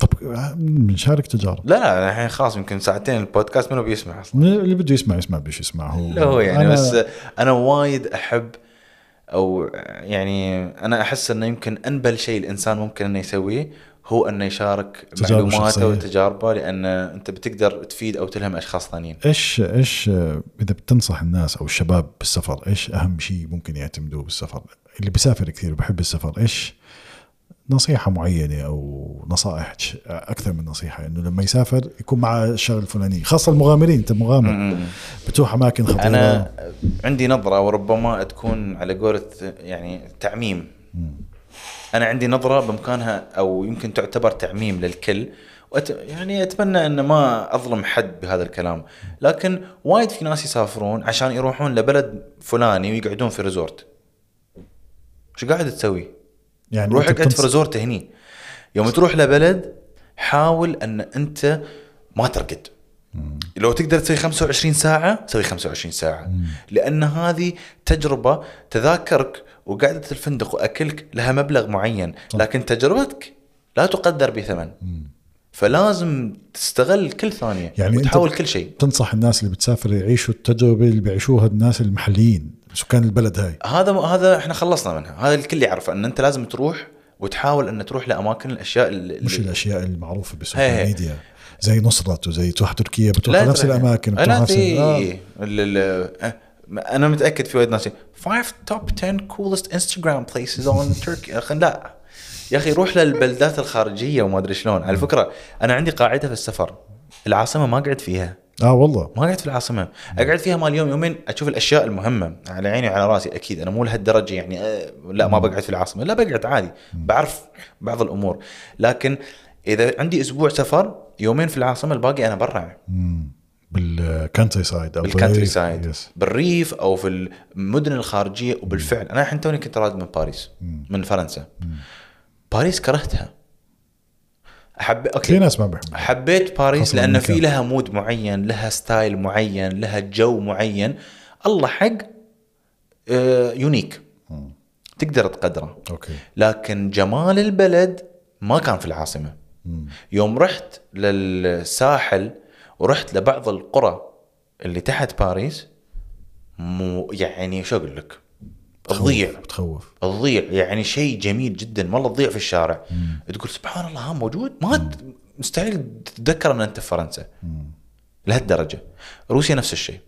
[SPEAKER 2] طب بنشارك تجارب
[SPEAKER 1] لا لا الحين خلاص يمكن ساعتين البودكاست منو بيسمع اصلا
[SPEAKER 2] اللي بده يسمع يسمع بيش يسمع هو
[SPEAKER 1] لا هو يعني
[SPEAKER 2] أنا-
[SPEAKER 1] بس انا وايد احب او يعني انا احس انه يمكن انبل شيء الانسان ممكن انه يسويه هو انه يشارك
[SPEAKER 2] تجاربه شخصية.
[SPEAKER 1] معلوماته وتجاربه لان انت بتقدر تفيد او تلهم اشخاص ثانيين.
[SPEAKER 2] ايش ايش آه، اذا بتنصح الناس او الشباب بالسفر ايش اهم شيء ممكن يعتمدوه بالسفر اللي بيسافر كثير وبحب السفر ايش نصيحه معينه او نصائح ش- اكثر من نصيحه انه لما يسافر يكون معه الشغله الفلانيه خاصه المغامرين انت مغامر بتروح اماكن خطيره
[SPEAKER 1] انا عندي نظره وربما تكون على قولة يعني تعميم. انا عندي نظره بامكانها او يمكن تعتبر تعميم للكل وأت... يعني اتمنى ان ما اظلم حد بهذا الكلام لكن وايد في ناس يسافرون عشان يروحون لبلد فلاني ويقعدون في ريزورت شو قاعد تسوي؟
[SPEAKER 2] يعني
[SPEAKER 1] روح
[SPEAKER 2] أنت
[SPEAKER 1] اقعد في
[SPEAKER 2] بتنص-
[SPEAKER 1] ريزورت هني يوم تروح لبلد حاول ان انت ما ترقد لو تقدر تسوي 25 ساعة سوي 25 ساعة لأن هذه تجربة تذاكرك وقعدة الفندق وأكلك لها مبلغ معين لكن تجربتك لا تقدر بثمن فلازم تستغل كل ثانية
[SPEAKER 2] يعني
[SPEAKER 1] يعني
[SPEAKER 2] أنت-
[SPEAKER 1] وتحاول كل شيء
[SPEAKER 2] تنصح الناس اللي بتسافر يعيشوا التجربه اللي بيعيشوها الناس المحليين سكان البلد هاي
[SPEAKER 1] هذا هذا احنا خلصنا منها هذا الكل يعرفه ان انت لازم تروح وتحاول ان تروح لاماكن الاشياء اللي
[SPEAKER 2] مش الاشياء المعروفه بالسوشيال
[SPEAKER 1] هي هي.
[SPEAKER 2] ميديا زي نصرت وزي تروح تركيا بتروح على نفس
[SPEAKER 1] ترى-
[SPEAKER 2] الاماكن بتروح
[SPEAKER 1] لا
[SPEAKER 2] نفس
[SPEAKER 1] في
[SPEAKER 2] ال-
[SPEAKER 1] ال- ال- آه، انا متاكد في وايد ناس 5 توب 10 coolest Instagram places on Turkey يا أخي لا يا اخي روح للبلدات الخارجيه وما ادري شلون على فكره انا عندي قاعده في السفر العاصمه ما قعدت فيها
[SPEAKER 2] اه, آه والله
[SPEAKER 1] ما قعدت في العاصمه اقعد فيها مال يوم يومين اشوف الاشياء المهمه على عيني وعلى راسي اكيد انا مو أه، لهالدرجه يعني آه، لا ما بقعد في العاصمه لا بقعد عادي بعرف بعض الامور لكن اذا عندي اسبوع سفر يومين في العاصمه الباقي انا برا
[SPEAKER 2] مم. بالكانتري سايد
[SPEAKER 1] بالكانتري سايد
[SPEAKER 2] يس
[SPEAKER 1] بالريف او في المدن الخارجيه وبالفعل انا الحين توني كنت راد من باريس
[SPEAKER 2] مم.
[SPEAKER 1] من فرنسا باريس كرهتها احب
[SPEAKER 2] في
[SPEAKER 1] اوكي
[SPEAKER 2] ناس ما بيحبوا
[SPEAKER 1] حبيت باريس
[SPEAKER 2] خاصة
[SPEAKER 1] لان
[SPEAKER 2] بالمكان.
[SPEAKER 1] في لها مود معين لها ستايل معين لها جو معين الله حق آه، يونيك
[SPEAKER 2] مم.
[SPEAKER 1] تقدر تقدره
[SPEAKER 2] اوكي
[SPEAKER 1] لكن جمال البلد ما كان في العاصمه
[SPEAKER 2] مم.
[SPEAKER 1] يوم رحت للساحل ورحت لبعض القرى اللي تحت باريس مو يعني شو اقول لك تضيع
[SPEAKER 2] بتخوف
[SPEAKER 1] تضيع يعني شيء جميل جدا والله تضيع في الشارع تقول سبحان الله ها موجود ما ت- مستحيل تتذكر ان انت في فرنسا
[SPEAKER 2] مم.
[SPEAKER 1] لهالدرجه روسيا نفس الشيء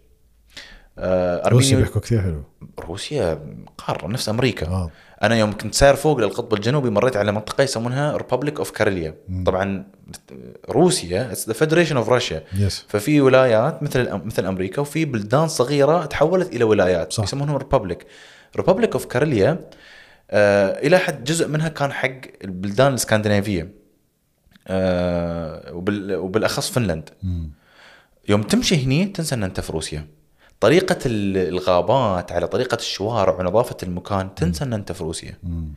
[SPEAKER 1] آه،
[SPEAKER 2] روسيا
[SPEAKER 1] أرمينيا
[SPEAKER 2] بيحكوا كثير حلو
[SPEAKER 1] روسيا قاره نفس امريكا
[SPEAKER 2] اه
[SPEAKER 1] انا يوم كنت ساير فوق للقطب الجنوبي مريت على منطقه يسمونها ريببليك اوف كارليا طبعا روسيا ذا فيدريشن اوف روسيا
[SPEAKER 2] يس
[SPEAKER 1] ففي ولايات مثل الأم- مثل امريكا وفي بلدان صغيره تحولت الى ولايات
[SPEAKER 2] صح.
[SPEAKER 1] صح. يسمونهم ريببليك ريببليك اوف كارليا آه الى حد جزء منها كان حق البلدان الاسكندنافيه آه وبال وبالاخص فنلند
[SPEAKER 2] مم.
[SPEAKER 1] يوم تمشي هني تنسى ان انت في روسيا طريقة ال- الغابات على طريقة الشوارع ونظافة المكان تنسى ان انت في روسيا
[SPEAKER 2] مم.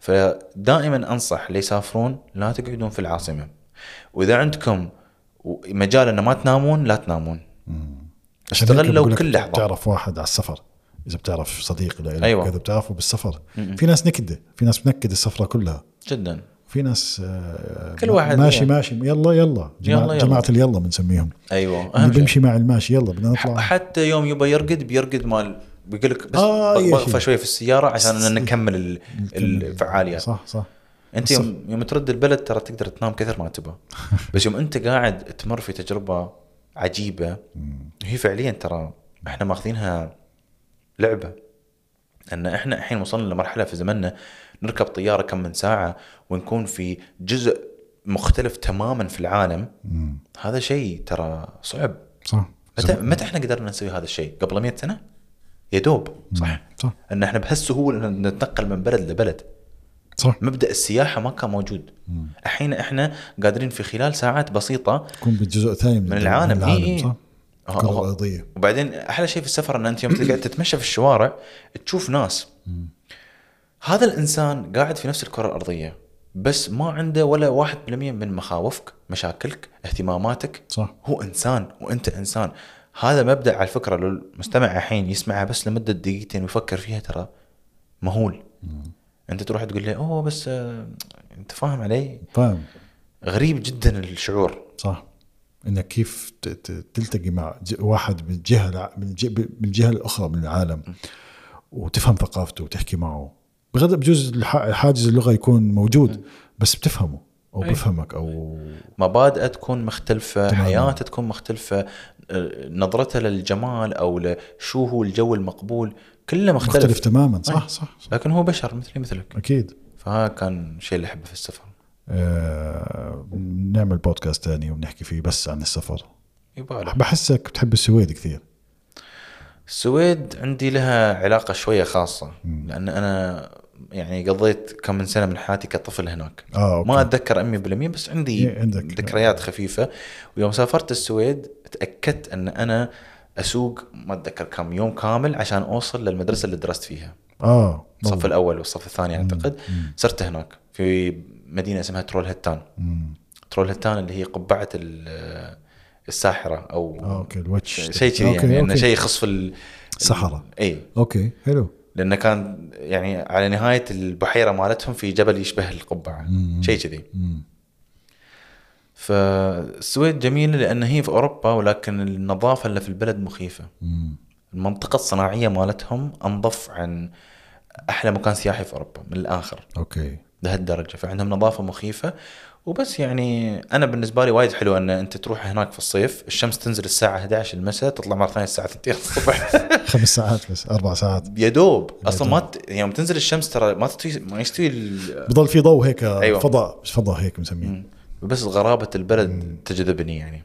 [SPEAKER 1] فدائما انصح اللي يسافرون لا تقعدون في العاصمة واذا عندكم و- مجال ان ما تنامون لا تنامون
[SPEAKER 2] مم.
[SPEAKER 1] استغلوا
[SPEAKER 2] هيك بقول لك
[SPEAKER 1] كل لحظة.
[SPEAKER 2] بتعرف واحد على السفر اذا بتعرف صديق له
[SPEAKER 1] أيوة.
[SPEAKER 2] كذا بتعرفه بالسفر
[SPEAKER 1] مم.
[SPEAKER 2] في ناس نكده في ناس بتنكد السفره كلها
[SPEAKER 1] جدا
[SPEAKER 2] في ناس آه،
[SPEAKER 1] كل واحد
[SPEAKER 2] ماشي
[SPEAKER 1] يعني.
[SPEAKER 2] ماشي يلا يلا جماعة,
[SPEAKER 1] يلا.
[SPEAKER 2] جماعة اليلا بنسميهم
[SPEAKER 1] ايوه
[SPEAKER 2] اللي
[SPEAKER 1] اهم شيء
[SPEAKER 2] بيمشي مع الماشي يلا بدنا
[SPEAKER 1] ح-
[SPEAKER 2] نطلع
[SPEAKER 1] حتى يوم يبى يرقد بيرقد مال بيقول لك بس
[SPEAKER 2] آه،
[SPEAKER 1] آه
[SPEAKER 2] يا
[SPEAKER 1] وقفه
[SPEAKER 2] شيخ.
[SPEAKER 1] شويه في السياره عشان إن نكمل ال-
[SPEAKER 2] نكمل.
[SPEAKER 1] الفعاليات
[SPEAKER 2] صح صح
[SPEAKER 1] انت يوم, يوم ترد البلد ترى تقدر تنام كثر ما تبى بس يوم انت قاعد تمر في تجربه عجيبه هي فعليا ترى احنا ماخذينها لعبه ان احنا الحين وصلنا لمرحله في زمننا نركب طياره كم من ساعه ونكون في جزء مختلف تماما في العالم
[SPEAKER 2] مم.
[SPEAKER 1] هذا شيء ترى صعب
[SPEAKER 2] صح
[SPEAKER 1] متى متى احنا قدرنا نسوي هذا الشيء؟ قبل 100 سنه؟ يا دوب صح
[SPEAKER 2] صح
[SPEAKER 1] ان احنا بهالسهوله إن نتنقل من بلد لبلد
[SPEAKER 2] صح
[SPEAKER 1] مبدا السياحه ما كان موجود الحين احنا قادرين في خلال ساعات بسيطه
[SPEAKER 2] تكون بجزء ثاني
[SPEAKER 1] من العالم,
[SPEAKER 2] من العالم
[SPEAKER 1] إي إي.
[SPEAKER 2] صح
[SPEAKER 1] اه،
[SPEAKER 2] الكرة
[SPEAKER 1] اه.
[SPEAKER 2] الأرضية
[SPEAKER 1] وبعدين احلى شيء في السفر ان انت يوم تقعد تتمشى في الشوارع تشوف ناس هذا الانسان قاعد في نفس الكره الارضيه بس ما عنده ولا 1% من مخاوفك مشاكلك اهتماماتك
[SPEAKER 2] صح
[SPEAKER 1] هو انسان وانت انسان هذا مبدا على فكره لو المستمع الحين يسمعها بس لمده دقيقتين ويفكر فيها ترى مهول انت تروح تقول له اوه بس آه، انت فاهم علي
[SPEAKER 2] فاهم
[SPEAKER 1] غريب جدا الشعور
[SPEAKER 2] صح انك كيف ت- ت- تلتقي مع ج- واحد من جهه الع- من الج- من الجهه الاخرى من العالم وتفهم ثقافته وتحكي معه بغض بجوز الح- حاجز اللغه يكون موجود بس بتفهمه او بفهمك او
[SPEAKER 1] مبادئه تكون مختلفة
[SPEAKER 2] تماماً.
[SPEAKER 1] حياته تكون مختلفة آه، نظرته للجمال أو لشو هو الجو المقبول كله مختلف,
[SPEAKER 2] مختلف
[SPEAKER 1] مختلف.
[SPEAKER 2] تماما صح صح, صح.
[SPEAKER 1] لكن هو بشر مثلي مثلك
[SPEAKER 2] اكيد
[SPEAKER 1] فهذا كان الشيء اللي أحبه في السفر
[SPEAKER 2] آه نعمل بودكاست تاني وبنحكي فيه بس عن السفر
[SPEAKER 1] يبالي
[SPEAKER 2] بحسك بتحب السويد كثير
[SPEAKER 1] السويد عندي لها علاقة شوية خاصة لأن أنا يعني قضيت كم من سنة من حياتي كطفل هناك
[SPEAKER 2] اه
[SPEAKER 1] ما
[SPEAKER 2] اوكي
[SPEAKER 1] أتذكر 100% بس عندي
[SPEAKER 2] إيه، عندك.
[SPEAKER 1] ذكريات خفيفة ويوم سافرت السويد تأكدت أن أنا أسوق ما أتذكر كم يوم كامل عشان أوصل للمدرسة اللي درست فيها
[SPEAKER 2] اه
[SPEAKER 1] الصف
[SPEAKER 2] والله.
[SPEAKER 1] الاول والصف الثاني اعتقد
[SPEAKER 2] مم.
[SPEAKER 1] صرت هناك في مدينه اسمها ترول هتان
[SPEAKER 2] مم.
[SPEAKER 1] ترول هتان اللي هي قبعه ال- الساحره او
[SPEAKER 2] اه اوكي الوتش
[SPEAKER 1] شيء كذي يعني انه شيء يخص في ال-
[SPEAKER 2] الصحراء.
[SPEAKER 1] اي
[SPEAKER 2] اوكي حلو
[SPEAKER 1] لانه كان يعني على نهايه البحيره مالتهم في جبل يشبه القبعه
[SPEAKER 2] مم.
[SPEAKER 1] شيء كذي
[SPEAKER 2] مم.
[SPEAKER 1] فالسويد جميله لان هي في اوروبا ولكن النظافه اللي في البلد مخيفه
[SPEAKER 2] مم.
[SPEAKER 1] المنطقه الصناعيه مالتهم انظف عن احلى مكان سياحي في اوروبا من الاخر
[SPEAKER 2] اوكي
[SPEAKER 1] لهالدرجه فعندهم نظافه مخيفه وبس يعني انا بالنسبه لي وايد حلو ان انت تروح هناك في الصيف الشمس تنزل الساعه 11 المساء تطلع مره ثانيه الساعه 2 الصبح
[SPEAKER 2] خمس ساعات بس اربع ساعات
[SPEAKER 1] يا دوب اصلا ما ت... يوم تنزل الشمس ترى ما تستوي ما يستوي ال...
[SPEAKER 2] بضل في ضوء هيك أيوة.
[SPEAKER 1] أيوة.
[SPEAKER 2] فضاء بس فضاء هيك مسميه
[SPEAKER 1] بس غرابه البلد تجذبني يعني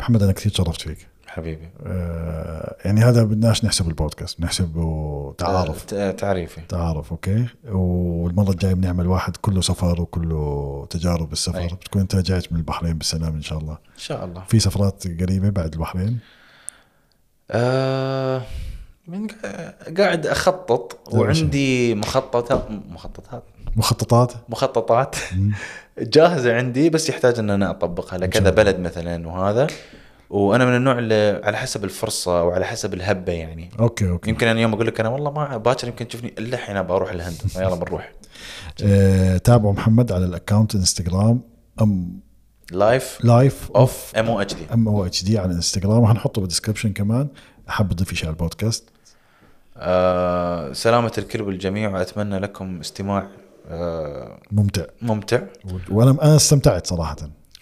[SPEAKER 2] محمد انا كثير تشرفت فيك
[SPEAKER 1] حبيبي
[SPEAKER 2] آه، يعني هذا بدناش نحسب البودكاست نحسبه تعارف
[SPEAKER 1] آه، تعريفي
[SPEAKER 2] تعارف اوكي والمره الجايه بنعمل واحد كله سفر وكله تجارب السفر
[SPEAKER 1] أي.
[SPEAKER 2] بتكون انت رجعت من البحرين بالسلام ان شاء الله
[SPEAKER 1] ان شاء الله
[SPEAKER 2] في سفرات قريبه بعد البحرين
[SPEAKER 1] آه من قا- قاعد اخطط
[SPEAKER 2] ماشي.
[SPEAKER 1] وعندي مخططات مخططات
[SPEAKER 2] مخططات
[SPEAKER 1] مخططات
[SPEAKER 2] مم.
[SPEAKER 1] جاهزه عندي بس يحتاج ان انا اطبقها
[SPEAKER 2] شاء
[SPEAKER 1] لكذا
[SPEAKER 2] الله.
[SPEAKER 1] بلد مثلا وهذا وانا من النوع اللي على حسب الفرصه وعلى حسب الهبه يعني
[SPEAKER 2] اوكي اوكي
[SPEAKER 1] يمكن انا يوم اقول لك انا والله ما باكر يمكن تشوفني الا الحين بروح الهند يلا بنروح
[SPEAKER 2] آه، تابعوا محمد على الاكونت انستغرام ام
[SPEAKER 1] لايف
[SPEAKER 2] لايف
[SPEAKER 1] اوف ام او اتش دي
[SPEAKER 2] ام او اتش دي على الانستغرام حنحطه بالدسكربشن كمان احب اضيف شيء على البودكاست
[SPEAKER 1] آه سلامه الكل والجميع واتمنى لكم استماع آه
[SPEAKER 2] ممتع
[SPEAKER 1] ممتع
[SPEAKER 2] و- وانا انا استمتعت صراحه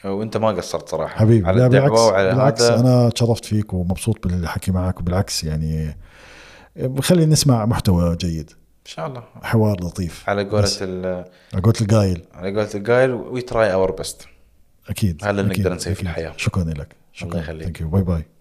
[SPEAKER 1] وانت ما قصرت صراحه
[SPEAKER 2] حبيبي
[SPEAKER 1] على
[SPEAKER 2] لا بالعكس
[SPEAKER 1] الدعوه وعلى
[SPEAKER 2] بالعكس
[SPEAKER 1] هذا
[SPEAKER 2] انا تشرفت فيك ومبسوط بالحكي معك وبالعكس يعني خلينا نسمع محتوى جيد
[SPEAKER 1] ان شاء الله
[SPEAKER 2] حوار لطيف
[SPEAKER 1] على قولة
[SPEAKER 2] بس.
[SPEAKER 1] ال-
[SPEAKER 2] قلت القايل
[SPEAKER 1] على قولة القايل وي تراي اور بست
[SPEAKER 2] اكيد
[SPEAKER 1] هذا اللي
[SPEAKER 2] أكيد،
[SPEAKER 1] نقدر نسويه في
[SPEAKER 2] أكيد.
[SPEAKER 1] الحياة.
[SPEAKER 2] شكرا لك شكرا
[SPEAKER 1] يخليك.
[SPEAKER 2] ثانك يو باي باي